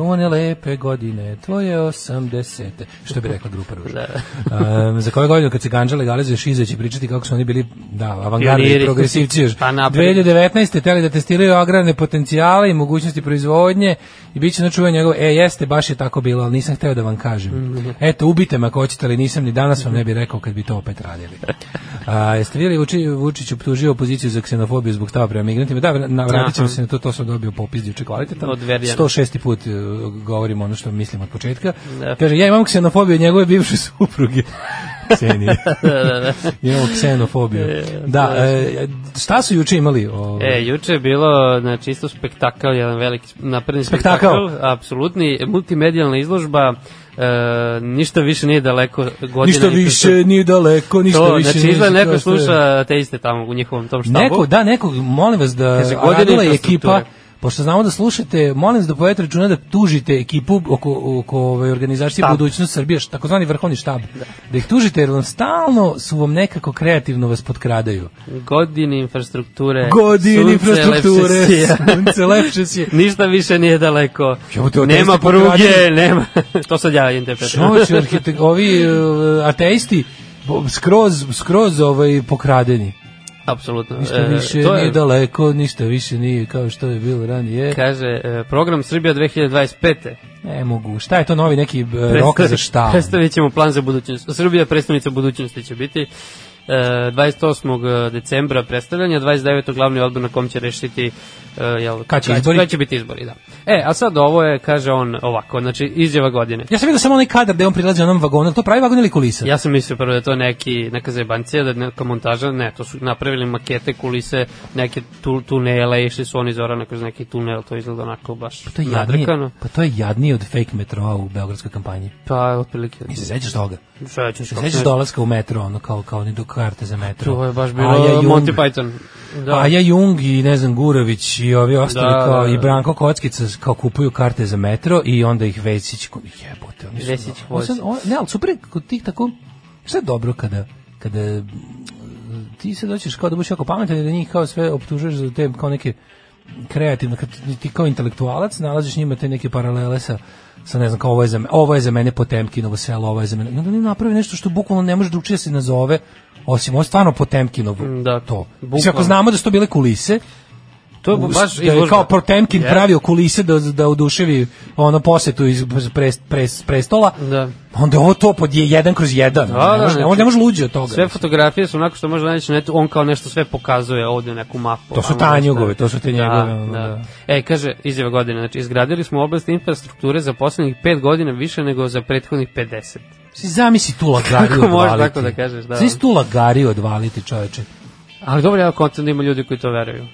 One lepe godine, tvoje osamdesete. Što bi rekla grupa Ruža.
Da.
um, za koje godinu kad se ganđa legalizuje šize će pričati kako su oni bili da, avangardni
Pioniri.
progresivci još.
Pa napred.
2019. teli da testiraju agrarne potencijale i mogućnosti proizvodnje i bit će na čuvanje njegov, e jeste, baš je tako bilo, ali nisam hteo da vam kažem.
Mhm.
Eto, ubite me ako hoćete, ali nisam ni danas vam ne bi rekao kad bi to opet radili. A, jeste vidjeli Vuči, Vučić optužio opoziciju za ksenofobiju ksenofobiju zbog stava prema migrantima. Da, vra- na- vratit ćemo
Aha.
se na to, to sam dobio popis juče kvalitetan.
Od Verjana.
106. put e, govorim ono što mislim od početka.
Da.
Kaže, ja imam ksenofobiju njegove bivše
(laughs)
supruge. Ksenije.
Da,
imamo ksenofobiju. Da, e, šta su juče imali? O,
E, juče je bilo, znači, isto spektakl, jedan veliki sp- napredni
Spektakl.
spektakl, apsolutni, multimedijalna izložba, e, ništa više nije daleko godina.
ništa
i to-
više, ni daleko, ništa
to,
više.
Znači,
nije
izgleda neko
to što je.
sluša te iste tamo u njihovom tom štabu.
Neko, da, neko, molim vas da
Kaže, godine
radila je
infrastrukture.
ekipa, pošto znamo da slušate, molim vas da povedete računa da tužite ekipu oko, oko ove organizacije
Štab.
Budućnost Srbije, š- takozvani vrhovni štab, da. da ih tužite jer vam stalno su vam nekako kreativno vas potkradaju.
Godine infrastrukture.
Godine
sunce
infrastrukture,
lepše (laughs) sija.
sunce lepše sije.
Ništa više nije daleko.
Jebote, od
nema
testa
pruge,
pokradili.
nema. (laughs) to sad ja interpretujem.
Čoveče, arhitek- ovi uh, ateisti, bo- skroz, skroz ovaj, pokradeni.
(laughs) Apsolutno.
Ništa
E,
više
to je-
nije daleko, ništa više nije kao što je bilo ranije.
Kaže, e, program Srbija 2025.
Ne mogu, šta je to novi neki e, rok za šta?
Predstavit ćemo plan za budućnost. Srbija predstavnica budućnosti će biti. E, 28. decembra predstavljanja, 29. glavni odbor na kom će rešiti e, jel,
Kad će izbori?
Kad će biti izbori, da. E, a sad ovo je, kaže on ovako, znači izjava godine.
Ja sam vidio samo onaj kadar gde on prilazi onom vagonu, to pravi vagon ili kulisa?
Ja sam mislio prvo da je to neki, neka zajebancija, da je neka montaža, ne, to su napravili makete, kulise, neke tu, tunele, išli su oni Zorana kroz neki tunel, to izgleda onako baš
to je jadnije,
nadrkano.
pa to je jadnije od fake metroa u beogradskoj kampanji.
Pa, otprilike.
I se sećaš toga?
Šta ćeš,
Se
kako
sećaš
ne-
dolaska u metro, ono kao, kao oni do karte za metro?
To je baš bilo
Aja Jung,
Monty Python. Da.
Aja Jung i ne znam Gurović i ovi ostali
Da,
kao
da, da.
i Branko Kockica kao kupuju karte za metro i onda ih Vesić ko- jebote oni su
Vesić
on sad- on- ne al super je kod tih tako sve je dobro kada kada mm, ti se doćeš kao da budeš jako pametan i da njih kao sve optužuješ za te kao neke kreativno kad ti- ti kao intelektualac nalaziš njima te neke paralele sa sa ne znam kao ovo je za me, ovo je za mene Potemkinovo selo, ovo je za mene. I onda oni naprave nešto što bukvalno ne može drugčije da se nazove osim ovo je stvarno Potemkinovo.
Da,
to. Mislim, ako
bukvalno.
znamo da su to bile kulise,
To je baš
da je
izložba.
kao Potemkin
Jeste.
pravio kulise da, da oduševi ono posetu iz pres, pres, prestola,
Da.
onda je ovo to pod je- jedan kroz jedan.
Da,
ne može,
da,
ne,
znači,
on ne može luđe od toga.
Sve fotografije su onako što možda naći na netu, on kao nešto sve pokazuje ovde u neku mapu.
To su
ovamo,
Tanjugove,
nešto.
to su te njegove, ono,
Da,
da.
da. E, kaže, izjava godine, znači, izgradili smo oblast infrastrukture za poslednjih 5 godina više nego za prethodnih 50.
Si zamisli tu lagariju
Kako
odvaliti.
možeš tako da kažeš, da.
Zamisli tu lagariju odvaliti, čoveče.
Ali dobro, ja kontam da ima ljudi koji to veruju.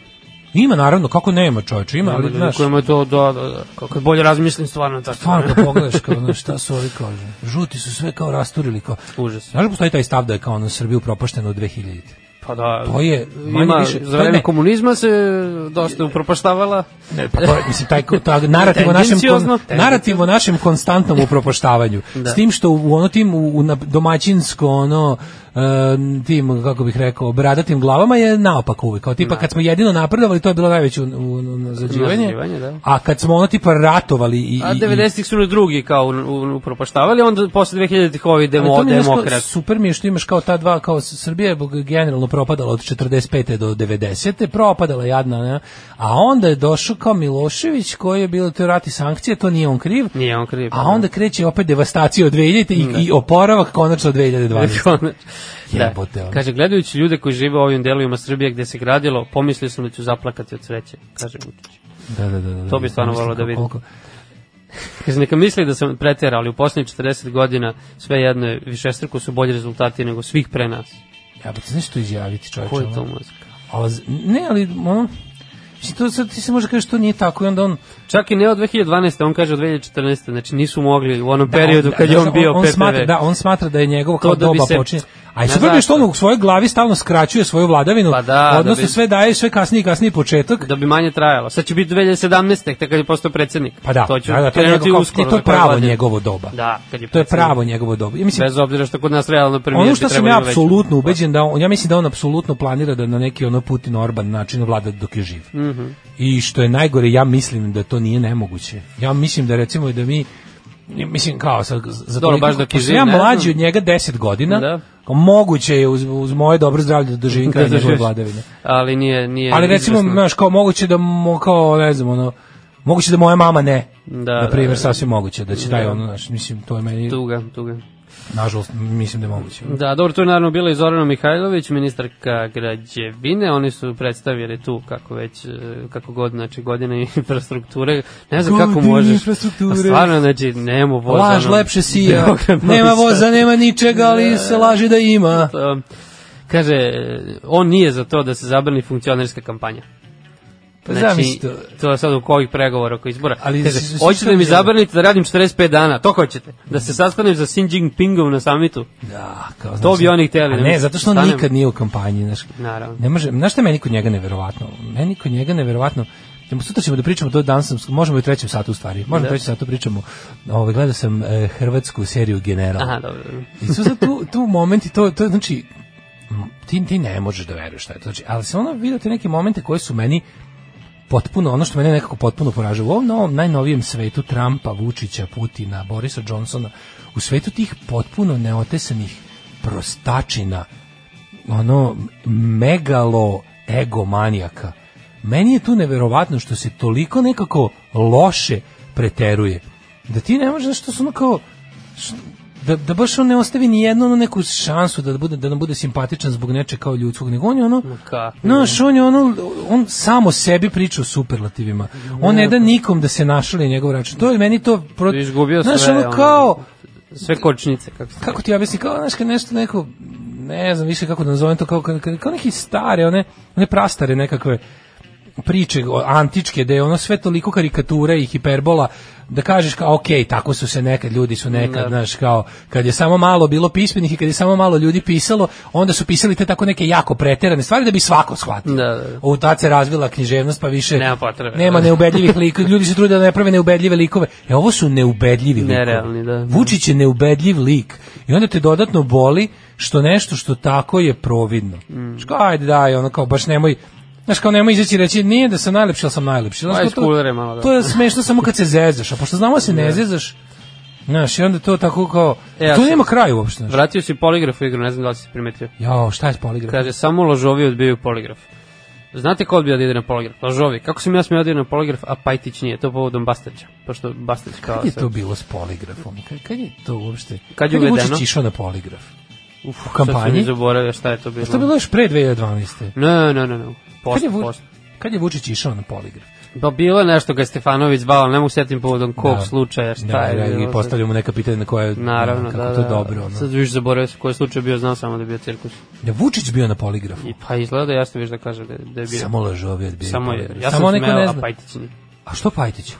Ima, naravno, kako nema, čoveče, ima, ali,
Ali,
znaš,
kojima je to, da, da, da, kako je bolje razmislim stvarno tako.
stvarno
(laughs)
kad pogledaš kao, znaš, šta su ovi kao, žuti su sve kao rasturili, kao,
Užas.
znaš da postoji taj stav da je kao ono Srbiju propašteno u 2000
Pa da,
To je manje
ima,
više- to
za
je
vreme
ne-
komunizma se dosta upropaštavala.
Ne, pa to, je, mislim, taj, ko- ta, narativ, o našem,
Tendenciozno, Da.
kon, narativ o našem konstantnom
(laughs)
upropaštavanju. S tim što u ono tim, u, u na- domaćinsko, ono, e, tim, kako bih rekao, bradatim glavama je naopak uvijek. Kao
Da.
tipa, kad smo jedino napredovali, to je bilo najveće u, u, u, nazađivanje.
Nazađivanje, da.
A kad smo ono tipa ratovali i...
A
i- i-
90-ih su drugi kao u- u- upropaštavali, onda posle 2000-ih ovi
Ali
demo,
to mi je nešto-
demokrat.
Super mi je što imaš kao ta dva, kao S- Srbija je bog- generalno propadala od 45. do 90. propadala jadna, ne? a onda je došao kao Milošević koji je bilo te rati sankcije, to nije on kriv,
Nije on kriv.
A onda kreće opet devastacija od 2000 i, i oporavak konačno od 2012.
Konačno.
Jebote, ono.
(laughs) Da. (laughs) da. Kaže, gledajući ljude koji žive u ovim delovima Srbije gde se gradilo, pomislio sam da ću zaplakati od sreće, kaže Vučić.
Da, da, da, da.
To bi stvarno
Mislim,
volao da vidim.
koliko-
Kaže, neka misli da sam preterao, ali u poslednjih 40 godina sve jedno je, višestruko su bolji rezultati nego svih pre nas.
Ja pa ti znaš što izjaviti čovječe.
Ko je to
ono?
muzika?
Ali z- ne, ali ono, mislim, to sad ti se može kažeš to nije tako i onda on...
Čak i ne od 2012. on kaže od 2014. Znači nisu mogli u onom periodu kad je
znaš,
on bio
Da, on
PPV.
smatra, da, on smatra da je njegov kao
da bi
doba
se-
počinje. A i
Ne
super mi je
znaš
što on
to.
u svojoj glavi stalno skraćuje svoju vladavinu,
Pa da,
odnosno
da bi-
sve daje sve kasniji i kasniji početak.
da bi manje trajalo. Sad će biti 2017. tek kad je postao predsednik.
pa da,
to će
da, da, to je,
krenuti
njegov, kao-
uskoro.
to je
za par
pravo
godina.
njegovo doba.
Da, kad je
to je
predsednik.
pravo njegovo doba. Ja, mislim,
Bez obzira što kod nas realno premijer
Ono što
bi
sam
trebao
ja
ima veću- pa.
apsolutno ubeđen da on, ja mislim da on apsolutno planira da na neki ono Putin Orban način vlada dok je živ.
Mhm.
I što je najgore ja mislim da to nije nemoguće. Ja mislim da recimo da mi mislim kao sa za
Dobro,
toliko-
baš dok je
pošto
živ,
ja
ne znam.
mlađi od njega 10 godina.
Da.
kao Moguće je uz, uz moje dobro zdravlje da
(laughs)
doživim kraj
Da, da,
njegove
još.
vladavine.
Ali nije, nije
Ali recimo,
izvesno.
znaš, kao moguće da mo, kao ne znam, ono moguće da moja mama ne.
Da,
na
da,
primjer,
da.
sasvim moguće da će taj ono, znaš, mislim, to je meni
Tuga, tuga.
Nažalost, mislim da je moguće.
Da, dobro, tu je naravno bila i Zorana Mihajlović, ministarka građevine, oni su predstavili tu kako već, e, kako god, znači godine (laughs) infrastrukture, ne znam kako
Godine
možeš.
infrastrukture.
A stvarno, znači, nemo voza.
Laž
ono,
lepše sija,
Beograd, Novi
nema
Sad.
voza, nema ničega, ali se laži da
(laughs)
ima.
Um, kaže, e, on nije za to da se zabrani funkcionerska kampanja.
Pa
Znači,
zamisli to.
to je sad u ovih pregovora oko izbora.
Ali
Ali,
s-
Kaže,
s-
hoćete da mi
šta-
zabranite da radim 45 dana, to hoćete. Da se sastanem sa Xi Jinpingom na samitu.
Da, kao,
To bi oni hteli,
A Ne,
ne mislim,
zato što on
stanem.
nikad nije u kampanji, znaš.
Naravno.
Ne može, znaš šta je meni kod njega neverovatno? Meni kod njega neverovatno Idemo, Sutra ćemo da pričamo, to danas sam, možemo i u trećem satu u stvari, možemo da. u
Da.
trećem satu pričamo, ovaj, gledao sam e, hrvatsku seriju General.
Aha, dobro. dobro.
I su sad tu, tu momenti, to, to je, znači, m, ti, ti ne možeš da veruješ šta je to. Znači, ali sam ono vidio te neke momente koje su meni potpuno, ono što mene nekako potpuno poražava. U ovom novom, najnovijem svetu Trumpa, Vučića, Putina, Borisa Johnsona, u svetu tih potpuno neotesanih prostačina, ono, megalo egomanijaka. Meni je tu neverovatno što se toliko nekako loše preteruje. Da ti ne možeš, znaš, to su ono kao, da, da baš on ne ostavi ni jednu ono neku šansu da bude da nam bude simpatičan zbog neče kao ljudskog nego on je ono
kako
znaš on je ono on samo sebi priča o superlativima on ne da nikom da se našali njegov račun to je meni to pro...
Izgubio
znaš
sve,
ono
ono.
kao
Sve kočnice, kako se...
kako ti objasnim, kao znaš kad nešto neko ne znam više kako da nazovem to kao, kao, kao neki stare, one, one prastare nekakve priče o- antičke da je ono sve toliko karikatura i hiperbola da kažeš kao ok, tako su se nekad ljudi su nekad,
Da.
znaš, kao kad je samo malo bilo pismenih i kad je samo malo ljudi pisalo, onda su pisali te tako neke jako preterane stvari da bi svako shvatio.
Da, da, da.
U tad se razvila književnost pa više
Nema potrebe.
Nema neubedljivih likova, ljudi se trude da ne prave neubedljive likove. E ovo su neubedljivi likovi.
Nerealni, da.
Vučić je neubedljiv lik i onda te dodatno boli što nešto što tako je providno. Mm. Što ajde daj, ono kao baš nemoj Znaš, kao nemoj izaći i reći, nije da sam najlepši, ali sam najlepši. Znaš,
Pa,
kao
iskuliraj malo, da.
to je smešno samo kad se zezaš, a pošto znamo da se ne zezaš, znaš, i onda to tako kao,
E, ja
to
sam-
nema kraja uopšte. Znaš.
Vratio si poligraf u igru, ne znam da li si primetio.
Jao, šta je s poligrafom?
Kaže, samo ložovi odbijaju poligraf. Znate ko odbija da ide na poligraf? Ložovi. Kako sam ja smio da idem na poligraf, a Pajtić nije, to povodom Bastaća. Pošto Bastać kao...
Kad je
sad-
to bilo s poligrafom? Kad, kad je to uopšte?
Kad je uvedeno?
Vučić išao na poligraf?
Uf,
u kampanji?
Sad sam i zaboravio šta je to bilo.
To je bilo još pre 2012.
Ne, ne, ne, ne.
Kad je,
Posle,
Vu-
posle.
kad je Vučić išao na poligraf?
Pa bilo je nešto ga je Stefanović zvao, ali ne mogu setim povodom kog
Da.
slučaja, šta
da,
je.
da,
bilo.
i postavljamo neka pitanja na koje
Naravno,
kako
da, da.
to dobro ono.
Sad više zaboravio sam koji slučaj je bio, znao samo da je bio cirkus.
Da Vučić bio na poligrafu.
I, pa izgleda da jasno više da kaže da, je- da je bio.
Samo lažovi odbijaju.
Samo je,
poligraf.
ja sam
Samo neko
smeo,
ne
a
zna.
Pajtić nije. (laughs)
A što Pajtić?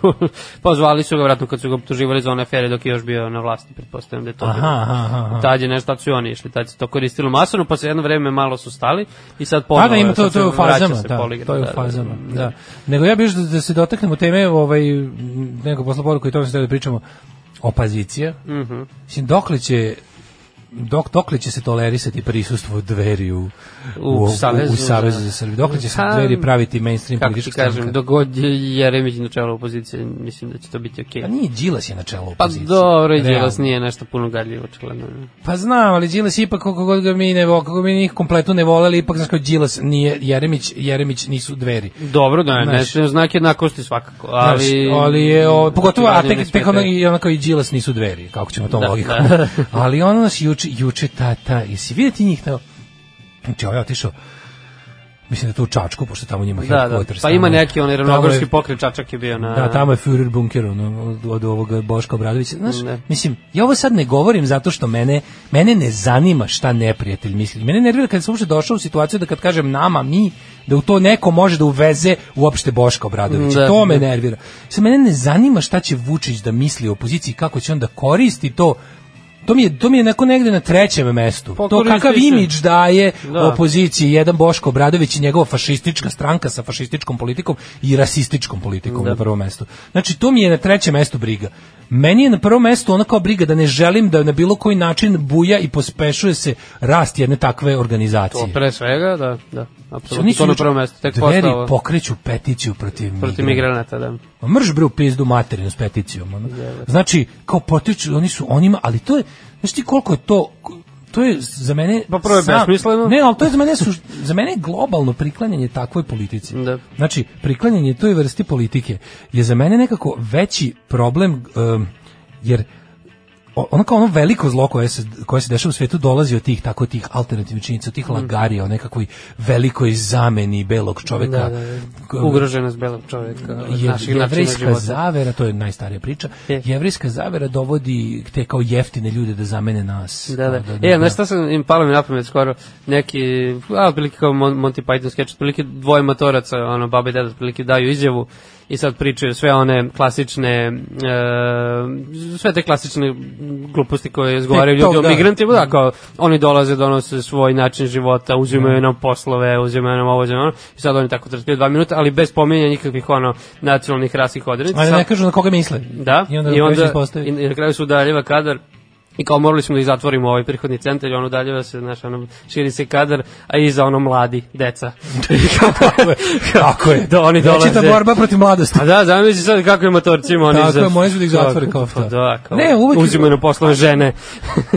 pa zvali su ga vratno kad su ga optuživali za one afere dok je još bio na vlasti, pretpostavljam da je to
Aha,
bilo.
aha, aha.
Tad je nešto, tad su i oni išli, tad se to koristilo masovno, pa se jedno vreme malo su stali i sad ponovo...
Pa da ima to,
sad
to je u
se vraća
fazama,
se
da,
poligraf,
to je u
da, da,
fazama,
da.
da. Nego ja bih još da, da se dotaknemo teme, ovaj, nekog posla poruku i to se da pričamo, opozicija. Mhm. Mislim, dokle će dok dokle će se tolerisati prisustvo dveri u u, u, savezu, u,
Savezu,
savezu
da.
za Srbiju. Dokle će se
Pa,
dveri praviti mainstream
Kako ti
politička
kažem,
stranka?
dok god je Jeremić na čelu opozicije, mislim da će to biti okej.
Pa nije Đilas je na čelu
Pa
opozicije.
dobro, i
Realno.
Đilas nije nešto puno gadljivo, očigledno.
Pa znam, ali Đilas ipak koliko god ga mi ne volimo, kako mi njih kompletno ne voleli, ipak znaš kao Đilas nije Jeremić, Jeremić nisu dveri.
Dobro, da je,
Znaš.
nešto znak jednakosti svakako,
Ali,
ali... Znači,
znaš, ali je, o, pogotovo, a
Suradnje ne
tek, tek
smetaju.
ono, i onako i Đilas nisu dveri, kako ćemo tom
Da,
logikom.
(laughs) da.
ali ono nas juče, juče tata, jesi vidjeti njih tamo? Znači, ovaj je otišao, mislim da to u Čačku, pošto tamo njima
Da, da,
headquarters,
pa ima
tamo je-
neki onaj
tamo je-
ravnogorski pokret Čačak je bio na...
Da, tamo je Führer bunker ono, od, od ovoga Boška Obradovića. Znaš,
Ne.
mislim, ja ovo sad ne govorim zato što mene, mene ne zanima šta neprijatelj misli. Mene nervira kad sam uopšte došao u situaciju da kad kažem nama, mi, da u to neko može da uveze uopšte Boška Obradovića.
Da.
to me nervira. Sad mene ne zanima šta će Vučić da misli o opoziciji, kako će on da koristi to To mi je, to mi je neko negde na trećem mestu.
Pa
to kakav
koristi se.
imidž daje da.
Da.
opoziciji jedan Boško Obradović i njegova fašistička stranka sa fašističkom politikom i rasističkom politikom da. na prvom mestu. Znači, to mi je na trećem mestu briga. Meni je na prvom mestu ona kao briga da ne želim da na bilo koji način buja i pospešuje se rast jedne takve organizacije. Znači,
To pre svega, da, da, apsolutno,
Oni su
to na
juče-
prvom mestu, tek
Dveri
postao
pokreću peticiju protiv,
protiv migranata, da.
Ma Pa Mrš bre u pizdu materinu s peticijom. Ono. Znači, kao potiču, oni su onima, ali to je, znaš ti koliko je to, to je za mene...
Pa prvo je
sam-
besmisleno.
Ne, ali to je za mene, su, za mene je globalno priklanjanje takvoj politici.
Da.
Znači, priklanjanje toj vrsti politike je za mene nekako veći problem, um, jer o- ono kao ono veliko zlo koje se, koje se dešava u svetu dolazi od tih, tako tih alternativnih činjenica, od tih lagarija, o nekakvoj velikoj zameni belog čoveka.
Da, da, da. Ugroženost belog čovjeka,
Je-
naših načina
jevrejska
života.
zavera, to je najstarija priča,
Je.
jevrejska zavera dovodi te kao jeftine ljude da zamene nas.
Da, da.
Kao
E, znaš šta sam im palo mi na pamet skoro? Neki, a, otprilike kao Mon Monty Python sketch, otprilike dvoje motoraca, ono, baba i deda, otprilike daju izjavu i sad pričaju sve one klasične, e, sve te klasične gluposti koje izgovaraju
Tek to,
ljudi o
da.
migrantima, da, kao, oni dolaze, donose svoj način života, uzimaju nam poslove, uzimaju nam ovo, uzimaju nam ono, i sad oni tako trpio dva minuta, ali bez pominjanja nikakvih, ono, nacionalnih rasnih odrednica.
Ali
Sad-
ne kažu na koga misle.
Da,
I onda,
i onda
postavi.
i na kraju se udaljeva kadar i kao morali smo da i zatvorimo ovaj prihodni centar i on udaljeva se, znaš, ono, širi se kadar, a iza ono mladi, deca.
tako je. (laughs) (laughs) Tako je.
Da, (laughs) oni
Večita
dolaze.
borba protiv mladosti.
A da, zamisli sad kako je motorcima oni
Tako
za...
je, moji su da ih zatvore kao
Pa
to.
da, kao,
Ne, uvek-
uzimaju na poslove žene.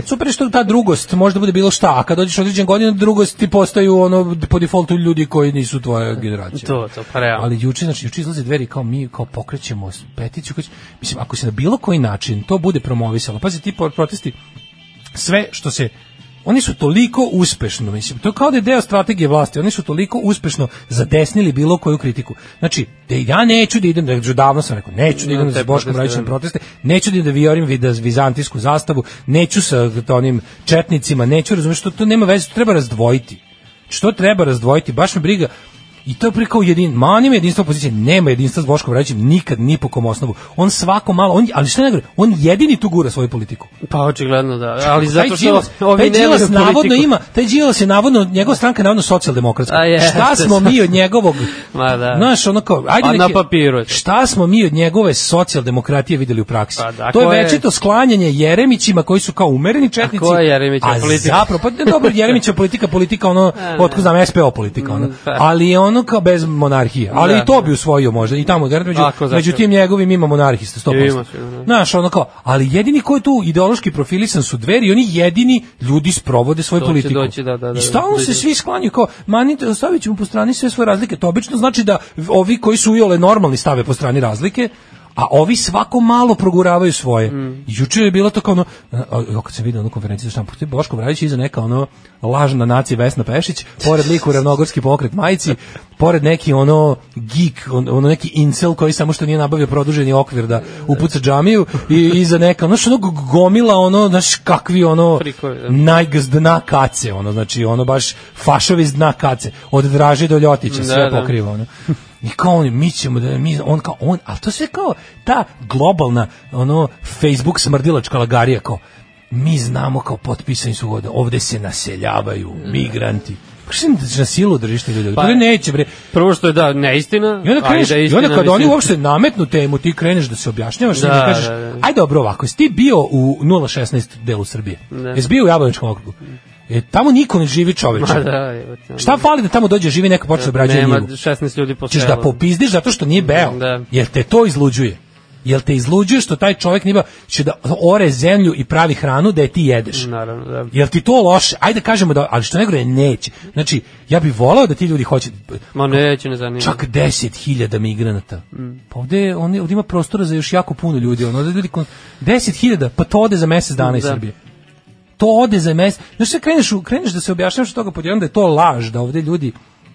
Super je što ta drugost možda bude bilo šta, a kad dođeš u određen godin, drugost ti postaju ono po defaultu ljudi koji nisu tvoja generacija.
to, to, pa realno.
Ali juče, znači, juče izlaze dveri kao mi kao pokrećemo s- peticiju. Kao, će- mislim, ako se na bilo koji način to bude promovisalo, pazi, ti po- protesti, sve što se oni su toliko uspešno, mislim, to je kao da je deo strategije vlasti, oni su toliko uspešno zadesnili bilo koju kritiku. Znači, da ja neću da idem, da davno sam rekao, neću da idem
Na te
za Boškom
proteste,
Rajićem
da.
proteste, neću da idem da vijorim vid- vizantijsku zastavu, neću sa onim četnicima, neću, razumiješ, to, to nema veze, to treba razdvojiti. Što treba razdvojiti, baš me briga, I to je prikao jedin, mani me jedinstvo opozicije, nema jedinstva s Boškom Rajićem nikad ni po kom osnovu. On svako malo, on, ali šta ne govori, on jedini tu gura svoju politiku.
Pa očigledno da, ali zato
Taj
što
Đilas-
ovi
taj
ne
Đilas
vole
navodno
politiku.
ima, taj Đilas je navodno, njegova stranka je navodno socijaldemokratska.
A jeste, (laughs)
Šta smo mi od njegovog?
Ma da.
Znaš, ono kao, ajde
Pa
nek
na
je-
papiru je to.
Šta smo mi od njegove socijaldemokratije videli u praksi?
Pa da,
to je
ko je-
večito sklanjanje Jeremićima koji su kao umereni četnici.
ko je Jeremićeva
a
politika? da.
Zapravo, pa ne, dobro, Jeremićeva politika, politika
(laughs)
ono, otko znam, SPO politika, ono.
pa.
Ali je ono kao bez monarhije. Ali
Da.
i to bi usvojio možda, i tamo, garant, među,
Ako zašto.
među tim njegovim ima monarhista, 100%.
Ima sigurno, da.
Znaš, ono kao, ali jedini ko je tu ideološki profilisan su dveri i oni jedini ljudi sprovode svoju
To će
politiku.
doći, da, da, da, da.
I stalno se svi sklanjaju kao, mani, stavit ćemo po strani sve svoje razlike. To obično znači da ovi koji su iole normalni stave po strani razlike, a ovi svako malo proguravaju svoje. Juče je bilo to kao ono, a, a, jo, kad sam vidio onu konferenciju za štampu, to je Boško Bradić iza neka ono lažna nacija Vesna Pešić, pored liku ravnogorski pokret majici, pored neki ono geek, on, ono neki incel koji samo što nije nabavio produženi okvir da upuca džamiju i iza neka, ono što ono gomila ono, znaš kakvi ono
Frikovi, da.
najgz dna kace, ono, znači, ono baš fašovi iz dna kace, od Draže do Ljotića,
Da,
sve
da.
pokriva, ono. I kao oni, mi ćemo da, mi, on kao, on, ali to sve kao ta globalna, ono, Facebook smrdilačka lagarija, kao, mi znamo kao potpisani su ovde, ovde se naseljavaju migranti. Kako se na silu držiš te ljude? Pa,
Da. Pa-
to neće, bre.
Prvo što je da, neistina,
I onda,
a i
kreneš,
da
i
istina.
onda kad oni
mislim-
uopšte nametnu temu, ti kreneš da se objašnjavaš da, i
Da,
da kažeš,
da, da.
aj dobro ovako, jesi ti bio u 016 delu Srbije?
Da.
Jesi bio u Jablaničkom okrugu? E, tamo niko ne živi čoveče.
Ma da, evo te, ono,
Šta fali da tamo dođe živi neko počne da obrađuje
Nema
njivu?
16 ljudi po
Češ
selu.
da popizdiš zato što nije beo.
Da.
Jer te to izluđuje. Jel te izluđuje što taj čovjek nije beo? Će da ore zemlju i pravi hranu da je ti jedeš.
Naravno, da.
Jel ti to loše? Ajde kažemo da, ali što ne gore, neće. Znači, ja bih volao da ti ljudi hoće
Ma neće, ne zanima.
čak 10.000 migranata. Pa ovde, je- on, ovde ima prostora za još jako puno ljudi. Ono, ovde ljudi kon... 10.000, pa to ode za mesec dana iz
Da.
Srbije. To ode za mesec. Znaš, sve kreneš, u, kreneš da se objašnjaš od toga pod jedan da je to laž, da ovde ljudi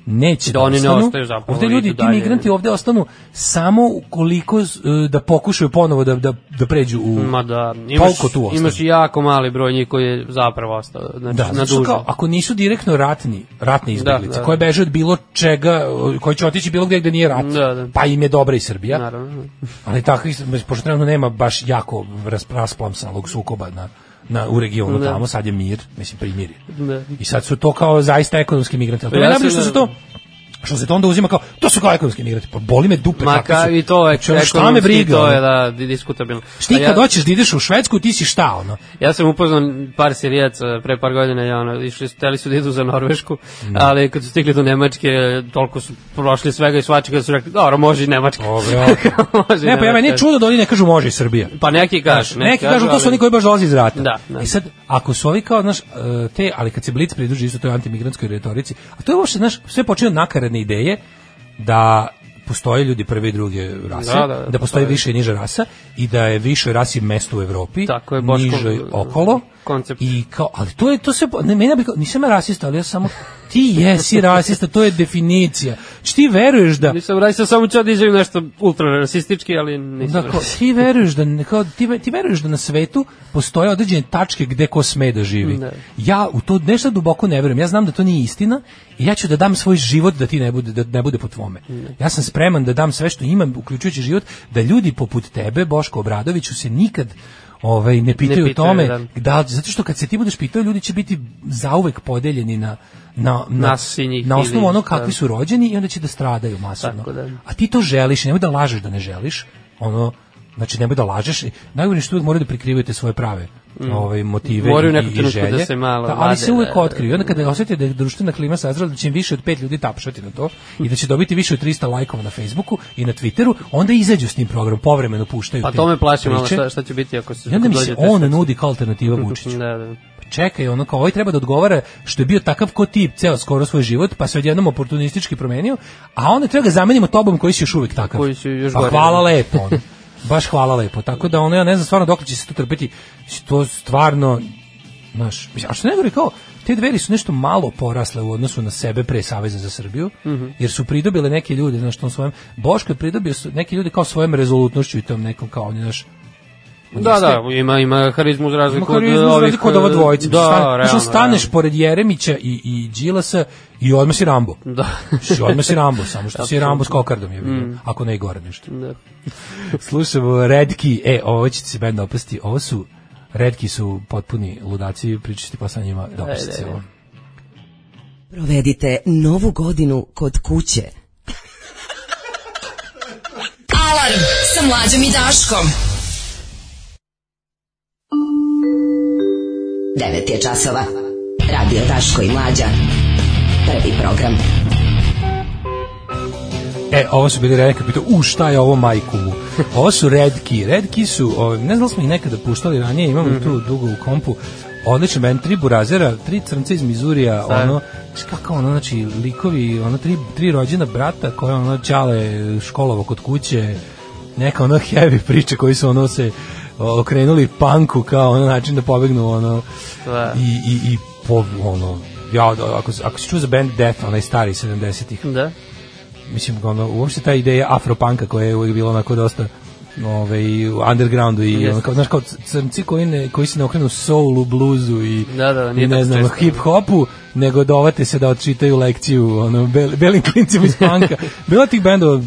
neće
Da
da
oni ne
ostanu.
ostaju zapravo,
ovde
idu
ljudi, ti
dalje.
migranti ovde ostanu samo ukoliko e, da pokušaju ponovo da, da, da pređu u...
Ma da,
Koliko
imaš,
tu ostane?
imaš jako mali broj njih koji je zapravo ostao, znači
Da,
na
zato što
duže.
kao, ako nisu direktno ratni, ratne izbeglice,
da.
koje beže od bilo čega, e, koje će otići bilo gde gde nije rat,
Da, da.
pa im je dobra i Srbija,
Naravno.
Ali takvih, mislim, pošto trenutno nema baš jako ras- rasplamsanog sukoba na, na, u regionu
Da.
tamo, sad je mir, mislim, primirje.
Da.
I sad su to kao zaista ekonomski migranti. Ali to
Ja
je najbolje
sam,
što su
da.
to što se to onda uzima kao, to su kao ekonomski migranti, pa boli me dupe.
Ma
kakvi su.
ka, i to je
Znači, ono, šta me
ekonomski,
briga,
To je
ono?
da pa di- diskutabilno.
Šta ti
A
kad hoćeš da ideš u Švedsku, ti si šta, ono?
Ja sam upoznao par sirijaca pre par godina, ja ono, išli su, teli su da idu za Norvešku, ali kad su stigli do Nemačke, toliko su prošli svega i svačega, da su rekli, dobro, može i Nemačka. može i
ne, pa ja meni
Nemačka.
je čudo da oni ne kažu može i Srbija.
Pa neki kažu,
Neki, kažu, to su oni koji baš dolaze iz rata.
Da, da.
I sad, ako su ovi kao, znaš, e, te, ali kad se Blitz pridruži isto toj antimigrantskoj retorici, a to je uopšte, znaš, sve počinje od nakaradne ideje da postoje ljudi prve i druge rase, da,
Da, da,
da,
da,
postoji
postoje.
više i niža rasa i da je više rasi mesto u Evropi,
Tako je, Boško, e,
nižoj okolo.
koncept.
I kao, ali to je, to se, ne, meni ja bi kao, nisam ja rasista, ali ja samo, ti jesi rasista, to je definicija. Znači ti veruješ da,
Nisam radi sam samo ću da izjavim nešto ultra rasistički, ali nisam.
da kao, ti veruješ da ne- kao, ti, ve- ti veruješ da na svetu postoje određene tačke gde ko sme da živi.
Ne.
Ja u to nešto duboko ne verujem. Ja znam da to nije istina i ja ću da dam svoj život da ti ne bude da ne bude po tvome. Ja sam spreman da dam sve što imam uključujući život da ljudi poput tebe Boško Obradoviću se nikad ovaj ne pitaju, o
pitaju,
tome
da.
da zato što kad se ti budeš pitao ljudi će biti zauvek podeljeni na na na,
Nas i njih
na osnovu
ili-
ono kakvi
da.
su rođeni i onda će da stradaju masovno.
Tako da.
A ti to želiš, nemoj da lažeš da ne želiš. Ono, znači nemoj da lažeš. I Najgore što uvek moraju da prikrivaju te svoje prave ovaj, motive
Mm. Moraju u
i,
nekom
i
trenutku
želje.
da se malo
Ta- ali
vade,
se uvek
da-
otkriju. I onda kada osjete da je društvena klima sazrela da će im više od pet ljudi tapšati na to i da će dobiti više od 300 lajkova na Facebooku i na Twitteru, onda izađu s tim programom, povremeno puštaju
Pa
te
to me plaši malo
priče.
šta, šta će biti ako se
I onda mi se
dođe te
on
sve-
nudi kao alternativa Vučiću
Da, da.
čekaj, ono kao ovaj treba da odgovara što je bio takav ko tip ceo skoro svoj život, pa se odjednom oportunistički promenio, a onda treba ga zamenimo tobom koji si još uvek takav.
Koji si još
pa
gori,
hvala
da.
lepo, ono. baš hvala lepo. Tako da ono, ja ne znam stvarno dok će se to trpiti, Mislim, to stvarno, znaš, mislim, a što ne govori kao, te dveri su nešto malo porasle u odnosu na sebe pre Saveza za Srbiju,
Mhm.
jer su pridobile neke ljude, znaš, tom svojem, Boško je pridobio su neke ljude kao svojom rezolutnošću i tom nekom kao, on je, znaš, on
Da,
jeste-
da, ima, ima harizmu za
Ima
razliku od
karizmu za
ovih...
razliku od ova dvojica.
Da,
Stan-
realno.
Što staneš
realno.
pored Jeremića i, i Đilasa i odmah si Rambo.
Da. Mm.
Znači, odmah si Rambo, samo što si Rambo s kokardom je bilo, ako ne i gore nešto.
Da.
(laughs) Slušamo Redki, e, ovo će ti se bend opasti, ovo su, Redki su potpuni ludaci, pričati pa sa njima,
E,
da opasti se ovo.
Provedite novu godinu kod kuće.
Alarm sa mlađom i Daškom.
9 je časova. Radio Daško i Mlađa. Prvi program.
E, ovo su bili redki, pitao, u šta je ovo majkovu? Ovo su redki, redki su, ovaj, ne znam da li smo ih nekada puštali ranije, imamo ih tu dugo u kompu, odličan band, tri burazera, tri crnca iz Mizurija, ono, znaš kako ono, znači, likovi, ono, tri, tri rođena brata koje, ono, čale školovo kod kuće, neka ono heavy priče koji su, ono, se o, okrenuli panku kao ono način da pobegnu, ono,
Da.
i, i, i po, ono, ja, ako, ako si čuo za band Death, onaj stari 70-ih,
Da.
mislim ono uopšte ta ideja afropanka koja je uvijek bila onako dosta ovaj u undergroundu i
Jeste.
ono kao znaš kao c- crnci koji ne koji se ne okrenu soulu, bluzu i
Da, da, nije
i ne
tako
znam
često.
hip hopu nego dovate se da odčitaju lekciju ono bel, belim klincima iz
(laughs)
panka. Bilo je tih bendova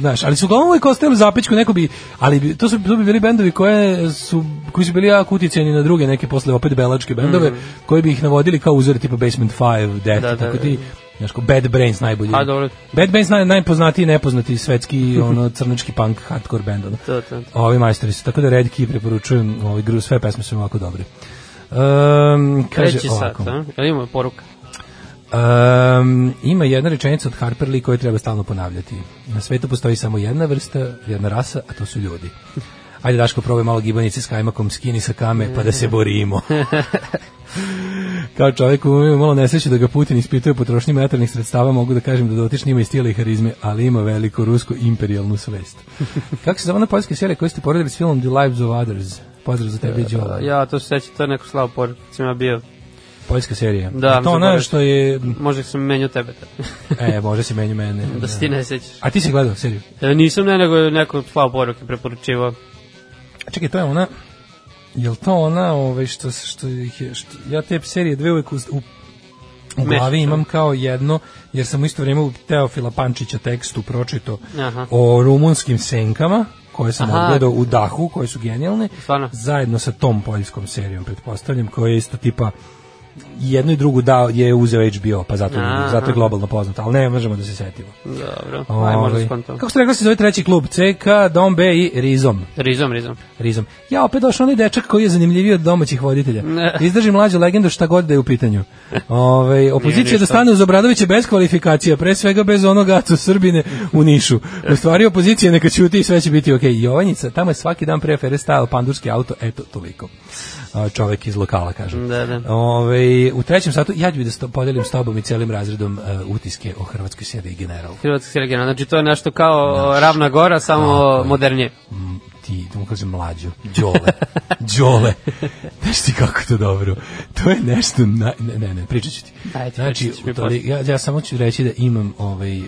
znaš, ali su uglavnom uvijek ostajali u zapečku, neko bi, ali bi- to su, to bi bili bendovi koje su, koji su bili jako uticeni na druge neke posle opet belačke bendove, koji bi ih navodili kao uzor tipa Basement 5, Death,
Mhm. Da, da,
tako
da.
ti, znaš, kao Bad Brains najbolji.
A, dobro.
Bad Bands naj, najpoznatiji i nepoznati svetski
(laughs)
ono crnački punk hardcore bend. Ono.
To, to, to.
Ovi majstori su, tako da Red Key preporučujem, ovi gru, sve pesme su ovako dobre. Um, kaže
Treći sat,
ovako.
a? Jel ima poruka?
um, ima jedna rečenica od Harper Lee koju treba stalno ponavljati. Na svetu postoji samo jedna vrsta, jedna rasa, a to su ljudi. Ajde Daško, probaj malo gibanice s kajmakom, skini sa kame, pa da se
(laughs)
borimo. Kao čovjek ima malo nesreće da ga Putin ispituje potrošnji materijalnih sredstava, mogu da kažem da dotični ima i stila i harizme, ali ima veliku rusku imperijalnu
(laughs)
svest. Kako se zove ona poljska serija koju ste poredili s filmom The Lives of Others? Pozdrav za tebe, Đolo.
E, Ja, to se sećam, to je neko slavo poruka, sam ja bio.
Poljska serija.
Da,
to ona
zaboravio.
što je...
Možda sam menio tebe tad.
E, može se meni mene.
(laughs) da se ti ne sećaš.
A ti si gledao seriju?
E, nisam ne, nego je neko slavo poruke preporučivao.
A Čekaj, to je ona... Jel to ona, ovaj, što, što, ih je- što ja te serije dve uvek u, u, u glavi
Mešaš,
imam kao jedno, jer sam u isto vrijeme u Teofila Pančića tekstu pročito
Aha.
o rumunskim senkama, koje sam
Aha.
odgledao u Dahu, koje su genijalne,
Stvarno?
zajedno sa tom poljskom serijom, pretpostavljam, koja je isto tipa jedno i drugu dao je uzeo HBO, pa zato,
Aha.
zato je globalno poznato, ali ne možemo da se setimo.
Dobro, aj možda
Ovaj,
skontam.
Kako ste rekli se zove treći klub? CK, Dom B i Rizom.
Rizom, rizom.
Rizom. Ja opet došao onaj dečak koji je zanimljiviji od domaćih voditelja.
Ne.
Izdrži mlađu legendu šta god da je u pitanju. Ove, opozicija
ništa.
da stane uz Obradovića bez kvalifikacija, pre svega bez onog acu Srbine u Nišu. U stvari opozicija neka ćuti i sve će biti okej. Jovanjica, tamo je svaki dan pre afere stajao pandurski auto, eto toliko. A, Čovek iz lokala, kažem.
Da, da.
Ove, Ovaj, u trećem satu ja ću da s to- podelim s tobom i celim razredom e, utiske o hrvatskoj seriji General.
Hrvatska serija, znači to je nešto kao Ravna gora, samo modernije.
Mm, ti, da mu kažem mlađo, (laughs) đole, đole. Znaš ti kako je to dobro? To je nešto, na, ne, ne, ne, pričat ću ti.
Ajde,
znači,
pričat ćeš mi
u toli, ja, ja samo ću reći da imam ovaj, e,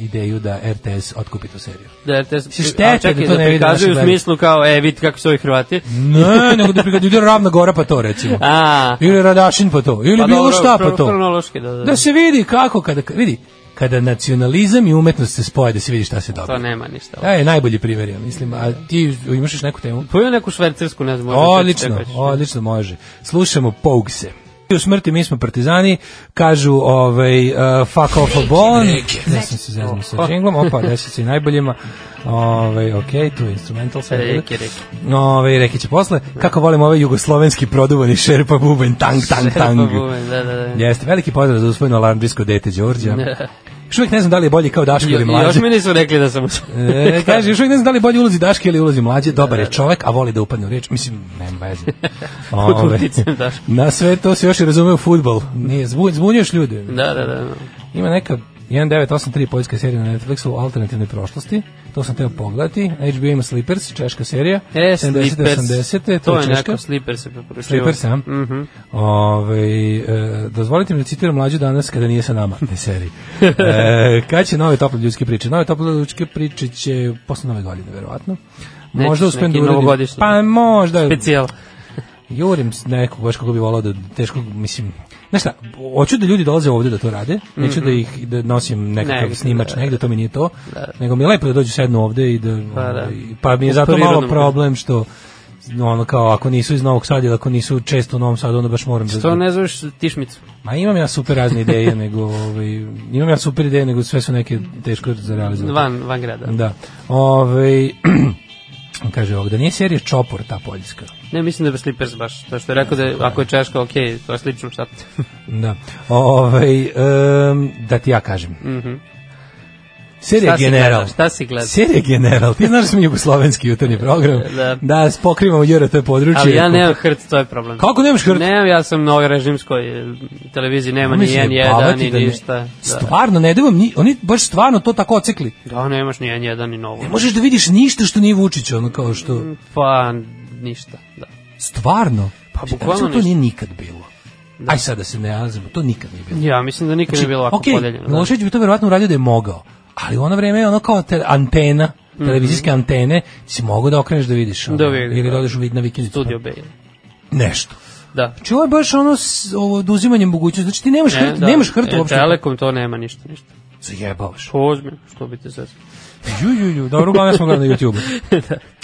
ideju da RTS otkupi tu seriju.
Da, te,
Mislim, šteta
a čekaj,
da to
da
ne vide
prikazuju u
naši gledalci.
smislu kao, e, vidite kako su ovi Hrvati.
(laughs) Ne, nego da prikad ljudi ravna gora pa to recimo. (laughs)
A,
Ili Radašin pa to, ili bilo
dobro,
šta pa
hron-
to.
Hronološki, da, da.
Da se vidi kako, kada, vidi, kada nacionalizam i umetnost se spoje, da se vidi šta se
To
dobije.
nema ništa.
Da je najbolji primjer, ja mislim. A ti imaš još neku temu?
Pa ima neku švercersku, ne znam. možda
Odlično,
čekaj, čekaj.
odlično može. Slušamo Pogse. U smrti mi smo partizani, kažu ovaj, uh, fuck off a bon. Ne sam se zeznuo sa džinglom, (laughs) opa, desit se i najboljima. Ovaj, ok, tu je instrumental. sve je
Reki,
dobro.
reki.
Ove, reki će posle. Kako volim ovaj jugoslovenski produvani šerpa bubanj, tang, tang, tang.
Pa bubanj, Da, da, da.
Jeste, veliki pozdrav za usvojeno alarmdijsko dete Đorđa. Još uvijek ne znam da li je bolji kao Daško ili
Jo- Još
mlađe.
mi nisu rekli da sam...
E, kaže, još uvijek ne znam da li bolje ulazi Daške ili ulazi mlađe, dobar je čovek, a voli da upadne u riječ. Mislim, nema
(laughs)
veze. Ove,
uticajem Daške.
na sve to se još i razume u futbol. Nije, zbun, zbunjuješ ljude.
Da, da, da.
Ima neka 1983 poljska serija na Netflixu o alternativnoj prošlosti. To sam teo pogledati. HBO ima Slippers, češka serija.
E,
70-te,
Slippers.
80-te,
To je
češka.
neko Slippers da se Mhm. preporučio.
Slippers, a? Ovaj, e, dozvolite mi da citiram mlađu danas kada nije sa nama, ne seri.
(laughs)
E, kad će nove tople ljudske priče? Nove tople ljudske priče će posle nove godine, verovatno.
Nećeš
Možda uspem
neki
da uradim.
novogodišnji?
Pa možda.
Specijal.
Jurim s- nekog baš kako bi volao da teško, mislim, znaš šta, hoću da ljudi dolaze ovde da to rade, neću da ih da nosim nekakav
Negde,
snimač
da.
negde, to mi nije to, nego mi je lepo da dođu sednu ovde i da,
Pa da.
ovaj, pa mi je
U
zato malo
prirodnom.
problem što ono kao ako nisu iz Novog Sada ili ako nisu često u Novom Sadu onda baš moram da
Što ne zoveš tišmicu?
ma imam ja super razne ideje (laughs) nego ovaj imam ja super ideje nego sve su neke teško za realizovati
Van, van grada.
da ovaj (clears throat) kaže ovog da nije serija Čopor ta poljska
Ne, mislim da bi Slippers baš. To što je rekao da je- ako je Češka, ok, to je slično šta.
Da. Ovaj em, da ti ja kažem. Mhm. Serija
Šta si
General.
gledao? Šta si gledao?
Serija General. Ti znaš da smo jugoslovenski jutarnji program.
Da.
da pokrivamo JRT područje.
Ali ja nemam hrc, to je problem.
Kako nemaš hrc?
Nemam, ja sam na ovoj režimskoj eh, televiziji, nema ni
Mislim,
N1,
jebavati
ni
da ne-
ništa. Da.
Stvarno, ne devam ni, oni baš stvarno to tako ocikli.
Da, nemaš ni N1, ni novo.
Ne možeš da vidiš ništa što nije Vučić, ono kao što...
Pa, ništa, da.
Stvarno. Pa
bukvalno
To
ništa.
nije nikad bilo. Aj sad da se ne nalazimo, to nikad nije bilo.
Ja mislim da nikad ne bilo ovako
Znači, okej,
podeljeno. da.
Milošević bi to verovatno uradio da je mogao, ali u ono vreme je ono kao te, antena, televizijske antene, si mogao da okreneš da vidiš. Ono,
Mhm. Da vidim,
Ili da
da.
odeš u vid na vikendicu. pa
Studio B. je.
Nešto.
Da.
Znači ovo je baš ono s, ovo, oduzimanjem mogućnosti. Znači ti nemaš hrt,
da.
nemaš hrt
E,
uopšte.
Telekom to nema ništa, ništa.
Zajebavaš.
Pozme, što bi te sad.
Ju, ju, ju. Dobro, uglavnom ja sam gledao na YouTube.
(laughs)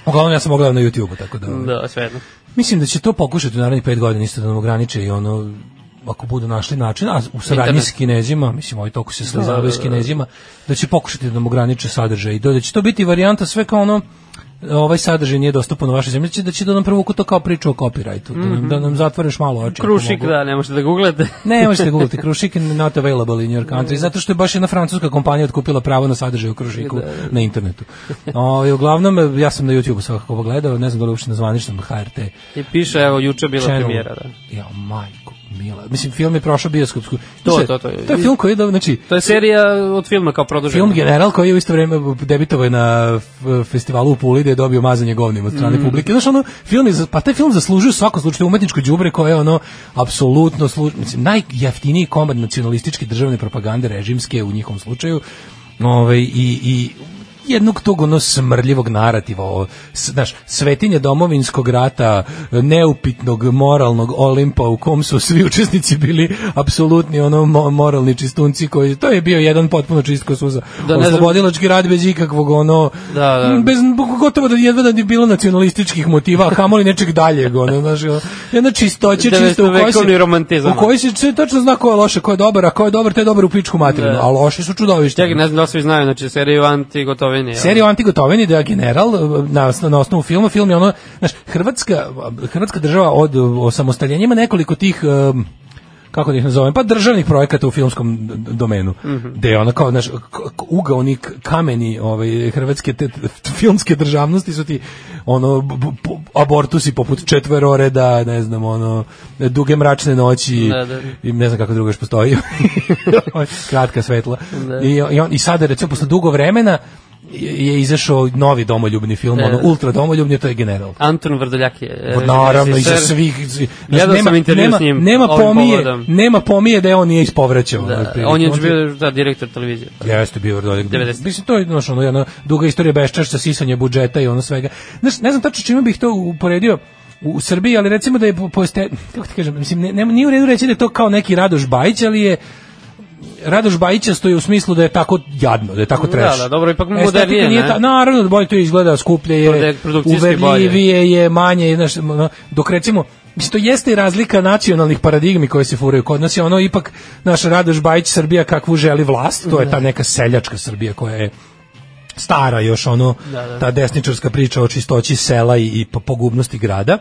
Uglavnom ja sam gledao na YouTube, tako da...
Da, svejedno.
Mislim da će to pokušati u narednih pet godina isto da nam ograniče i ono ako budu našli način, a u saradnji
Internet.
s Kinezima, mislim ovi toliko se slizavaju s Kinezima, da će pokušati da nam ograniče sadržaj i da, da će to biti varijanta sve kao ono ovaj sadržaj nije dostupan u vašoj zemlji, da će- da će da nam prvo to kao priču o copyrightu, da, nam, da nam zatvoreš malo oči. ako
Krušik,
mogu.
da, ne možete da googlate.
Ne možete googlati Krušik not available in your country zato što je baš jedna francuska kompanija otkupila pravo na sadržaj u Krušiku na internetu. Ovaj uglavnom ja sam na YouTubeu svakako pogledao, ne znam da li je uopšte na zvaničnom HRT.
I piše, evo, juče bila
Channel.
premijera, da.
Ja, majko, mila. Mislim, film je prošao bioskopsku.
To,
Slušaj,
to, to je-
To je film koji je, do- znači,
To je serija od filma kao produžena.
film General koji je u isto vrijeme debitovao je na f- festivalu u Puli gde je dobio mazanje govnima od strane publike. Znaš, ono, film je, za- pa taj film zaslužuje u svakom slučaju umetničko đubre koje je ono, apsolutno, služ, mislim, najjeftiniji komad nacionalističke državne propagande režimske u njihovom slučaju. Ovaj, i, i jednog tog ono smrljivog narativa o, s- znaš, svetinje domovinskog rata neupitnog moralnog olimpa u kom su svi učesnici bili apsolutni ono mo- moralni čistunci koji, to je bio jedan potpuno čistko suza
Da, ne znam-
oslobodilački rad bez ikakvog ono
Da, da.
m, bez gotovo da jedva da je bilo nacionalističkih motiva a kamoli nečeg daljeg ono, znaš, ono, jedna čistoća čisto u kojoj
Devetnovekovni
se,
romantizam.
u kojoj se sve tačno zna ko je loše, ko je dobar a ko je dobar, te je dobar u pičku materinu,
Da.
a loši su čudovišta
Čekaj, ne znam da li svi znaju, znači seriju Anti Gotovini. ali-
Serija o Antigotovini da je general na, osno- na osnovu filma, film je ono, znaš, Hrvatska, Hrvatska država od osamostaljenja ima nekoliko tih em, kako da ih nazovem, pa državnih projekata u filmskom d- d- domenu. Mm -hmm. Gde je ona kao, znaš, k- k- ugaoni k- kameni ovaj, hrvatske te, t- filmske državnosti su ti ono, b- b- abortusi poput četveroreda, ne znam, ono, duge mračne noći,
Da, da.
i ne znam kako drugo još
(laughs)
postoji. Kratka svetla.
Da.
I, i, on, I sada, recimo, posle dugo vremena je je izašao novi domoljubni
Da.
film, ono, ultra domoljubni, to je General.
Anton Vrdoljak je e,
Naravno, iza
Da, režiser.
svih... znaš,
Gledao sam intervju
nema,
s njim
Nema
ovim
pomije,
povodom.
nema pomije da je on nije ispovraćao.
Da,
otprilike.
on je
ti-
bio da, direktor televizije.
Jeste bio Vrdoljak.
90.
Mislim, to je znaš, ono, jedna duga istorija beščašća, sisanje budžeta i ono svega. Znaš, ne znam tačno čime bih to uporedio u Srbiji, ali recimo da je po, po este, kako ti kažem, mislim, ne, ne, nije u redu reći da je to kao neki Radoš Bajić, ali je Radoš Bajića stoji u smislu da je tako jadno, da je tako
Da,
trash.
da, dobro, ipak
Estetika
modernije,
nije
ne?
ta, naravno, da bolje to izgleda, skuplje
Prode-
je,
produkcijski bolje.
uverljivije je, manje je, znaš, ono, dok recimo, mislim, to jeste i razlika nacionalnih paradigmi koje se furaju kod nas, je ono ipak, naš Radoš Bajić Srbija kakvu želi vlast, to je
Da.
ta neka seljačka Srbija koja je stara još ono,
Da, da.
ta desničarska priča o čistoći sela i, i po- pogubnosti grada.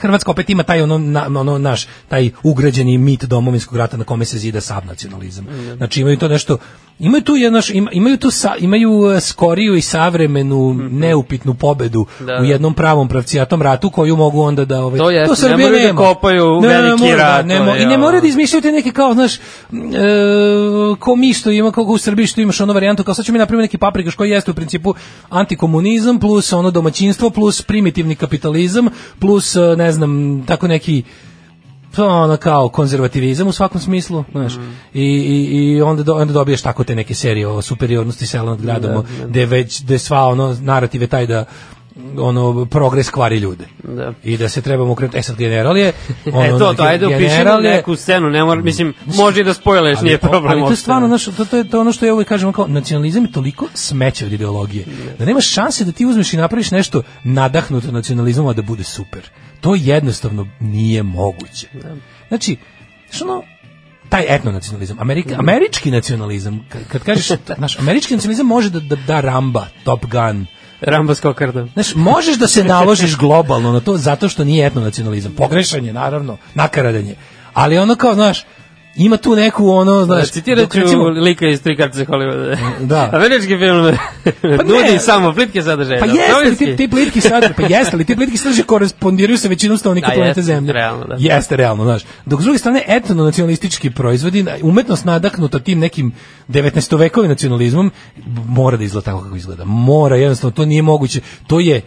Hrvatska opet ima taj ono, na, ono naš taj ugrađeni mit domovinskog rata na kome se zida sav nacionalizam.
Mm.
Znači imaju to nešto imaju tu jedno ima, imaju tu sa, imaju e, skoriju i savremenu neupitnu pobedu
Mhm. Da,
u
da.
jednom pravom pravcijatom ratu koju mogu onda da ovaj
To jeste, ne moraju da kopaju veliki
mora,
rat,
ne,
to
mo-
je,
i ne
ono.
moraju da izmišljaju te neke kao znaš e, ko mi što ima kako u Srbiji što imaš ono varijantu kao sad ćemo mi napraviti neki paprikaš koji jeste u principu antikomunizam plus ono domaćinstvo plus primitivni kapitalizam plus e, ne znam tako neki to ono kao konzervativizam u svakom smislu, znaš.
Mhm.
I, i, i onda, do, onda dobiješ tako te neke serije o superiornosti sela nad gradom, da, gde već gde sva ono narativ je taj da ono progres kvari ljude.
Da.
I da se trebamo okrenuti. E sad general
(laughs)
je ono,
e to, to, ajde upišemo
general je-
neku scenu, ne mora, mislim, može i da spojleš, nije problem.
ali to je
uopšte.
stvarno znaš, to, to, je, to je ono što ja uvek kažem kao nacionalizam je toliko smeće od ideologije da nema šanse da ti uzmeš i napraviš nešto nadahnuto nacionalizmom a da bude super to jednostavno nije moguće
Da.
znači znaš ono taj etnonacionalizam, Amerika,
Mhm.
američki nacionalizam, kad, kad kažeš, (laughs) naš američki nacionalizam može da, da, da Ramba, Top Gun,
Rambo s kokardom.
Znaš, možeš da se naložiš globalno na to zato što nije etnonacionalizam. Pogrešan je, naravno, nakaradan je. Ali ono kao, znaš, ima tu neku ono, znaš...
Citirat
dok
ću lika iz tri kartice Hollywooda. (laughs)
Da.
Američki film
Pa
(laughs) nudi
ne.
samo plitke sadržaje.
Pa
da,
jeste, ali ti,
novinski.
ti plitki sadržaj, pa jeste, ali ti plitki sadržaj korespondiraju sa većinom stanovnika
Da,
planete
jeste,
Zemlje.
realno, da.
Jeste, realno, znaš. Dok s druge strane, etnonacionalistički proizvodi, na- umetnost nadaknuta tim nekim 19-vekovim nacionalizmom, b- mora da izgleda tako kako izgleda. Mora, jednostavno, to nije moguće. To je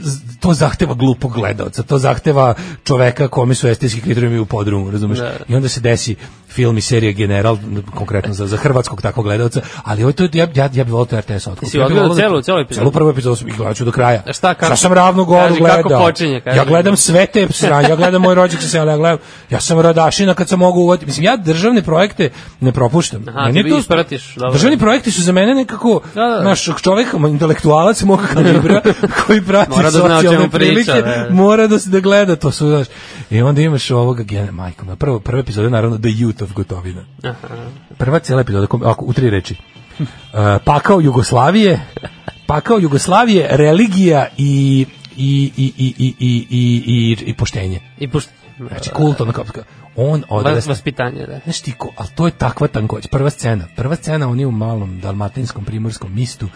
z- to zahteva glupog gledaoca, to zahteva čoveka kome su estetski kriterijumi u podrumu, razumeš?
Da.
I onda se desi film i serija General, n- konkretno za, za hrvatskog takvog gledaoca, ali ovo je to, ja, ja, ja bih volao to RTS otkup.
Jesi
Ja bih
odgledao
volao da-
celu- celu epizodu?
Celu prvu epizodu sam i gledat ću do kraja.
A šta, kako?
Ja sam ravno goru
Kaži, kako
gledao.
počinje, kaži.
ja gledam sve te sranje, ja gledam moj rođak se, ja gledam, ja sam radašina kad sam mogu uvoditi. Mislim, ja državne projekte ne propuštam.
Aha, ti vi ispratiš, dobro.
Državni projekti su za mene nekako,
Da, da.
naš čovek, intelektualac mog
(laughs)
kalibra, koji prati
Mora da zna o
socijalne
čemu priča,
prilike,
da.
mora da se da gleda, to su, znaš. I onda imaš ovoga, gene, majko, na prvo, prve epizode, naravno, The Youth of Gotovina. Prva cijela epizoda, kom- ovako, u tri reči. Uh, pakao Jugoslavije, pakao Jugoslavije, religija i i i i i i i i, i poštenje.
I pošto...
Znači kult ono kao, kao- on
vas,
odrasta.
vaspitanje, da.
Znaš ti ko, ali to je takva tankoć. Prva scena, prva scena oni u malom dalmatinskom primorskom mistu,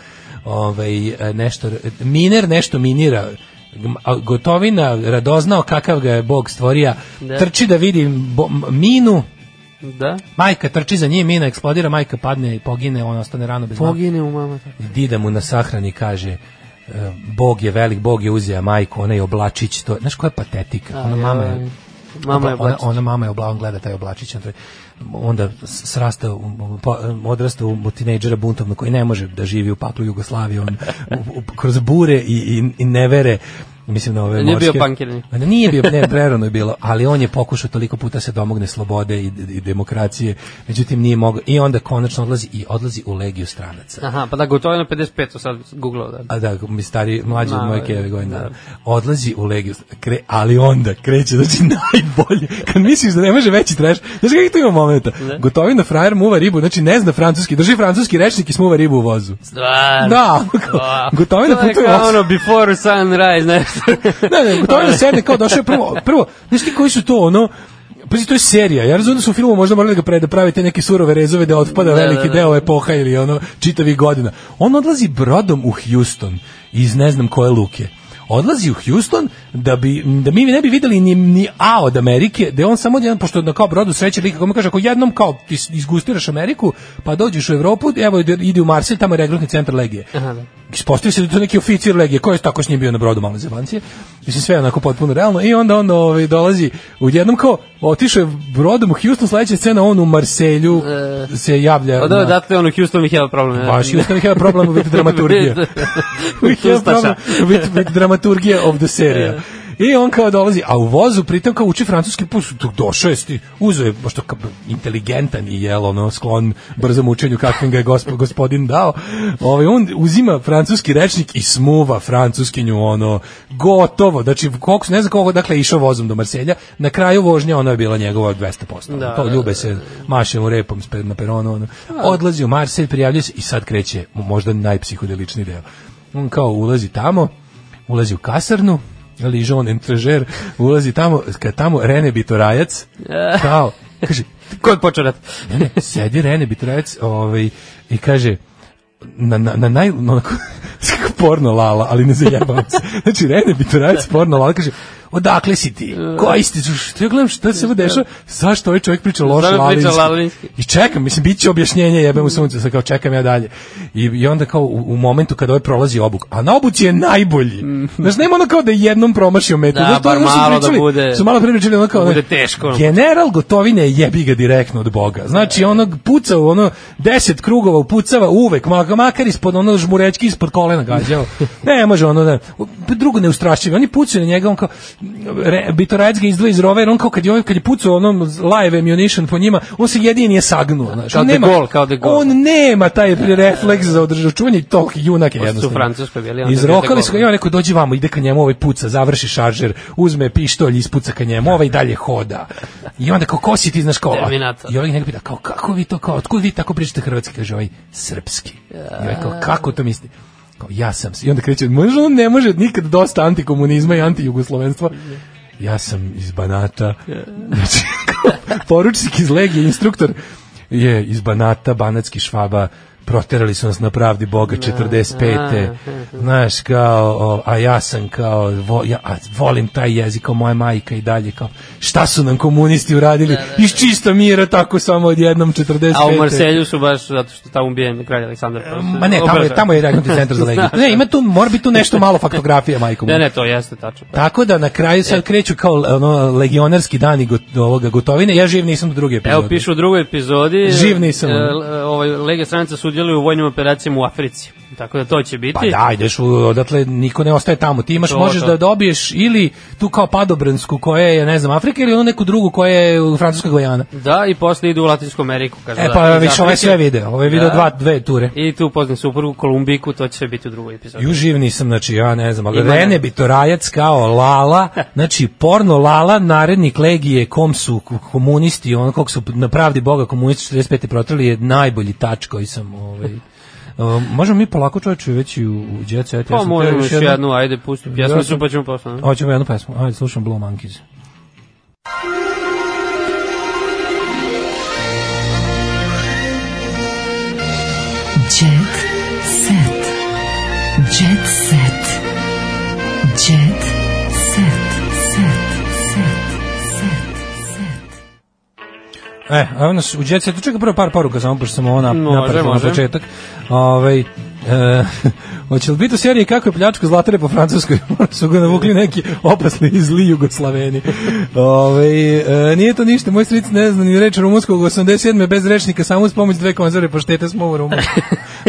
ovaj, e, nešto, miner nešto minira, Gm- a gotovina, radoznao kakav ga je Bog stvoria,
Da.
trči da vidi bo, m- minu,
Da?
majka trči za njim, mina eksplodira, majka padne i pogine, on ostane rano bez majke.
Pogine u mama.
Dida mu na sahrani kaže e, Bog je velik, Bog je uzija majku, ona je oblačić, to je, znaš koja je patetika, ona mama je,
Mama je
Obla- ona,
oblačila.
ona mama je obla, on gleda taj oblačić, on tre- onda s- srasta, u- u- pa- odrasta u tinejdžera buntovno koji ne može da živi u paklu Jugoslavije, on u- u- kroz bure i, i, i nevere, mislim na ove
Nije bio
morske-
punker.
Ma ne, Nije bio, ne, prerano je bilo, ali on je pokušao toliko puta da se domogne slobode i, i demokracije, međutim nije mogao, i onda konačno odlazi i odlazi u legiju stranaca.
Aha, pa da, gotovo je na 55, sad googlao, da.
A da, mi stari, mlađi od
Ma,
moje keve godine.
da.
Odlazi u Legiju, kre, ali onda kreće, znači (laughs) najbolje. Kad misliš da ne može veći trash, znaš kakvih tu ima momenta? Gotovina frajer muva ribu, znači ne zna francuski, drži francuski rečnik i smuva ribu u vozu.
Stvarno.
Da, (laughs) Gotovina
To je
putuje
kao
osam.
ono, before sunrise, nešto.
(laughs) Ne, ne, Gotovina sedne kao došao je prvo, prvo, znaš ti koji su to ono, Pazi, to je serija. Ja razumijem da su u filmu možda morali da ga pre, da prave te neke surove rezove da otpada
Da, da,
veliki
da.
deo epoha ili ono čitavih godina. On odlazi brodom u Houston iz ne znam koje luke. Odlazi u Houston da bi da mi ne bi videli ni ni A od Amerike, da je on samo jedan pošto na kao brodu sreće lika kome kaže ako jednom kao is- izgustiraš Ameriku, pa dođeš u Evropu, evo ide- ide u Marselj, tamo je regrutni centar legije.
Aha, da.
Ispostavi se da je to neki oficir legije koji je tako s njim bio na brodu male zebancije. Mislim sve je onako potpuno realno i onda on ovaj dolazi u jednom kao otišao je brodom u Houston, sledeća scena on u Marselju se javlja.
Od
na-
odatle on u Houstonu dakle, ih problem. e, ja.
Baš Houston have problem with dramaturgija. we (laughs) have problem
Hustaša.
with, with dramaturgija of the
(laughs)
serija. I on kao dolazi, a u vozu pritom kao uči francuski pus, dok došao je, sti- uzeo je, pošto kao inteligentan i jel, ono, sklon brzom učenju kakvim ga je gospo, gospodin dao, ovaj, on uzima francuski rečnik i smuva francuskinju, ono, gotovo, znači, koliko, ne znam koliko, dakle, je išao vozom do Marselja, na kraju vožnje ona je bila njegova 200%, da,
Da,
to
da,
ljube se mašemo repom spe- na peronu, ono. odlazi u Marselj, prijavljuje se i sad kreće mu možda najpsihodelični deo. On kao ulazi tamo, ulazi u kasarnu, Ližon entrežer, ulazi tamo, kad tamo Rene Bitorajac, kao, kaže,
(laughs) Kod počerat.
ne, ne, sedi Rene Bitorajac ovaj, i kaže, na, na, na naj... Na, onako, (laughs) kako porno lala, ali ne zajebavam se. Znači, Rene Bitorajac porno lala kaže, odakle si ti? Koji si ti? Što ja gledam, šta se ovo dešava? Zašto ovaj čovjek priča loše
Zašto priča
lalinski?
lalinski?
I čekam, mislim, bit će objašnjenje, jebem u sunce, sad kao čekam ja dalje. I, i onda kao u, u momentu kada ovaj prolazi obuk, a na obuci je najbolji. Znaš, nema ono kao da je jednom promašio metu.
Mm. Da,
Znaš, to je ono
bar
što su
malo da
pričali-
bude-
Su malo pričali ono kao...
da bude
ono,
teško, ono. Da,
General Gotovine jebi ga direktno od Boga. Znači, onog puca u ono deset krugova upucava uvek, ma- makar ispod ono žmurečki ispod kolena
(laughs)
gađao. ne može ono da... Drugo neustrašivo. Oni pucaju na njega, on kao... Re, Bitorajec ga izdvoji iz rove, jer on kao kad je, ovaj- kad je pucao onom live ammunition po njima, on se jedini je sagnuo. Znači,
Kao
on
De
nema,
Gaulle, kao De Gaulle.
On nema taj refleks za održavčuvanje i toliki junak je
Pošto su u
jednostavno.
Francuskoj bili, onda
Izrokali
De
su ga
Gaulle.
i on rekao dođi vamo, ide ka njemu ovaj puca, završi šaržer, uzme pištolj, ispuca ka njemu, ovaj dalje hoda. I onda kao, ko si ti, znaš kao, a-
Terminator.
i ovaj njega pita, kao, kako vi to, kao, otkud vi tako pričate hrvatski, kaže ovaj, srpski. I ovaj kao, kako to misli? Kao, ja sam, se- i onda kreće, možda on ne može nikad dosta antikomunizma i antijugoslovenstva. Ja sam iz Banata, znači, kao, poručnik iz Legije, instruktor, je iz Banata, banatski švaba, proterali su nas na pravdi
Da,
Boga 45. Znaš, kao, o, a ja sam kao, vo, ja, a volim taj jezik, kao moja majka i dalje, kao, šta su nam komunisti uradili, iz čista mira, tako samo odjednom 45.
Da, A u Marselju su baš zato što tamo ubijen kralj Aleksandar. pa su-
E, Ma ne, tamo je, tamo je reagnutni centar za
(laughs)
legiju. Ne, ima tu, mora biti tu nešto malo faktografija, majko. moja.
Ne, ne, to jeste tačno.
Tako da na kraju
E.
sad kreću kao ono, legionarski dani got, ovoga gotovine. Ja živ nisam do druge epizode.
Evo piše u drugoj epizodi.
Živ nisam.
e, l- ovaj Lega stranica sudjeluje u vojnim operacijama u Africi. Tako da to će biti.
Pa da, ideš u, odatle, niko ne ostaje tamo. Ti imaš,
To,
možeš
to.
da dobiješ ili tu kao padobransku koja je, ne znam, Afrika ili onu neku drugu koja je u Francuska Gvajana.
Da, i posle idu u Latinsku Ameriku, kaže.
E
da,
pa
iz
više, ovo je
Afrike. Da.
sve video. Ovo je video dva, dve ture.
I tu poznam suprugu Kolumbiku, to će biti u drugoj epizodi.
Ju živ nisam, znači ja ne znam, ali
Ima
Rene
ne-
Bitorajac kao Lala, znači porno Lala, narednik Legije, kom su k- komunisti, ono kog su na pravdi Boga komunisti 45. protrali je najbolji tač koji sam, ovaj, Um, možemo mi polako čoveče već i u, u Jet Set.
Pa
sam
možemo
teo
još jednu, ajde, pusti pjesmu,
Ja
ja
sam-
su pa ćemo posle. ne?
Hoćemo jednu pesmu. Ajde, slušam Blue Monkeys.
Jet set. Jet set. Jet set. Set.
E, a nas u Jet Setu čeka prvo par poruka samo pošto sam ovo na,
Može,
napravio na
može.
početak. Ovaj e, (laughs) hoće li biti u seriji kako je pljačko zlatare po Francuskoj? (laughs) Možda su ga navukli neki opasni i zli Jugoslaveni. Ovaj e, nije to ništa, moj stric ne zna ni reč rumunskog 87. bez rečnika, samo uz pomoć dve konzerve pašteta smo u
(laughs)
Rumunskoj.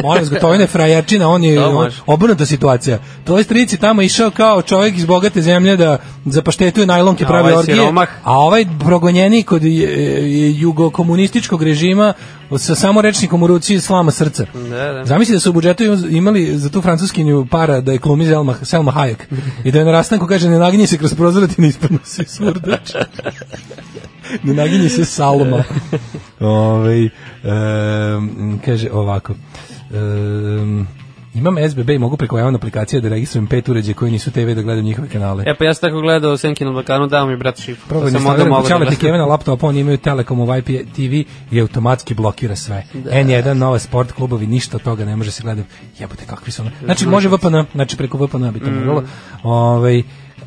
Molim vas, gotovine je frajerčina, on je
To
on,
može.
obrnuta situacija. Tvoj stric je tamo išao kao čovjek iz bogate zemlje da zapaštetuje najlonke
A
pravi
ovaj
orgije,
siromah?
a ovaj progonjenik od e, e, jugokomunističkog režima sa samo rečnikom u ruci slama srca.
Da, da.
Zamisli da su u budžetu imali za tu francuskinju para da je klumi Selma, Selma Hayek i da je na rastanku kaže ne naginji se kroz prozor da ti ne ispadnu se surdač. ne naginji se (laughs) Salma. Ovaj, Ove, kaže ovako. Um, Imam SBB i mogu preko javne aplikacije da registrujem pet uređaja koji nisu TV da gledam njihove kanale.
E pa ja sam tako gledao Senki na Balkanu, dao mi brat šifru.
Probaj
pa
da
sam onda
instalirati
mogao da
kućale
gledam.
tikeve na laptopu, oni imaju Telekom u IP TV i automatski blokira sve. N1, Nova Sport klubovi, ništa od toga ne može se gledati. Jebote, kakvi su ono. Znači, može VPN, znači preko VPN bi to moglo. Ovaj,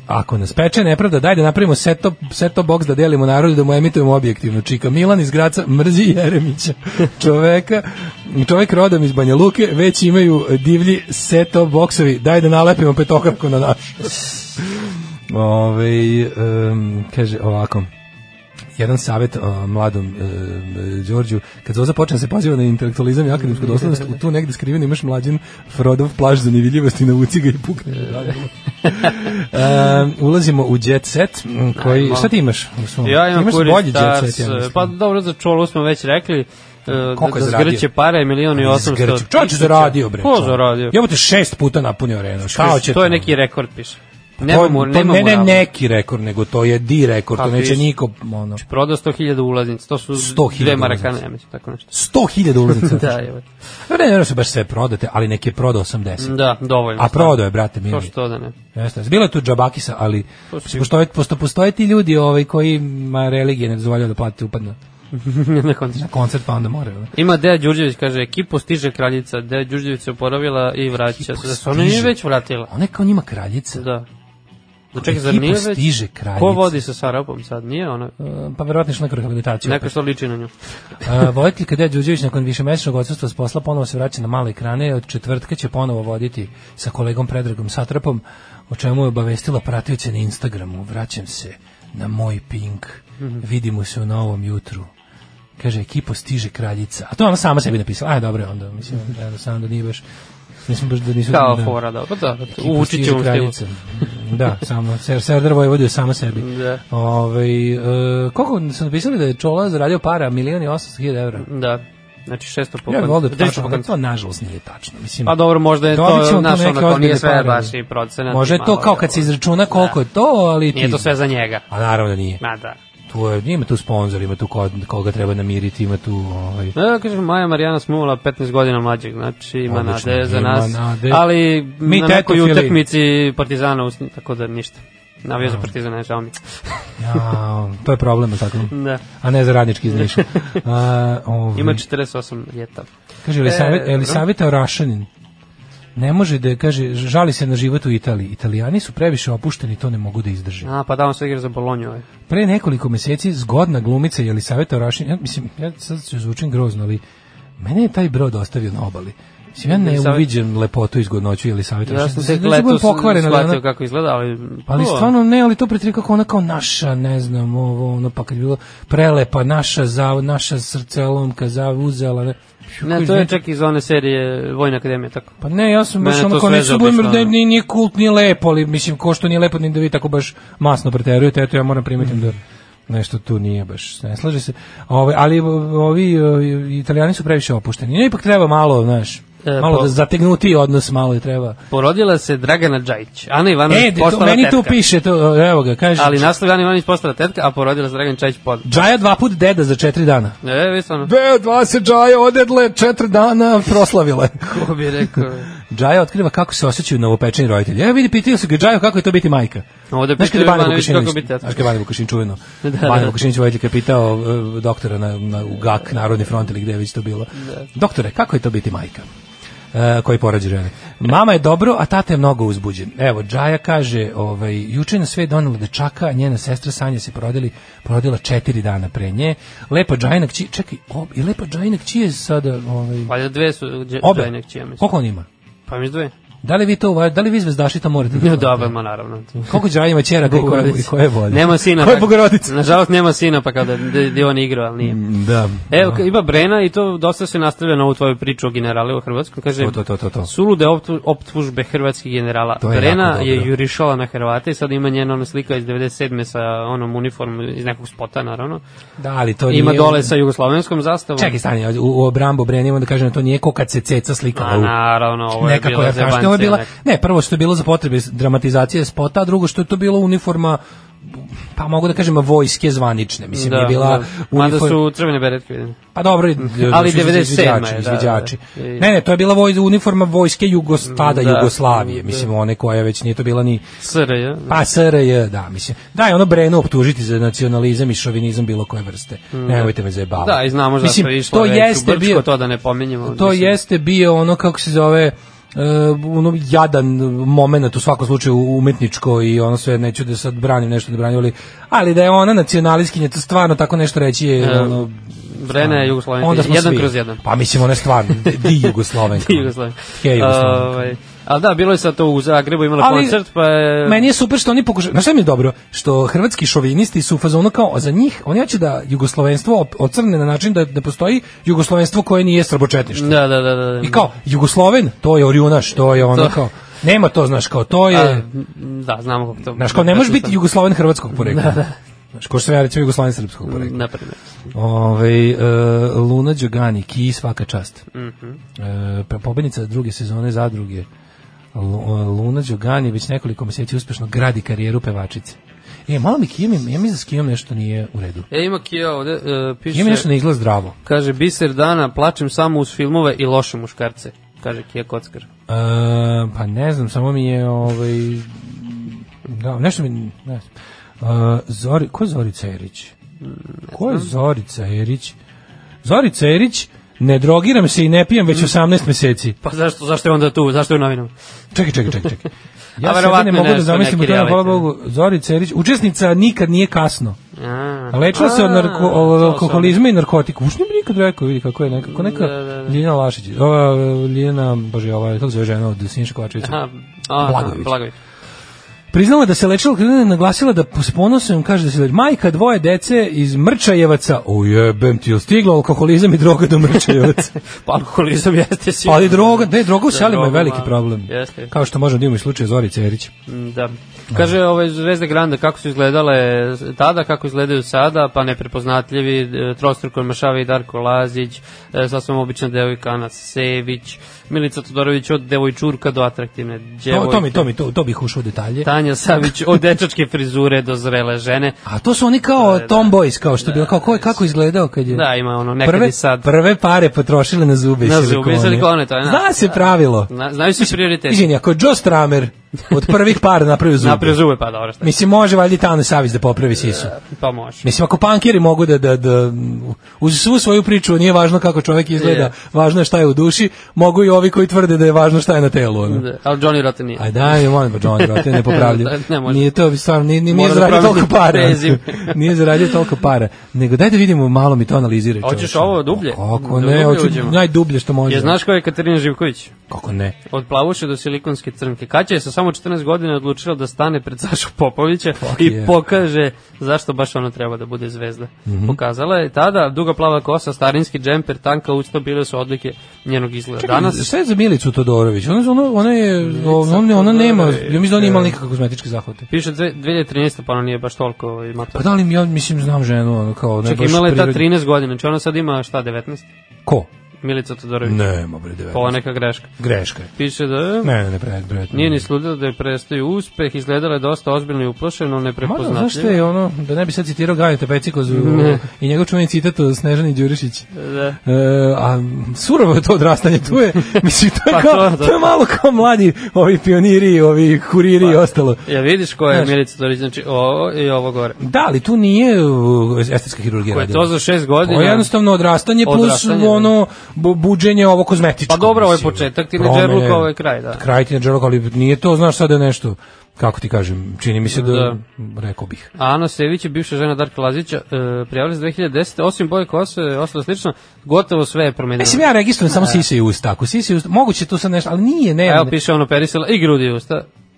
Ako nas peče nepravda, daj da napravimo set-top set top box da delimo narodu, da mu emitujemo objektivno. Čika Milan iz Graca mrzi Jeremića, čoveka, čovek rodom iz Banja Luke, već imaju divlji set-top boxovi, daj da nalepimo petokraku na naš. Ove, Ovaj, em, kaže ovako, jedan savjet o, mladom e, e, Đorđu, kad Zoza počne da se poziva na intelektualizam i akademsku doslovnost, u tu negde skriven imaš mlađen Frodov plaž za nevidljivost i navuci ga i pukne. e, ulazimo u jet set, m, koji,
Ajmo.
šta ti imaš? u svom?
Ja imam
imaš
Kuri
bolji jet
Stars.
set, ja mislim.
pa dobro, za čolu smo već rekli. e,
Koliko je
da, da
zaradio?
zgrće pare, milion i
Iz Grčke.
800.
Čovječe zaradio, bre.
Ko zaradio?
Jebote, šest puta napunio arenu. Šta hoće
to je
to? Pa
neki rekord, piše.
To-
Nema mu,
to
nema
ne, ne
mu
neki rekord, nego to je di rekord,
Pa,
to neće
piši.
niko, ono,
Prodao 100.000 ulaznica, to su
100.000
dve marakane,
ulaznica.
ja mislim, tako nešto. (laughs)
100.000 ulaznica.
Da, evo.
Pa Ne, ne, ne, su baš sve prodate, ali neki je prodao 80.
Da, dovoljno.
A pa- prodao je, brate,
To
mili.
što da ne. (laughs)
Jeste, bilo je tu džabakisa, ali
To su-
postoje, posto, postoje ti ljudi ovaj, koji ma, religije ne dozvoljaju da plate upad na,
Na koncu.
na koncert, pa onda moraju.
Ima Deja Đurđević, kaže, ekipu stiže kraljica, Deja Đurđević se oporavila i vraća se. Da se ona nije
stiže.
već vratila.
Ona je kao njima kraljica.
Da. Da čekaj, zar
Ekipu
nije već?
stiže kraljica.
Ko vodi sa Sarapom sad? Nije ona?
E, Pa verovatno što neku rehabilitaciju. pa
Neko što liči na (laughs) nju.
Uh, voditeljka Deja Đuđević nakon višemesečnog odsustva s posla ponovo se vraća na male ekrane. Od četvrtka će ponovo voditi sa kolegom Predragom Satrapom, o čemu je obavestila pratioce na Instagramu. Vraćam se na moj pink.
Mhm.
Vidimo se u novom jutru. Kaže, ekipo stiže kraljica. A to je ona sama sebi napisala. Aj, dobro, je onda mislim, da, sam da nije baš... Mislim baš da nisu...
Mhm. Kao
da,
fora, da. Pa da,
ekipo
učit
stiže
ćemo stilu.
kraljica. da, samo, ser, Serdar Vojvodi je sama sebi.
Da.
Ove, e, koliko su napisali da je Čola zaradio para? Milion i 800 hiljada evra.
Da. Znači 600 po
Ja bih volio da je tačno, ali
koncu.
to nažalost nije tačno. Mislim,
Pa dobro, možda je
dobit ćemo
to,
tu
znaš,
neke
ono, kao nije
ozbiljne
sve
pare.
baš i procenat.
Može
i
je to
malo
kao
je
kad se
ovo.
izračuna koliko je to, ali ti...
Nije to sve za njega.
A naravno da nije.
Ma da.
Tu je, ima tu sponzor, ima tu ko, koga treba namiriti, ima tu...
(laughs)
Ovaj,
Da, da kažem, Maja Marijana Smula, 15 godina mlađeg, znači ima
Odlično,
nade za
ima
nas,
nade.
ali
Mi
na nekoj
tetofili.
utakmici Partizana, usn- tako da ništa. Navio za Partizana, je žao mi.
ja, to je problem, tako?
Da.
A ne za radnički iz
(laughs)
Niša. A, ovaj,
Ima 48 ljeta.
Kaže Elisaveta,
E,
Elisaveta Rašanin. Ne može da kaže, žali se na život u Italiji. Italijani su previše opušteni, to ne mogu da izdrže.
A, pa da, on sve igra za Bolonju. ovaj.
Pre nekoliko meseci zgodna glumica Jelisaveta Orašin, ja, mislim, ja sad se zvučim grozno, ali mene je taj brod ostavio na obali. Mislim, ja ne
Jelisaveta-
uviđem lepotu i zgodnoću Jelisaveta
Ja
Orašin.
sam tek
da budem
leto
pokvaren, ali
shvatio
ona-
kako izgleda, Pa ali...
ali
to-
stvarno ne, ali to pretri kako ona kao naša, ne znam, ovo, ono, pa kad je bilo prelepa, naša, za, naša srcelomka, za, uzela, ne. Pju,
Ne,
koji
to je
ne-
čak iz one serije Vojna akademija, tako.
Pa ne, ja sam baš
Mene
ono
to
kao
sve
neću budem,
zaobišlo,
da
ono.
nije, nije kult, nije lepo, ali mislim, ko što nije lepo, ni da vi tako baš masno preterujete, eto ja moram primetiti da nešto tu nije baš, ne slaže se. Ove, ali ovi, ovi italijani su previše opušteni. No, ipak treba malo, znaš,
E,
malo
pa-
da zategnuti odnos, malo je treba.
Porodila se Dragana Đajić. Ana Ivanović
E, de, to,
Mm, postala
meni
tetka.
tu piše, to, evo ga, kaže,
Ali naslov je Ana Ivanović postala tetka, a porodila se Dragana Đajić pod.
Džaja dva put deda za četiri dana.
E, vi stvarno,
Deo dva se Džaja odedle četiri dana proslavile.
ko bi rekao...
Džaja otkriva kako se osjećaju novopečeni roditelji. Evo vidi, pitaju su ga Džaja kako je to biti majka.
Ovde
Znaš kada je
pitaju
Bane
Ivanović
Vukašinović,
kako biti tetka.
znaš kada je Bane Vukašin čuveno,
(laughs) Da, da.
Bane Vukašinović voditelj je pitao e, doktora na, na, u GAK, Narodni front ili gde je već to bilo,
Da.
doktore, kako je to biti majka? E, koji porađe žene. Mama je dobro, a tata je mnogo uzbuđen. Evo, Džaja kaže, ovaj, juče je na sve donela da čaka, a njena sestra Sanja se porodili, porodila četiri dana pre nje. Lepa Džajina kći, čekaj, ob, i lepa Džajina kći je sada, ovaj,
Valjda Pa dve su Đ-
obe,
Đajinek čija mislim.
koliko on ima?
Pa mi dve.
Da li vi to, uva- da li vi zvezdaši to morate?
Ne, da, ma naravno.
Koliko Džaja ima čera i koje, i koje vode?
Nema sina.
Koje
pa-
bogorodice?
Nažalost, nema sina, pa kao da, da, da on igrao, ali nije.
Da.
Evo, ka- ima Brena i to dosta se nastavlja na ovu tvoju priču o generali u Hrvatskoj. Kaže,
To, to, to, to, to.
sulude optu- optužbe hrvatskih generala.
To je
Brena
jako dobro.
je jurišala na Hrvate i sad ima njena ona slika iz 97. sa onom uniformom iz nekog spota, naravno.
Da, ali to
Ima
nije-
dole sa jugoslovenskom zastavom.
Čekaj, stani, u, u obrambu Brenimo da kažem da to nije ko kad se ceca slikala.
A
u-
naravno, ovo je
nekako
bila
je kašnje,
zebancija.
ovo je bila,
neka.
ne, prvo što je bilo za potrebe dramatizacije spota, a drugo što je to bilo uniforma pa mogu da kažem vojske zvanične, mislim,
da,
je bila
da. Mada
uniform-
su crvene beretke vidim.
Pa dobro,
Ali
su izviđači,
97. je, da,
izviđači.
da. I-
Ne, ne, to je bila voj, uniforma vojske Jugos, tada
Da.
Jugoslavije, mislim, one koja već nije to bila ni
SRJ. Ja?
pa SRJ, da, mislim. Da, je ono Brenu optužiti za nacionalizam i šovinizam bilo koje vrste. Nemojte me zajebavati.
Mm. Da, i znamo zašto je išlo
Pa, to
već
jeste
u Brčko,
bio,
to da ne pominjemo.
to
mislim.
jeste bio ono kako se zove Uh, ono jadan moment u svakom slučaju umetničko i ono sve neću da sad branim nešto da branim ali, ali da je ona nacionalistkinja to stvarno tako nešto reći je
E,
ono,
Brena je Jugoslovenka,
onda smo
jedan
svi.
kroz jedan.
pa mislim ona je
(laughs)
stvarno di- di Jugoslovenka
Ti Jugoslovenka.
Je Jugoslovenka.
Ovaj, Ali da, bilo je sad to u Zagrebu, imala
Ali-
koncert, pa je...
Meni je super što oni pokušaju, znaš šta mi je dobro? Što hrvatski šovinisti su u fazonu kao za njih, oni hoće da jugoslovenstvo op- ocrne na način da, da postoji jugoslovenstvo koje nije srbočetništvo.
Da, da, da, da. da.
I kao, jugosloven, to je orjunaš, to je ono
To-
kao, nema to, znaš, kao, to je...
A, da, znamo kako to...
Znaš, kao ne možeš biti jugosloven hrvatskog porekla. Da, da. Znaš, kao što sam ja recimo jugosloven srpskog porekla.
Naprimjer.
Ove, Ovaj, e, Luna Đogani, Ki svaka čast. Mm pobednica druge sezone zadruge. Lu- e, Luna Đogani već nekoliko meseci uspešno gradi karijeru pevačice. E, malo mi Kijom, ja mislim da s Kijom nešto nije u redu.
E, ima Kija ovde, e, piše...
Kijom je nešto ne izgleda zdravo.
Kaže, biser dana, plačem samo uz filmove i loše muškarce. Kaže Kija Kockar.
E, pa ne znam, samo mi je ovaj, da, nešto mi ne znam. E, Zori, ko je Zorica Erić? Ko je Zorica Erić? Zorica Erić Ne drogiram se i ne pijem već 18 meseci.
Pa zašto, zašto je onda tu, zašto je u novinama?
Čekaj, čekaj, čekaj. čekaj. Ja sada ne
verovatno je
mogu da
nešto,
zamislim,
neki
to je, hvala
reality.
Bogu, Zorica Erić, učesnica nikad nije kasno.
A,
Lečila se od, narko,
A,
od
to
alkoholizma i narkotika. Ušto mi nikad rekao, vidi kako je nekako, neka
Da, da, da.
Ljiljana Lašić, ova Ljiljana, bože, ova, kako se zove žena od Siniša Kovačevića.
sam. A, a,
Blagojević.
Blagović. Blagović. (laughs)
Priznala da se lečila kada je naglasila da s ponosom kaže da se leči. Majka dvoje dece iz Mrčajevaca. O jebem ti, je stiglo alkoholizam i droga do Mrčajevaca.
(laughs) Pa alkoholizam jeste sigurno.
Ali droga, ne, droga u selima je
Da, droga,
veliki
ma,
problem.
jeste.
Kao što možemo da imamo i slučaj Zorice Erić.
Da. Kaže ovaj Zvezda Granda kako su izgledale tada, kako izgledaju sada, pa neprepoznatljivi e, trostruko Mašava i Darko Lazić, e, sasvim obična devojka Ana Sević, Milica Todorović od devojčurka do atraktivne
To,
djevojke.
to, mi, to, mi, to, to bih ušao u detalje.
Tanja Savić od dečačke frizure do zrele žene.
A to su oni kao tomboys, kao što je bilo, kao ko je kako izgledao kad je...
Da, ima ono, nekad
prve,
i sad.
Prve pare potrošile na zube i
Na zube i
silikone.
silikone, to je, da.
Zna se pravilo.
Zna, znaju se prioriteti.
Izvini, ako je Joe Stramer od prvih par napravio zube,
Napre zube, pa dobro šta.
mislim, može valjda i Tane Savić da popravi sisu.
Pa može.
Mislim, ako pankeri mogu da, da, da uz svu svoju priču nije važno kako čovek izgleda,
Je.
važno je šta je u duši, mogu i ovi koji tvrde da je važno šta je na telu. Ono.
Da, ali Johnny Rotten nije.
Aj daj, mi molim, John, brate, ne popravljiv.
(laughs) Da, Ne može.
nije to, stvarno, nije, nije, nije
Mora da
zaradio
promeni
toliko para.
prezime.
(laughs) nije zaradio toliko para. Nego daj da vidimo, malo mi to analiziraj.
Hoćeš
čoveče.
ovo dublje?
Kako
Dublje
ne, hoću
uđemo.
najdublje što može.
Je znaš ko je Katarina Živković?
Kako ne?
Od plavuše do silikonske crnke. Kaća je sa samo 14 godina odlučila da stane pred Sašu Popovića i
yeah.
pokaže zašto baš ona treba da bude zvezda.
Mhm.
Pokazala je tada duga plava kosa, starinski džemper, tanka usta, bile su odlike njenog izgleda.
Danas
Danas
šta je za Milicu Todorović? Ona ona ona je ona, ona, ona nema, ja mislim da ona ima nikakve kozmetičke zahvate.
piše dve- 2013, pa ona nije baš toliko ovaj,
Pa
matura.
da li mi ja mislim znam ženu, ono kao ne
Čekaj,
baš
imala je ta
prirodni-
13 godina, znači ona sad ima šta, 19?
Ko?
Milica Todorović.
Nema bre,
Pa ovo
19.
neka greška.
Greška je.
Piše da...
Ne, ne, ne, pre, pre,
Nije ni sludila da je prestaju uspeh, izgledala je dosta ozbiljno i uplašeno,
Mada, znaš šta
neprepoznatljivo.
da, je ono, da ne bi sad citirao Gajeta Pecikozu i njegov čuveni citat od Snežani Đurišić.
Da.
E, a surovo je to odrastanje, tu
(laughs)
je, mislim, to je,
Pa
kao,
to,
to,
da.
je malo kao mladi ovi pioniri, ovi kuriri
Pa.
i ostalo.
Ja vidiš ko je
Znaš.
Milica Todorić, znači ovo i ovo gore.
Da, ali tu nije uh, estetska hirurgija.
Ko je
radila.
to za šest
To
godina?
je jednostavno odrastanje,
Odrastanje,
plus
da.
ono bu- buđenje ovo kozmetičko.
Pa dobro, ovo je
mislim.
početak
Promene.
tineđerluka, ovo je kraj, da.
Kraj tineđerluka, ali nije to, znaš, sada je nešto, kako ti kažem, čini mi se da,
Da.
rekao bih.
A Ana Sević je bivša žena Darka Lazića, e, prijavila se 2010. Osim boje kose, ostalo slično, gotovo sve je promenila.
Mislim, ja registrujem samo sise i usta. Ako sise i usta, moguće tu sad nešto, ali nije, ne.
Evo
ne.
piše ono perisila i grudi i usta,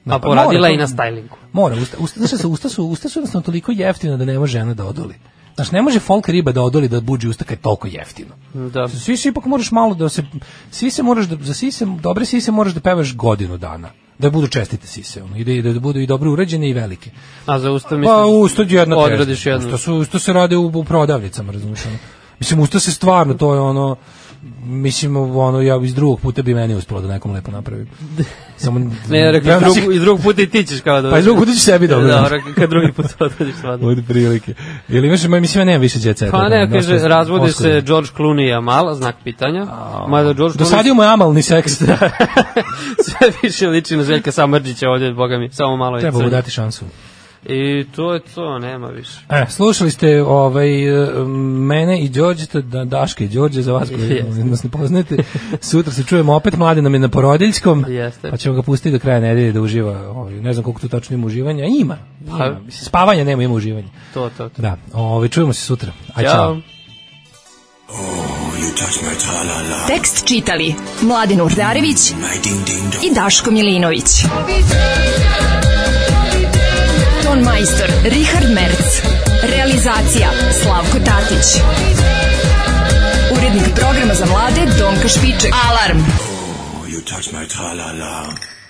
Da,
a
pa
poradila
mora to-
i na stylingu.
Mora, usta, usta, znaš šta su, usta su, usta su jednostavno toliko jeftina da ne može žena da odoli. Znaš, ne može folk riba da odoli da buđi usta kad je toliko jeftino.
Da.
Svi se ipak moraš malo da se, svi se moraš da, za sise, dobre sise moraš da pevaš godinu dana. Da budu čestite sise, ono, i da, i da budu i dobro uređene i velike.
A za usta mislim...
Pa usta je jedna težnja.
Odradiš jednu.
Usta, su, usta se rade u, u prodavnicama, razumiješ? Ono. Mislim, usta se stvarno, to je ono, mislim, ono, ja iz drugog puta bi meni uspelo da nekom lepo
(laughs)
napravim. Samo,
Ne, rekao, iz drugog, iz drugog puta i ti ćeš kao da...
Pa iz drugog puta ćeš sebi dobro.
Dobro, kad drugi put
(laughs)
odrediš svadbu.
Od prilike. Ili imaš, ma, mislim, ja nemam više djece. da,
Pa ne, kaže, razvode se George Clooney i Amal, znak pitanja. Mada George Clooney
Dosadio mu je amalni
(laughs)
seks.
Da, sve više liči na Željka Samrđića ovdje, boga mi, samo malo je
Treba mu
crn.
dati šansu.
I to je to, nema više.
E, slušali ste ovaj, e, mene i Đorđe, to je da, Daška i Đorđe, za vas koji
Jeste.
nas ne poznate. Sutra se čujemo opet, mladi nam je na porodiljskom,
Jeste.
pa ćemo ga pustiti do kraja nedelje da uživa. Ovaj, ne znam koliko tu tačno ima uživanja, ima.
Pa-
ima. Mislim, Spavanja nema, ima uživanja.
To, to, to.
Da, ovaj, čujemo se sutra. Aj,
Ćao.
čao.
Tekst čitali Mladin Urdarević i Daško Milinović. Ton majstor Richard Merc. Realizacija Slavko Tatić. Urednik programa za mlade Donka Špiček. Alarm!
You touch my tra-la-la.